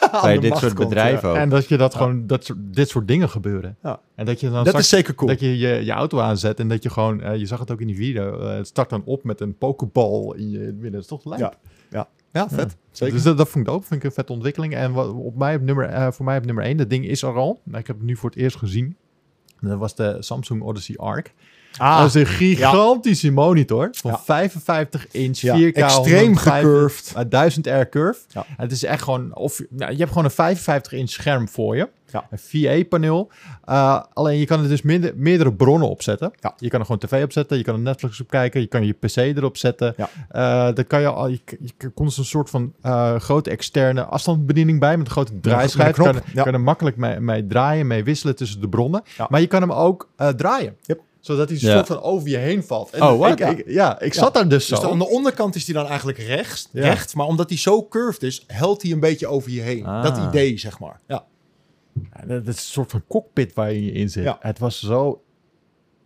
Speaker 3: Aan
Speaker 2: bij
Speaker 3: de
Speaker 2: dit
Speaker 3: macht
Speaker 2: soort
Speaker 3: komt,
Speaker 2: bedrijven ook.
Speaker 1: En dat je dat gewoon, dat soort, dit soort dingen gebeuren.
Speaker 3: Oh. Ja.
Speaker 1: En dat je dan
Speaker 3: ja. Dat
Speaker 1: straks-
Speaker 3: is zeker cool.
Speaker 1: Dat je, je je auto aanzet en dat je gewoon, eh, je zag het ook in die video, eh, het start dan op met een pokeball in je in het midden. Dat is toch lijp.
Speaker 3: Ja, Ja, vet. Zeker.
Speaker 1: Dus dat, dat vond ik dope, vind ik een vette ontwikkeling. En wat, op mij op nummer, eh, voor mij op nummer 1, dat ding is er al. Maar ik heb het nu voor het eerst gezien. En Dat was de Samsung Odyssey Arc.
Speaker 2: Oh,
Speaker 3: ah,
Speaker 2: dus
Speaker 1: dat is een gigantische monitor van
Speaker 3: Ja.
Speaker 1: 55 inch,
Speaker 3: Ja,
Speaker 1: 4K,
Speaker 3: extreem
Speaker 1: 105
Speaker 3: gecurved.
Speaker 1: eh, 1000 R curve.
Speaker 3: Ja.
Speaker 1: En Het is echt gewoon, of, nou, je hebt gewoon een 55 inch scherm voor je.
Speaker 3: Ja.
Speaker 1: Een VA-paneel. alleen je kan er dus meerder- meerdere bronnen opzetten.
Speaker 3: Ja.
Speaker 1: Je kan er gewoon tv op zetten, je kan er Netflix op kijken, je kan je PC erop zetten.
Speaker 3: Ja.
Speaker 1: Eh, dan kan je al, je, je kon dus een soort van eh, grote externe afstandsbediening bij met een grote draaischijf.
Speaker 3: knop,
Speaker 1: Je kan,
Speaker 3: ja.
Speaker 1: kan er makkelijk mee, mee draaien, mee wisselen tussen de bronnen.
Speaker 3: Ja.
Speaker 1: Maar je kan hem ook eh, draaien.
Speaker 3: Yep.
Speaker 1: Zodat hij een
Speaker 2: Ja.
Speaker 1: soort van over je heen valt. En
Speaker 2: Oh, wat?
Speaker 1: ik, ik- ja, ik zat daar dus zo.
Speaker 3: Dus aan de onderkant is die dan eigenlijk recht,
Speaker 1: Ja.
Speaker 3: recht maar omdat die zo curved is, helt hij een beetje over je heen.
Speaker 2: Ah.
Speaker 3: Dat idee, zeg maar. Ja.
Speaker 1: Ja, Dat is een soort van cockpit waar je in zit.
Speaker 3: Ja.
Speaker 1: Het was zo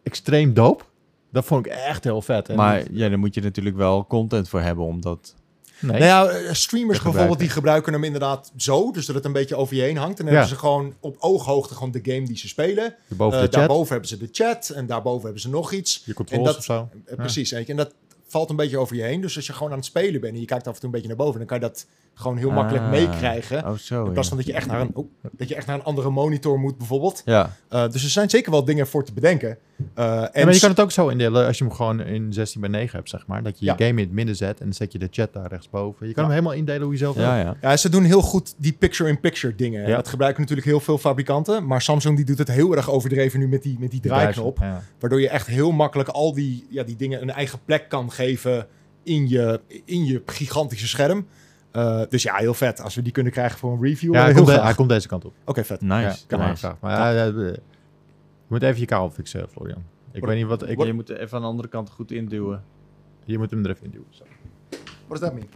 Speaker 1: extreem doop. Dat vond ik echt heel vet. En eh,
Speaker 2: Maar ja, daar moet je natuurlijk wel content voor hebben om dat...
Speaker 1: nee.
Speaker 3: Nou ja, eh, streamers
Speaker 2: Te gebruiken.
Speaker 3: bijvoorbeeld, die gebruiken hem inderdaad zo, dus dat het een beetje over je heen hangt. En dan
Speaker 1: Ja.
Speaker 3: hebben ze gewoon op ooghoogte gewoon de game die ze spelen.
Speaker 1: boven
Speaker 3: Eh,
Speaker 1: de chat,
Speaker 3: daarboven hebben ze de chat en daarboven hebben ze nog iets.
Speaker 1: je
Speaker 3: en
Speaker 1: controls
Speaker 3: dat,
Speaker 1: of zo.
Speaker 3: eh, Precies, weet je, en dat valt een beetje over je heen. Dus als je gewoon aan het spelen bent en je kijkt af en toe een beetje naar boven, dan kan je dat gewoon heel makkelijk
Speaker 2: Ah.
Speaker 3: meekrijgen.
Speaker 2: Oh, zo.
Speaker 3: In
Speaker 2: Ja.
Speaker 3: plaats van dat je, echt naar een, oh, dat je echt naar een andere monitor moet, bijvoorbeeld.
Speaker 2: ja.
Speaker 3: Eh, dus er zijn zeker wel dingen voor te bedenken. Eh, en
Speaker 1: En maar je kan het ook zo indelen als je hem gewoon in 16 bij 9 hebt, zeg maar. Dat je
Speaker 3: Ja.
Speaker 1: je game in het midden zet en dan zet je de chat daar rechtsboven. Je kan
Speaker 3: Ja.
Speaker 1: hem helemaal indelen hoe je zelf
Speaker 2: Ja,
Speaker 1: wil.
Speaker 2: ja.
Speaker 3: Ja, ze doen heel goed die picture-in-picture dingen.
Speaker 1: Ja.
Speaker 3: Dat gebruiken natuurlijk heel veel fabrikanten. Maar Samsung die doet het heel erg overdreven nu met die, met die draaiknop.
Speaker 1: Ja.
Speaker 3: Waardoor je echt heel makkelijk al die, ja, die dingen een eigen plek kan geven in je, in je gigantische scherm. Eh, dus ja, heel vet. Als we die kunnen krijgen voor een review.
Speaker 1: Ja,
Speaker 3: dan
Speaker 1: hij,
Speaker 3: heel
Speaker 1: komt de-
Speaker 3: graag.
Speaker 1: hij komt deze kant op.
Speaker 3: Oké, vet.
Speaker 2: Nice.
Speaker 1: ja,
Speaker 2: nice.
Speaker 1: Maar, maar ja, ja, eh, je moet even je kabel fixen, Florian. Ik weet niet wat... Ik,
Speaker 2: je moet er even aan de andere kant goed induwen.
Speaker 1: je moet hem er even in duwen. Zo.
Speaker 3: What does that mean?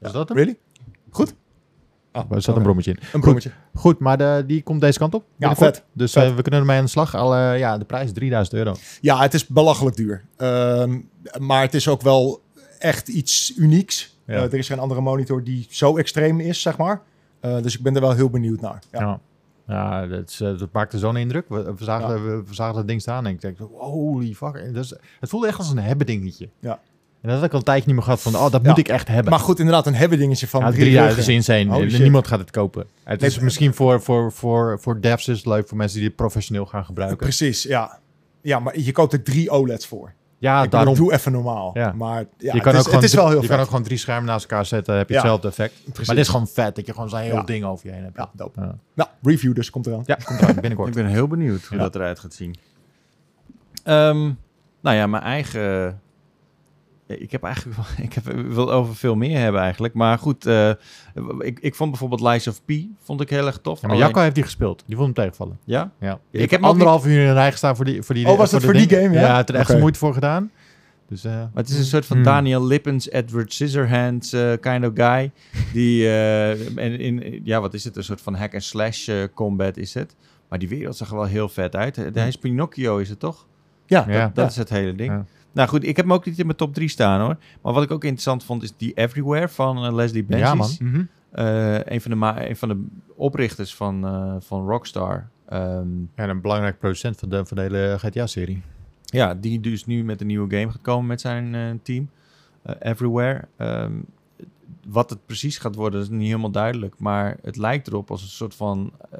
Speaker 1: Is dat hem?
Speaker 3: Really?
Speaker 1: Ah, er zat een brommetje in.
Speaker 3: Een brommetje.
Speaker 1: Goed, maar de, die komt deze kant op. binnenkort.
Speaker 3: vet.
Speaker 1: Dus
Speaker 3: Vet.
Speaker 1: eh, we kunnen ermee aan de slag. Al, eh, ja, de prijs is 3000 euro.
Speaker 3: Ja, het is belachelijk duur. Ehm, maar het is ook wel echt iets unieks.
Speaker 1: Ja.
Speaker 3: Eh, er is geen andere monitor die zo extreem is, zeg maar. Eh, dus ik ben er wel heel benieuwd naar. Ja.
Speaker 1: Ja. Ja, dat, is, eh, dat maakte zo'n indruk. We, we, zagen, we, we zagen dat ding staan en ik dacht, holy fuck. En dat is- het voelde echt als een hebben dingetje.
Speaker 3: Ja.
Speaker 1: En dat had ik al een tijdje niet meer gehad van, oh, dat
Speaker 3: Ja.
Speaker 1: moet ik echt hebben.
Speaker 3: Maar goed, inderdaad, een hebben dingetje van
Speaker 1: ja,
Speaker 3: drie
Speaker 1: 3000 is
Speaker 3: ruggen.
Speaker 1: insane.
Speaker 3: Holy
Speaker 1: Eh,
Speaker 3: shit.
Speaker 1: Niemand gaat het kopen. Het
Speaker 3: Nee,
Speaker 1: is misschien voor, voor, voor, voor devs is het leuk, voor mensen die dit professioneel gaan gebruiken.
Speaker 3: Eh, Precies, ja. Ja, maar je koopt er drie OLED's voor.
Speaker 1: Ja,
Speaker 3: Ik
Speaker 1: daarom.
Speaker 3: Daarom. Doe even normaal.
Speaker 1: Ja.
Speaker 3: Maar ja,
Speaker 1: je kan
Speaker 3: het, is,
Speaker 1: ook gewoon
Speaker 3: het is wel heel
Speaker 1: je
Speaker 3: vet.
Speaker 1: kan ook gewoon drie schermen naast elkaar zetten, heb je
Speaker 3: Ja.
Speaker 1: hetzelfde effect.
Speaker 3: Precies.
Speaker 1: Maar dit is gewoon vet, dat je gewoon zo'n heel
Speaker 3: Ja.
Speaker 1: ding over je heen hebt.
Speaker 3: Ja, dope.
Speaker 1: Ja.
Speaker 3: Nou, review dus komt eraan.
Speaker 1: Ja, komt eraan, binnenkort.
Speaker 2: Ik ben heel benieuwd hoe
Speaker 1: Ja.
Speaker 2: dat eruit gaat zien. Ehm, nou ja, mijn eigen... ja, Ik heb eigenlijk wel- ik heb, wil over veel meer hebben eigenlijk. Maar goed, eh, ik, ik vond bijvoorbeeld Lies of P vond ik heel erg tof.
Speaker 1: Ja, maar
Speaker 2: Alleen-
Speaker 1: Jacco heeft die gespeeld. Die vond hem tegenvallen.
Speaker 2: Ja?
Speaker 1: Ja.
Speaker 2: Ik
Speaker 1: Ik,
Speaker 2: heb
Speaker 1: heb
Speaker 2: nog
Speaker 1: anderhalf uur in een rij gestaan voor die voor die
Speaker 3: Oh, was
Speaker 1: voor
Speaker 3: dat
Speaker 1: dat
Speaker 3: voor die
Speaker 1: ding.
Speaker 3: game, ja?
Speaker 1: Ja, het er echt
Speaker 3: Oké.
Speaker 1: moeite voor gedaan. Dus eh,
Speaker 2: Maar het is een soort van
Speaker 1: Hmm.
Speaker 2: Daniel Lippens, Edward Scissorhands eh, kind of guy. Die, eh, en in, ja, wat is het? Een soort van hack and slash eh, combat is het. Maar die wereld zag er wel heel vet uit. Hij hij is Pinocchio, is het toch?
Speaker 3: Ja,
Speaker 1: Ja.
Speaker 2: Dat, dat is het hele ding.
Speaker 1: Ja.
Speaker 2: Nou goed, ik heb hem ook niet in mijn top 3 staan hoor. Maar wat ik ook interessant vond is die Everywhere van eh, Leslie Benzies.
Speaker 1: ja man.
Speaker 3: Mhm.
Speaker 2: Eh, een, van de ma- een van de oprichters van, eh, van Rockstar. Ehm,
Speaker 1: En een belangrijk producent van de, van de hele GTA-serie.
Speaker 2: ja, die dus nu met een nieuwe game gaat komen met zijn eh, team. eh, Everywhere. Ehm, wat het precies gaat worden is niet helemaal duidelijk. Maar het lijkt erop als een soort van eh,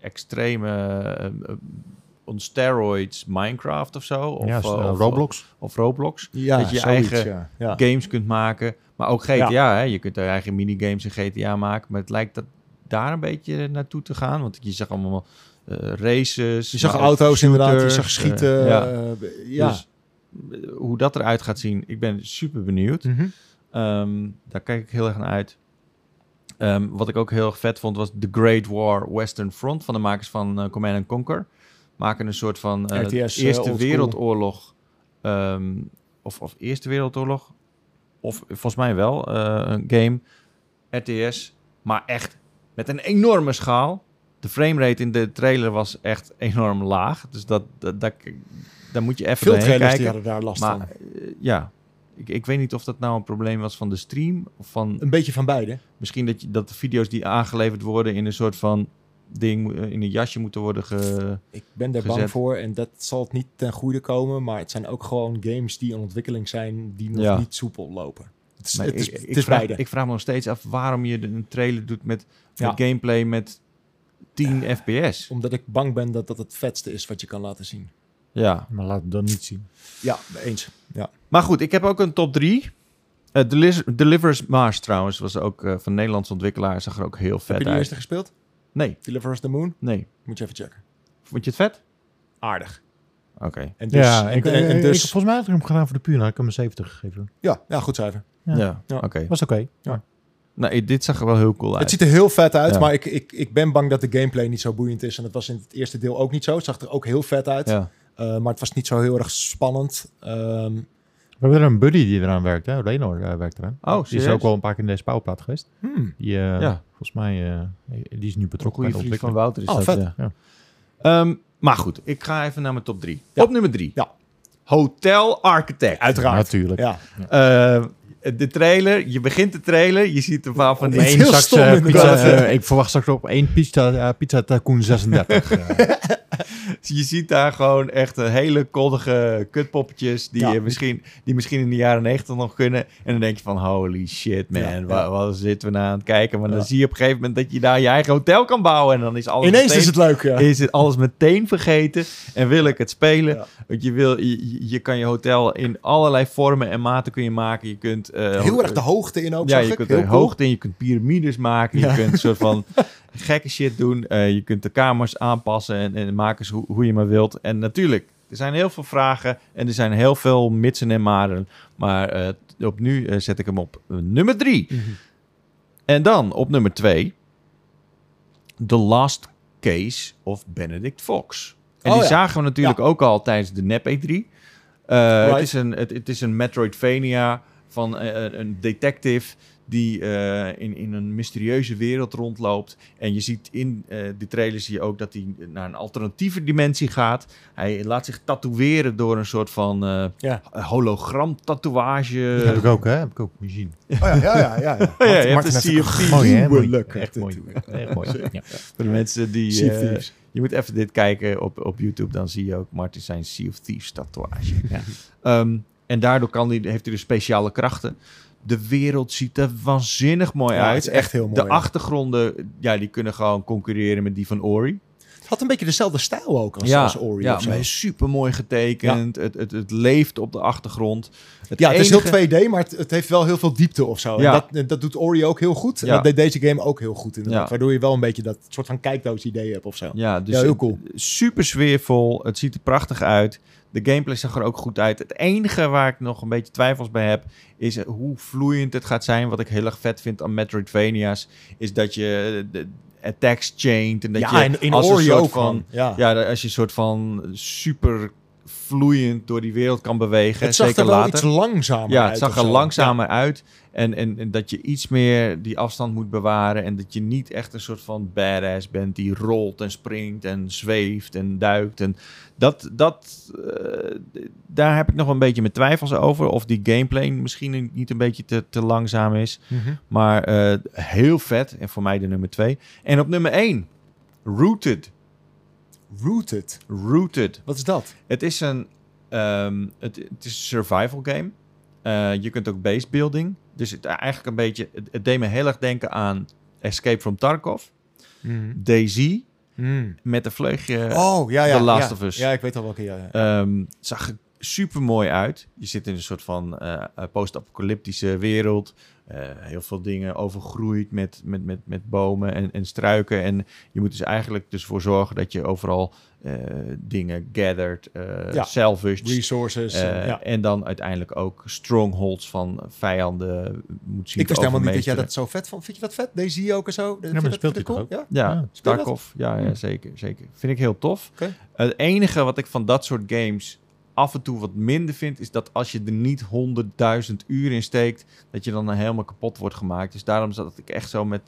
Speaker 2: extreme... eh, eh, on steroids Minecraft of zo. Of,
Speaker 1: ja,
Speaker 2: eh,
Speaker 1: s- eh,
Speaker 2: of-
Speaker 1: Roblox.
Speaker 2: Of Roblox.
Speaker 3: Ja,
Speaker 2: Dat je je
Speaker 3: zoiets,
Speaker 2: eigen-
Speaker 3: ja. Ja.
Speaker 2: games kunt maken. Maar ook GTA, hè? je kunt er eigen minigames in GTA maken. Maar het lijkt dat daar een beetje naartoe te gaan. Want je zag allemaal eh, races.
Speaker 3: Je zag
Speaker 2: maar ook
Speaker 3: auto's inderdaad, je
Speaker 2: shooters,
Speaker 3: zag
Speaker 2: eh,
Speaker 3: schieten.
Speaker 2: ja.
Speaker 3: eh, ja.
Speaker 2: Dus, eh, hoe dat eruit gaat zien, ik ben super benieuwd.
Speaker 1: eh,
Speaker 3: Mhm.
Speaker 2: Ehm, daar kijk ik heel erg naar uit. Ehm, wat ik ook heel erg vet vond was The Great War Western Front van de makers van eh, Command and Conquer. Maken een soort van eh,
Speaker 3: RTS, eh,
Speaker 2: Eerste
Speaker 3: oldschool.
Speaker 2: Wereldoorlog. ehm, of, of Eerste Wereldoorlog. Of volgens mij wel eh, een game. RTS. Maar echt met een enorme schaal. de framerate in de trailer was echt enorm laag. Dus dat, dat, dat, daar moet je even
Speaker 3: Veel
Speaker 2: doorheen
Speaker 3: trailers die
Speaker 2: kijken.
Speaker 3: hadden daar last van.
Speaker 2: Maar eh, ja, ik, ik weet niet of dat nou een probleem was van de stream. Of van
Speaker 3: Een beetje van beide.
Speaker 2: misschien dat, je, dat de video's die aangeleverd worden in een soort van ding, eh, in een jasje moeten worden ge...
Speaker 3: Ik ben daar
Speaker 2: Gezet.
Speaker 3: bang voor en dat zal het niet ten goede komen. Maar het zijn ook gewoon games die in ontwikkeling zijn die nog
Speaker 2: Ja.
Speaker 3: niet soepel lopen. Het is,
Speaker 2: Maar
Speaker 3: het is,
Speaker 2: ik, ik
Speaker 3: het is
Speaker 2: vraag,
Speaker 3: beide.
Speaker 2: ik vraag me nog steeds af waarom je de- een trailer doet met,
Speaker 3: Ja.
Speaker 2: met gameplay met 10 fps.
Speaker 3: Omdat ik bang ben dat dat het vetste is wat je kan laten zien.
Speaker 2: Ja.
Speaker 1: Maar laat het dan niet zien.
Speaker 3: Ja, eens. Ja.
Speaker 2: Maar goed, ik heb ook een top 3. Delivers Mars trouwens was ook eh, van Nederlandse ontwikkelaar. Zag er ook heel
Speaker 3: Heb je
Speaker 2: vet
Speaker 3: die
Speaker 2: uit.
Speaker 3: eerste gespeeld?
Speaker 2: Nee,
Speaker 3: Deliver Us the Moon?
Speaker 2: nee.
Speaker 3: Moet je even checken.
Speaker 2: Vond je het vet?
Speaker 3: Aardig.
Speaker 2: Oké.
Speaker 3: En dus,
Speaker 1: ja,
Speaker 3: en,
Speaker 1: ik,
Speaker 2: eh,
Speaker 3: en- en
Speaker 1: ik-
Speaker 3: dus,
Speaker 1: ik- volgens mij had ik hem gedaan voor de puur. Nou, ik heb hem een 70 gegeven.
Speaker 3: ja, ja, goed cijfer.
Speaker 2: Ja,
Speaker 1: Ja.
Speaker 3: Ja.
Speaker 2: oké.
Speaker 1: Was oké.
Speaker 2: Nou, i- dit zag er wel heel cool uit.
Speaker 3: Het ziet er heel vet uit,
Speaker 2: Ja.
Speaker 3: maar ik, ik, ik ben bang dat de gameplay niet zo boeiend is. En dat was in het eerste deel ook niet zo. Het zag er ook heel vet uit,
Speaker 2: ja.
Speaker 3: eh, maar het was niet zo heel erg spannend. Ehm,
Speaker 1: We hebben er een buddy die eraan werkt. Hè? Lenor eh, werkt eraan.
Speaker 2: Oh,
Speaker 1: Die is
Speaker 2: serieus?
Speaker 1: ook wel een paar keer in deze pauwplaat geweest.
Speaker 3: hmm.
Speaker 1: Die, eh,
Speaker 2: Ja.
Speaker 1: Volgens mij, eh, die is nu
Speaker 2: Een
Speaker 1: betrokken bij
Speaker 2: goede
Speaker 1: de
Speaker 2: vriend
Speaker 1: ontwikkeling.
Speaker 2: van Wouter is
Speaker 3: Oh,
Speaker 2: dat,
Speaker 3: vet.
Speaker 2: ja.
Speaker 1: Ja.
Speaker 2: Ehm, maar goed, ik ga even naar mijn top 3.
Speaker 3: Ja.
Speaker 2: Op nummer 3.
Speaker 3: Ja.
Speaker 2: Hotel Architect.
Speaker 3: Uiteraard.
Speaker 1: Natuurlijk.
Speaker 3: Ja,
Speaker 2: Eh, de trailer, je begint de trailer, je ziet een paar van die...
Speaker 3: Iets
Speaker 1: Eén
Speaker 3: heel
Speaker 1: zak,
Speaker 3: stom
Speaker 1: eh, pizza,
Speaker 3: inderdaad.
Speaker 1: eh, ik verwacht straks op één pizza, eh, pizza Tycoon 36. eh.
Speaker 2: Je ziet daar gewoon echt een hele koddige kutpoppetjes die,
Speaker 3: Ja.
Speaker 2: je misschien, die misschien in de jaren negentig nog kunnen. En dan denk je van holy shit man,
Speaker 3: Ja, ja.
Speaker 2: wa- wat zitten we nou aan het kijken? Maar dan
Speaker 3: Ja.
Speaker 2: zie je op een gegeven moment dat je daar je eigen hotel kan bouwen. En dan is alles,
Speaker 3: ineens
Speaker 2: meteen,
Speaker 3: is het leuk. Ja.
Speaker 2: is het alles meteen vergeten en wil ik het spelen.
Speaker 3: Ja.
Speaker 2: Want je, wil, je, je- je kan je hotel in allerlei vormen en maten kun je maken. Je kunt, eh,
Speaker 3: Heel erg de hoogte in ook,
Speaker 2: ja,
Speaker 3: zag
Speaker 2: je
Speaker 3: ik.
Speaker 2: kunt
Speaker 3: Heel
Speaker 2: er
Speaker 3: cool.
Speaker 2: hoogte in, je kunt piramides maken,
Speaker 3: Ja.
Speaker 2: je kunt een soort van gekke shit doen. eh, je kunt de kamers aanpassen en, en maken ze hoe, hoe je maar wilt. En natuurlijk, er zijn heel veel vragen en er zijn heel veel mitsen en maren. Maar eh, t- op nu eh, zet ik hem op eh, nummer drie.
Speaker 3: Mhm.
Speaker 2: En dan op nummer twee, The Last Case of Benedict Fox. En
Speaker 3: Oh
Speaker 2: die
Speaker 3: ja.
Speaker 2: zagen we natuurlijk ook al tijdens de nep E E3. Eh,
Speaker 3: Right.
Speaker 2: het, is een, het, het is een Metroidvania van eh, een detective die eh, in, in een mysterieuze wereld rondloopt. En je ziet in eh die trailer zie je ook dat hij naar een alternatieve dimensie gaat. Hij laat zich tatoeëren door een soort van eh
Speaker 3: Ja.
Speaker 2: hologram
Speaker 1: Dat heb
Speaker 2: tatoeage.
Speaker 1: ik ook, hè? Heb ik ook gezien.
Speaker 3: Oh, ja, ja, ja. ja, ja.
Speaker 2: je hebt
Speaker 3: Martin
Speaker 2: een
Speaker 3: heeft een
Speaker 2: CFD.
Speaker 1: Mooi, hè? Mooi.
Speaker 3: gruwelijk.
Speaker 1: Echt mooi. Echt mooi. Ja.
Speaker 2: Voor de mensen die...
Speaker 3: Sea of
Speaker 2: eh,
Speaker 3: Thieves.
Speaker 2: je moet even dit kijken op, op YouTube. Dan zie je ook Martin zijn Sea of Thieves tatoeage. Ehm, en daardoor kan die, heeft hij dus speciale krachten. De wereld ziet er waanzinnig mooi
Speaker 3: Ja,
Speaker 2: uit.
Speaker 3: het is echt heel mooi.
Speaker 2: De achtergronden, ja, die kunnen gewoon concurreren met die van Ori.
Speaker 3: Het had een beetje dezelfde stijl ook als, als Ori
Speaker 2: ja
Speaker 3: of zo.
Speaker 2: maar super mooi getekend. Het, het, het leeft op de achtergrond. Het
Speaker 3: Ja, het
Speaker 2: enige,
Speaker 3: is heel 2D, maar het, het heeft wel heel veel diepte of zo.
Speaker 2: Ja.
Speaker 3: En dat, en dat doet Ori ook heel goed.
Speaker 2: Ja.
Speaker 3: En dat deed deze game ook heel goed inderdaad.
Speaker 2: Ja.
Speaker 3: Waardoor je wel een beetje dat soort van kijkdoos idee hebt of zo.
Speaker 2: Ja, dus
Speaker 3: Ja, heel cool.
Speaker 2: het- super sfeervol. Het ziet er prachtig uit. De gameplay zag er ook goed uit. Het enige waar ik nog een beetje twijfels bij heb, is hoe vloeiend het gaat zijn. Wat ik heel erg vet vind aan Metroidvania's, is dat je de attacks chaint. En dat
Speaker 3: ja,
Speaker 2: je
Speaker 3: en in
Speaker 2: als een
Speaker 3: Ori
Speaker 2: soort
Speaker 3: ook
Speaker 2: van.
Speaker 3: van. Ja.
Speaker 2: Ja, dat als je een soort van super vloeiend door die wereld kan bewegen.
Speaker 3: het zag
Speaker 2: zeker
Speaker 3: er wel
Speaker 2: later.
Speaker 3: iets langzamer
Speaker 2: Ja,
Speaker 3: uit.
Speaker 2: het zag
Speaker 3: of
Speaker 2: er
Speaker 3: zo.
Speaker 2: langzamer uit. En, en, en dat je iets meer die afstand moet bewaren. En dat je niet echt een soort van badass bent die rolt en springt en zweeft en duikt. En dat, dat, eh, d- daar heb ik nog een beetje mijn twijfels over. Of die gameplay misschien een- niet een beetje te, te langzaam is.
Speaker 3: Ja. Mhm.
Speaker 2: Maar eh, heel vet. En voor mij de nummer twee. En op nummer één, Rooted.
Speaker 3: Rooted.
Speaker 2: Rooted.
Speaker 3: Wat is dat?
Speaker 2: Het is een, ehm, het, het is een survival game. Eh, je kunt ook base building. Dus het, eigenlijk een beetje, het, het deed me heel erg denken aan Escape from Tarkov, DayZ met een vleugje.
Speaker 3: Mm, Oh, ja, ja.
Speaker 2: Eh, The Last
Speaker 3: ja.
Speaker 2: of Us.
Speaker 3: Ja, ik weet al welke. Ja, ja.
Speaker 2: Ehm, zag er super mooi uit. Je zit in een soort van eh, eh, post-apocalyptische wereld. Eh, heel veel dingen overgroeid met, met, met, met bomen en, en struiken. En je moet dus eigenlijk dus voor zorgen dat je overal eh, dingen gathered, eh
Speaker 3: Ja.
Speaker 2: salvaged,
Speaker 3: Resources.
Speaker 2: eh,
Speaker 3: ja.
Speaker 2: En dan uiteindelijk ook strongholds van vijanden moet zien
Speaker 3: Ik
Speaker 2: te
Speaker 3: wist helemaal niet dat jij
Speaker 2: overmeesteren.
Speaker 3: dat zo vet vond. Vind je dat vet? Deze hier ook en zo? Vind
Speaker 1: maar
Speaker 3: je
Speaker 1: speelt
Speaker 3: dat-
Speaker 1: hij
Speaker 3: vind je
Speaker 1: toch
Speaker 3: Ah, dat cool?
Speaker 2: Ja,
Speaker 1: Ja.
Speaker 3: Speel je
Speaker 2: Tarkov. Ja, ja, zeker, zeker. Vind ik heel tof. Eh,
Speaker 3: Oké.
Speaker 2: Het enige wat ik van dat soort games af en toe wat minder vind... is dat als je er niet 100.000 uur in steekt... dat je dan helemaal kapot wordt gemaakt. Dus daarom zat ik echt zo met...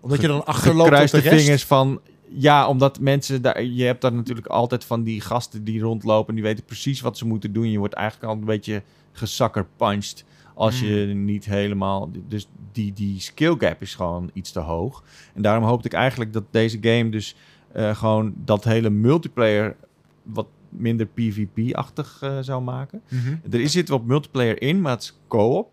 Speaker 3: Omdat je dan achterloopt op
Speaker 2: gekruiste
Speaker 3: de rest.
Speaker 2: vingers van... Ja, omdat mensen daar... Je hebt daar natuurlijk altijd van die gasten die rondlopen... die weten precies wat ze moeten doen. Je wordt eigenlijk al een beetje gesakkerpunched... als je
Speaker 3: Hmm.
Speaker 2: niet helemaal... Dus die, die skill gap is gewoon iets te hoog. En daarom hoopte ik eigenlijk dat deze game dus... eh, gewoon dat hele multiplayer... wat minder PvP-achtig eh, zou maken.
Speaker 3: Mhm.
Speaker 2: Er zit wat multiplayer in, maar het is co-op.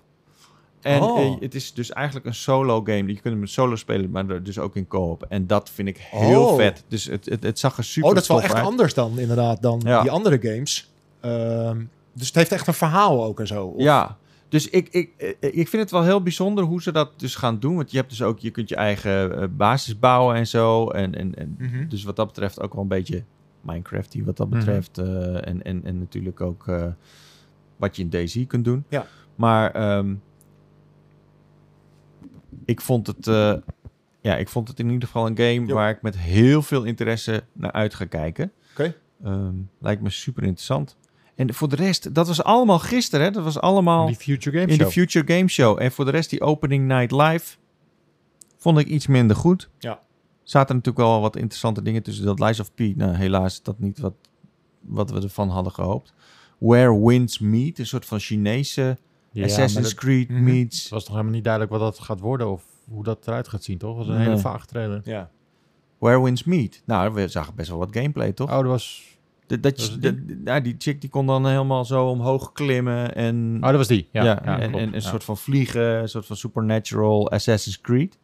Speaker 2: En
Speaker 3: Oh.
Speaker 2: eh, het is dus eigenlijk een solo game. Je kunt hem solo spelen, maar er dus ook in co-op. En dat vind ik heel
Speaker 3: Oh.
Speaker 2: vet. Dus het, het, het zag er super
Speaker 3: Oh, dat is wel
Speaker 2: tof
Speaker 3: echt
Speaker 2: uit.
Speaker 3: anders dan inderdaad dan
Speaker 2: Ja.
Speaker 3: die andere games. Ehm, dus het heeft echt een verhaal ook en zo. Of-
Speaker 2: Ja, dus ik, ik, eh, ik vind het wel heel bijzonder hoe ze dat dus gaan doen. Want je hebt dus ook, je kunt je eigen eh, basis bouwen en zo. En, en, en
Speaker 3: Mhm.
Speaker 2: dus wat dat betreft ook wel een beetje Minecraft wat dat
Speaker 3: Mhm.
Speaker 2: betreft. eh, en, en, en natuurlijk ook eh, wat je in Daisy kunt doen.
Speaker 3: Ja.
Speaker 2: Maar ehm, ik vond het... eh, ja, ik vond het in ieder geval een game
Speaker 3: Jo.
Speaker 2: waar ik met heel veel interesse naar uit ga kijken.
Speaker 3: Oké.
Speaker 2: Ehm, lijkt me super interessant. En voor de rest, dat was allemaal gisteren, hè? Dat was allemaal
Speaker 1: Die Future Game
Speaker 2: in de
Speaker 1: Show.
Speaker 2: Future Game Show. En voor de rest, die opening night live vond ik iets minder goed.
Speaker 3: Ja.
Speaker 2: Zaten natuurlijk wel wat interessante dingen tussen. Dat Lies of P, nou helaas dat niet wat, wat we ervan hadden gehoopt. Where Winds Meet, een soort van Chinese
Speaker 1: Ja, maar
Speaker 2: Assassin's
Speaker 1: dat-
Speaker 2: Creed
Speaker 3: Mhm.
Speaker 1: Het
Speaker 2: meets.
Speaker 1: was nog helemaal niet duidelijk wat dat gaat worden of hoe dat eruit gaat zien, toch? Dat was een
Speaker 2: Nee.
Speaker 1: hele vaag trailer.
Speaker 3: ja.
Speaker 2: Where Winds Meet. Nou, we zagen best wel wat gameplay, toch?
Speaker 1: Oh, dat was,
Speaker 2: Dat, dat,
Speaker 1: was het
Speaker 2: dat- ja, die chick die kon dan helemaal zo omhoog klimmen en...
Speaker 1: oh, dat was die. Ja,
Speaker 2: Ja, en,
Speaker 1: klopt.
Speaker 2: en een
Speaker 1: Ja.
Speaker 2: soort van vliegen, een soort van supernatural Assassin's Creed.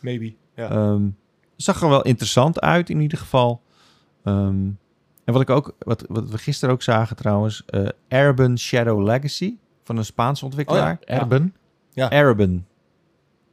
Speaker 3: Maybe. Ja.
Speaker 2: Ehm, zag er wel interessant uit in ieder geval. Ehm, en wat, ik ook, wat, wat we gisteren ook zagen trouwens, eh Erben Shadow Legacy van een Spaanse
Speaker 3: Oh
Speaker 2: ontwikkelaar.
Speaker 1: Erben.
Speaker 2: Erben.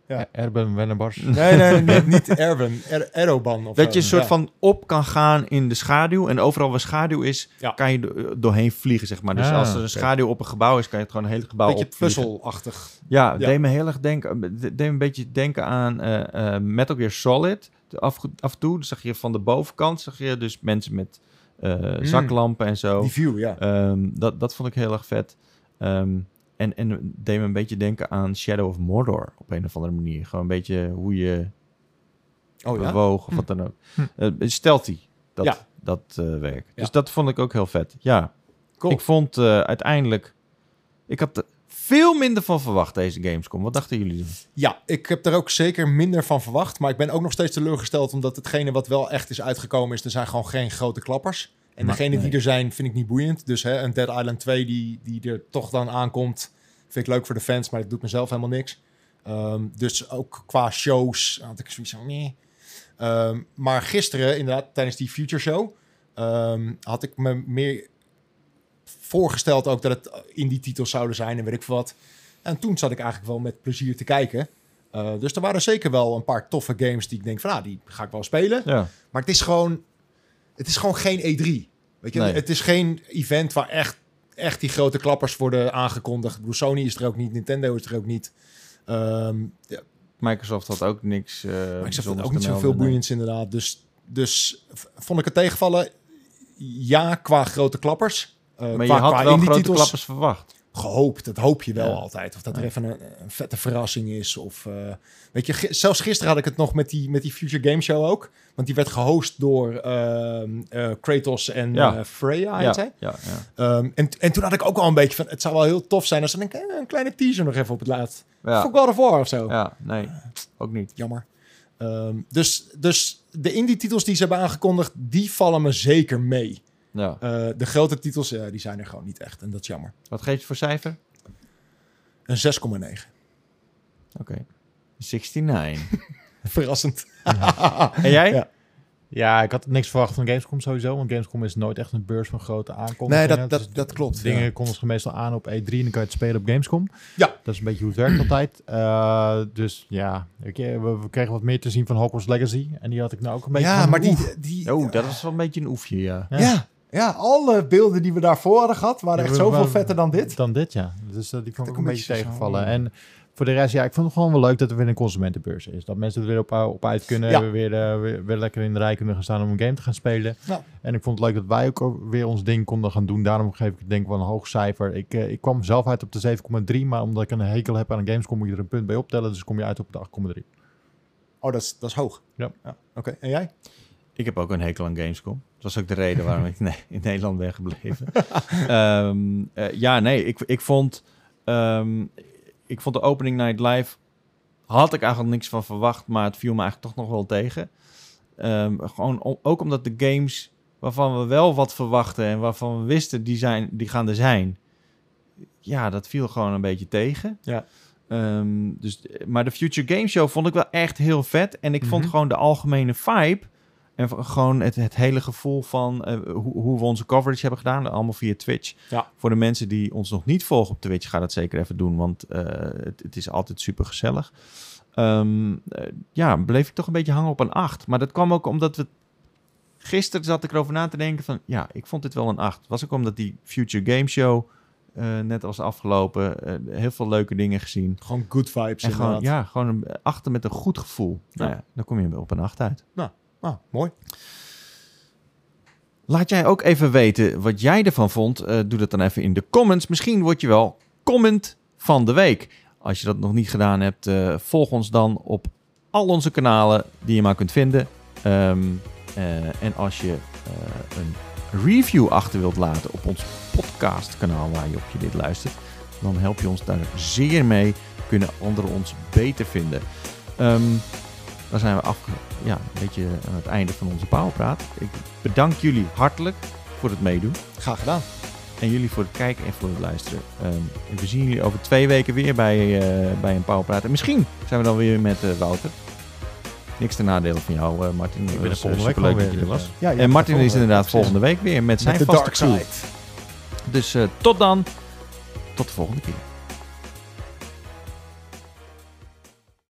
Speaker 3: Ja.
Speaker 1: Er- Erben Wennebars.
Speaker 3: Nee, nee, nee, niet Erwin. Er Eroban. Of
Speaker 2: Dat
Speaker 3: zo.
Speaker 2: je een soort
Speaker 3: Ja.
Speaker 2: van op kan gaan in de schaduw. En overal waar schaduw is,
Speaker 3: Ja.
Speaker 2: kan je do- doorheen vliegen, zeg maar. Dus
Speaker 1: Ah,
Speaker 2: als er een
Speaker 1: oké.
Speaker 2: schaduw op een gebouw is, kan je het gewoon een hele gebouw
Speaker 3: Beetje
Speaker 2: opvliegen.
Speaker 3: puzzelachtig.
Speaker 2: Ja,
Speaker 3: Ja.
Speaker 2: deed me heel erg denken, eh, deed me een beetje denken aan eh eh Metal Gear Solid. De Af, af en toe zag je van de bovenkant, zag je dus mensen met eh, zaklampen en zo.
Speaker 3: Die view, ja.
Speaker 2: Ehm, dat, dat vond ik heel erg vet. Ehm, en, en deed me een beetje denken aan Shadow of Mordor op een of andere manier. Gewoon een beetje hoe je
Speaker 3: Oh ja. Hm.
Speaker 2: bewoog of wat dan ook. Eh, stealthy, dat,
Speaker 3: Ja.
Speaker 2: dat eh, werk.
Speaker 3: Ja.
Speaker 2: Dus dat vond ik ook heel vet. Ja,
Speaker 3: Cool.
Speaker 2: ik vond eh, uiteindelijk... Ik had er veel minder van verwacht deze Gamescom. Wat dachten jullie?
Speaker 3: Ja, ik heb er ook zeker minder van verwacht. Maar ik ben ook nog steeds teleurgesteld. Omdat hetgene wat wel echt is uitgekomen is. Er zijn gewoon geen grote klappers. En
Speaker 2: Maar-
Speaker 3: degene
Speaker 2: nee.
Speaker 3: die er zijn vind ik niet boeiend. Dus hè, een Dead Island 2 die, die er toch dan aankomt. Vind ik leuk voor de fans. Maar dat doet mezelf helemaal niks. Ehm, dus ook qua shows had ik zoiets van nee. Ehm, maar gisteren inderdaad tijdens die Future Show. ehm, had ik me meer voorgesteld ook dat het in die titels zouden zijn. En weet ik veel wat. En toen zat ik eigenlijk wel met plezier te kijken. Eh, dus er waren zeker wel een paar toffe games die ik denk van, nou, die ga ik wel spelen.
Speaker 2: Ja.
Speaker 3: Maar het is gewoon, het is gewoon geen E3. Weet je,
Speaker 2: Nee.
Speaker 3: het is geen event waar echt, echt die grote klappers worden aangekondigd. Ik bedoel, Sony is er ook niet, Nintendo is er ook niet. Ehm ja,
Speaker 2: Microsoft had ook niks. eh
Speaker 3: maar ik zag
Speaker 2: bijzonders
Speaker 3: ook
Speaker 2: te
Speaker 3: niet zoveel
Speaker 2: melden, nee.
Speaker 3: boeiends inderdaad. Dus, dus v- vond ik het tegenvallen? Ja, qua grote klappers. Eh,
Speaker 2: Maar je
Speaker 3: qua,
Speaker 2: had
Speaker 3: qua
Speaker 2: wel grote
Speaker 3: indie titels.
Speaker 2: klappers verwacht.
Speaker 3: gehoopt. Dat hoop je wel
Speaker 2: Ja.
Speaker 3: altijd. Of dat er
Speaker 2: Ja.
Speaker 3: even een, een vette verrassing is. Of, eh, weet je, gi- zelfs gisteren had ik het nog met die, met die Future Game Show ook. Want die werd gehost door ehm, eh, Kratos en
Speaker 2: Ja.
Speaker 3: eh, Freya,
Speaker 2: ja,
Speaker 3: heet zij.
Speaker 2: ja, ja.
Speaker 3: Ehm, en, en toen had ik ook al een beetje van... Het zou wel heel tof zijn als ze denken... eh, een kleine teaser nog even op het laatst.
Speaker 2: Ja,
Speaker 3: Voor God of War of zo.
Speaker 2: ja, nee, ook niet.
Speaker 3: Jammer. Ehm, dus, dus de indie-titels die ze hebben aangekondigd... die vallen me zeker mee.
Speaker 2: Ja.
Speaker 3: Eh, de grote titels, eh, die zijn er gewoon niet echt. En dat is jammer.
Speaker 2: Wat geef je voor cijfer?
Speaker 3: Een 6,9.
Speaker 2: Oké. 69.
Speaker 3: Verrassend.
Speaker 2: en jij?
Speaker 3: Ja.
Speaker 1: Ja, ik had niks verwacht van Gamescom sowieso. Want Gamescom is nooit echt een beurs van grote aankondigingen.
Speaker 3: Nee, dat,
Speaker 1: Dus
Speaker 3: dat, dat klopt.
Speaker 1: Dingen
Speaker 3: ja.
Speaker 1: konden ze meestal aan op E3 en dan kan je het spelen op Gamescom.
Speaker 3: Ja.
Speaker 1: Dat is een beetje hoe het werkt altijd. Eh, dus ja, ik, eh, we, we kregen wat meer te zien van Hogwarts Legacy. En die had ik nou ook een beetje
Speaker 3: Ja,
Speaker 1: van,
Speaker 3: maar
Speaker 1: oeh.
Speaker 3: die... die
Speaker 2: Oh, dat was wel een beetje een oefje, ja.
Speaker 1: Ja.
Speaker 3: ja, ja, alle beelden die we daarvoor hadden gehad... waren Oh, echt
Speaker 1: Ja,
Speaker 3: zoveel
Speaker 1: wel-
Speaker 3: vetter dan dit.
Speaker 1: Dan dit, ja. Dus eh, die vond ik ook
Speaker 3: een
Speaker 1: een beetje
Speaker 3: beetje zo,
Speaker 1: tegenvallen.
Speaker 3: ja.
Speaker 1: En voor de rest, ja, ik vond het gewoon wel leuk dat er weer een consumentenbeurs is. Dat mensen er weer op, op uit kunnen.
Speaker 3: Ja.
Speaker 1: We Weer, eh, weer, weer lekker in de rij kunnen gaan staan om een game te gaan spelen.
Speaker 3: Ja.
Speaker 1: En ik vond het leuk dat wij ook weer ons ding konden gaan doen. Daarom geef ik het denk ik wel een hoog cijfer. Ik, eh, ik kwam zelf uit op de 7,3. Maar omdat ik een hekel heb aan games, kom je er een punt bij optellen. Dus kom je uit op de 8,3.
Speaker 3: Oh, dat is, dat is hoog.
Speaker 1: Ja.
Speaker 3: Oké, en jij?
Speaker 2: Ik heb ook een hekel aan Gamescom. Dat was ook de reden waarom ik nee, in Nederland ben gebleven. Ehm, eh, ja, nee, ik, ik, vond, ehm, ik vond de opening night live... had ik eigenlijk niks van verwacht, maar het viel me eigenlijk toch nog wel tegen. Ehm, gewoon om- ook omdat de games waarvan we wel wat verwachten... en waarvan we wisten, die, zijn, die gaan er zijn. Ja, dat viel gewoon een beetje tegen.
Speaker 1: Ja.
Speaker 2: Ehm, dus, maar de Future Game Show vond ik wel echt heel vet. En ik vond
Speaker 1: Mhm.
Speaker 2: gewoon de algemene vibe... En v- gewoon het, het hele gevoel van eh, hoe, hoe we onze coverage hebben gedaan. Allemaal via Twitch.
Speaker 1: Ja.
Speaker 2: Voor de mensen die ons nog niet volgen op Twitch, ga dat zeker even doen. Want eh, het, het is altijd super gezellig. Ehm, eh, ja, bleef ik toch een beetje hangen op een 8. Maar dat kwam ook omdat we. Gisteren zat ik erover na te denken van ja, ik vond dit wel een 8. Was ook omdat die Future Game Show, eh, net als de afgelopen, eh, heel veel leuke dingen gezien.
Speaker 3: Gewoon good vibes
Speaker 2: En gewoon,
Speaker 3: inderdaad.
Speaker 2: ja, gewoon een achter met een goed gevoel. Nou ja, dan kom je op een 8 uit.
Speaker 3: Ah, mooi.
Speaker 2: Laat jij ook even weten wat jij ervan vond. Eh, doe dat dan even in de comments. Misschien word je wel comment van de week. Als je dat nog niet gedaan hebt, eh, volg ons dan op al onze kanalen die je maar kunt vinden. Ehm, eh, en als je eh, een review achter wilt laten op ons podcastkanaal waar je op je dit luistert, dan help je ons daar zeer mee. Kunnen anderen ons beter vinden. Ehm dan zijn we af, ja, een beetje aan het einde van onze Pauwpraat. Ik bedank jullie hartelijk voor het meedoen.
Speaker 3: Graag gedaan.
Speaker 2: En jullie voor het kijken en voor het luisteren. Ehm, en we zien jullie over twee weken weer bij, eh, bij een Pauwpraat. En misschien zijn we dan weer met eh, Wouter. Niks ten nadele van jou, eh, Martin. Het was,
Speaker 1: ben er
Speaker 2: eh,
Speaker 1: volgende
Speaker 2: superleuk
Speaker 1: week gewoon
Speaker 2: dat je
Speaker 1: weer,
Speaker 2: er was.
Speaker 1: dus,
Speaker 3: Ja, je
Speaker 2: en
Speaker 3: hebt
Speaker 2: Martin
Speaker 3: het
Speaker 2: is inderdaad volgende week weer met zijn
Speaker 3: Met de
Speaker 2: vaste
Speaker 3: dark
Speaker 2: crew.
Speaker 3: side.
Speaker 2: Dus eh, tot dan. Tot de volgende keer.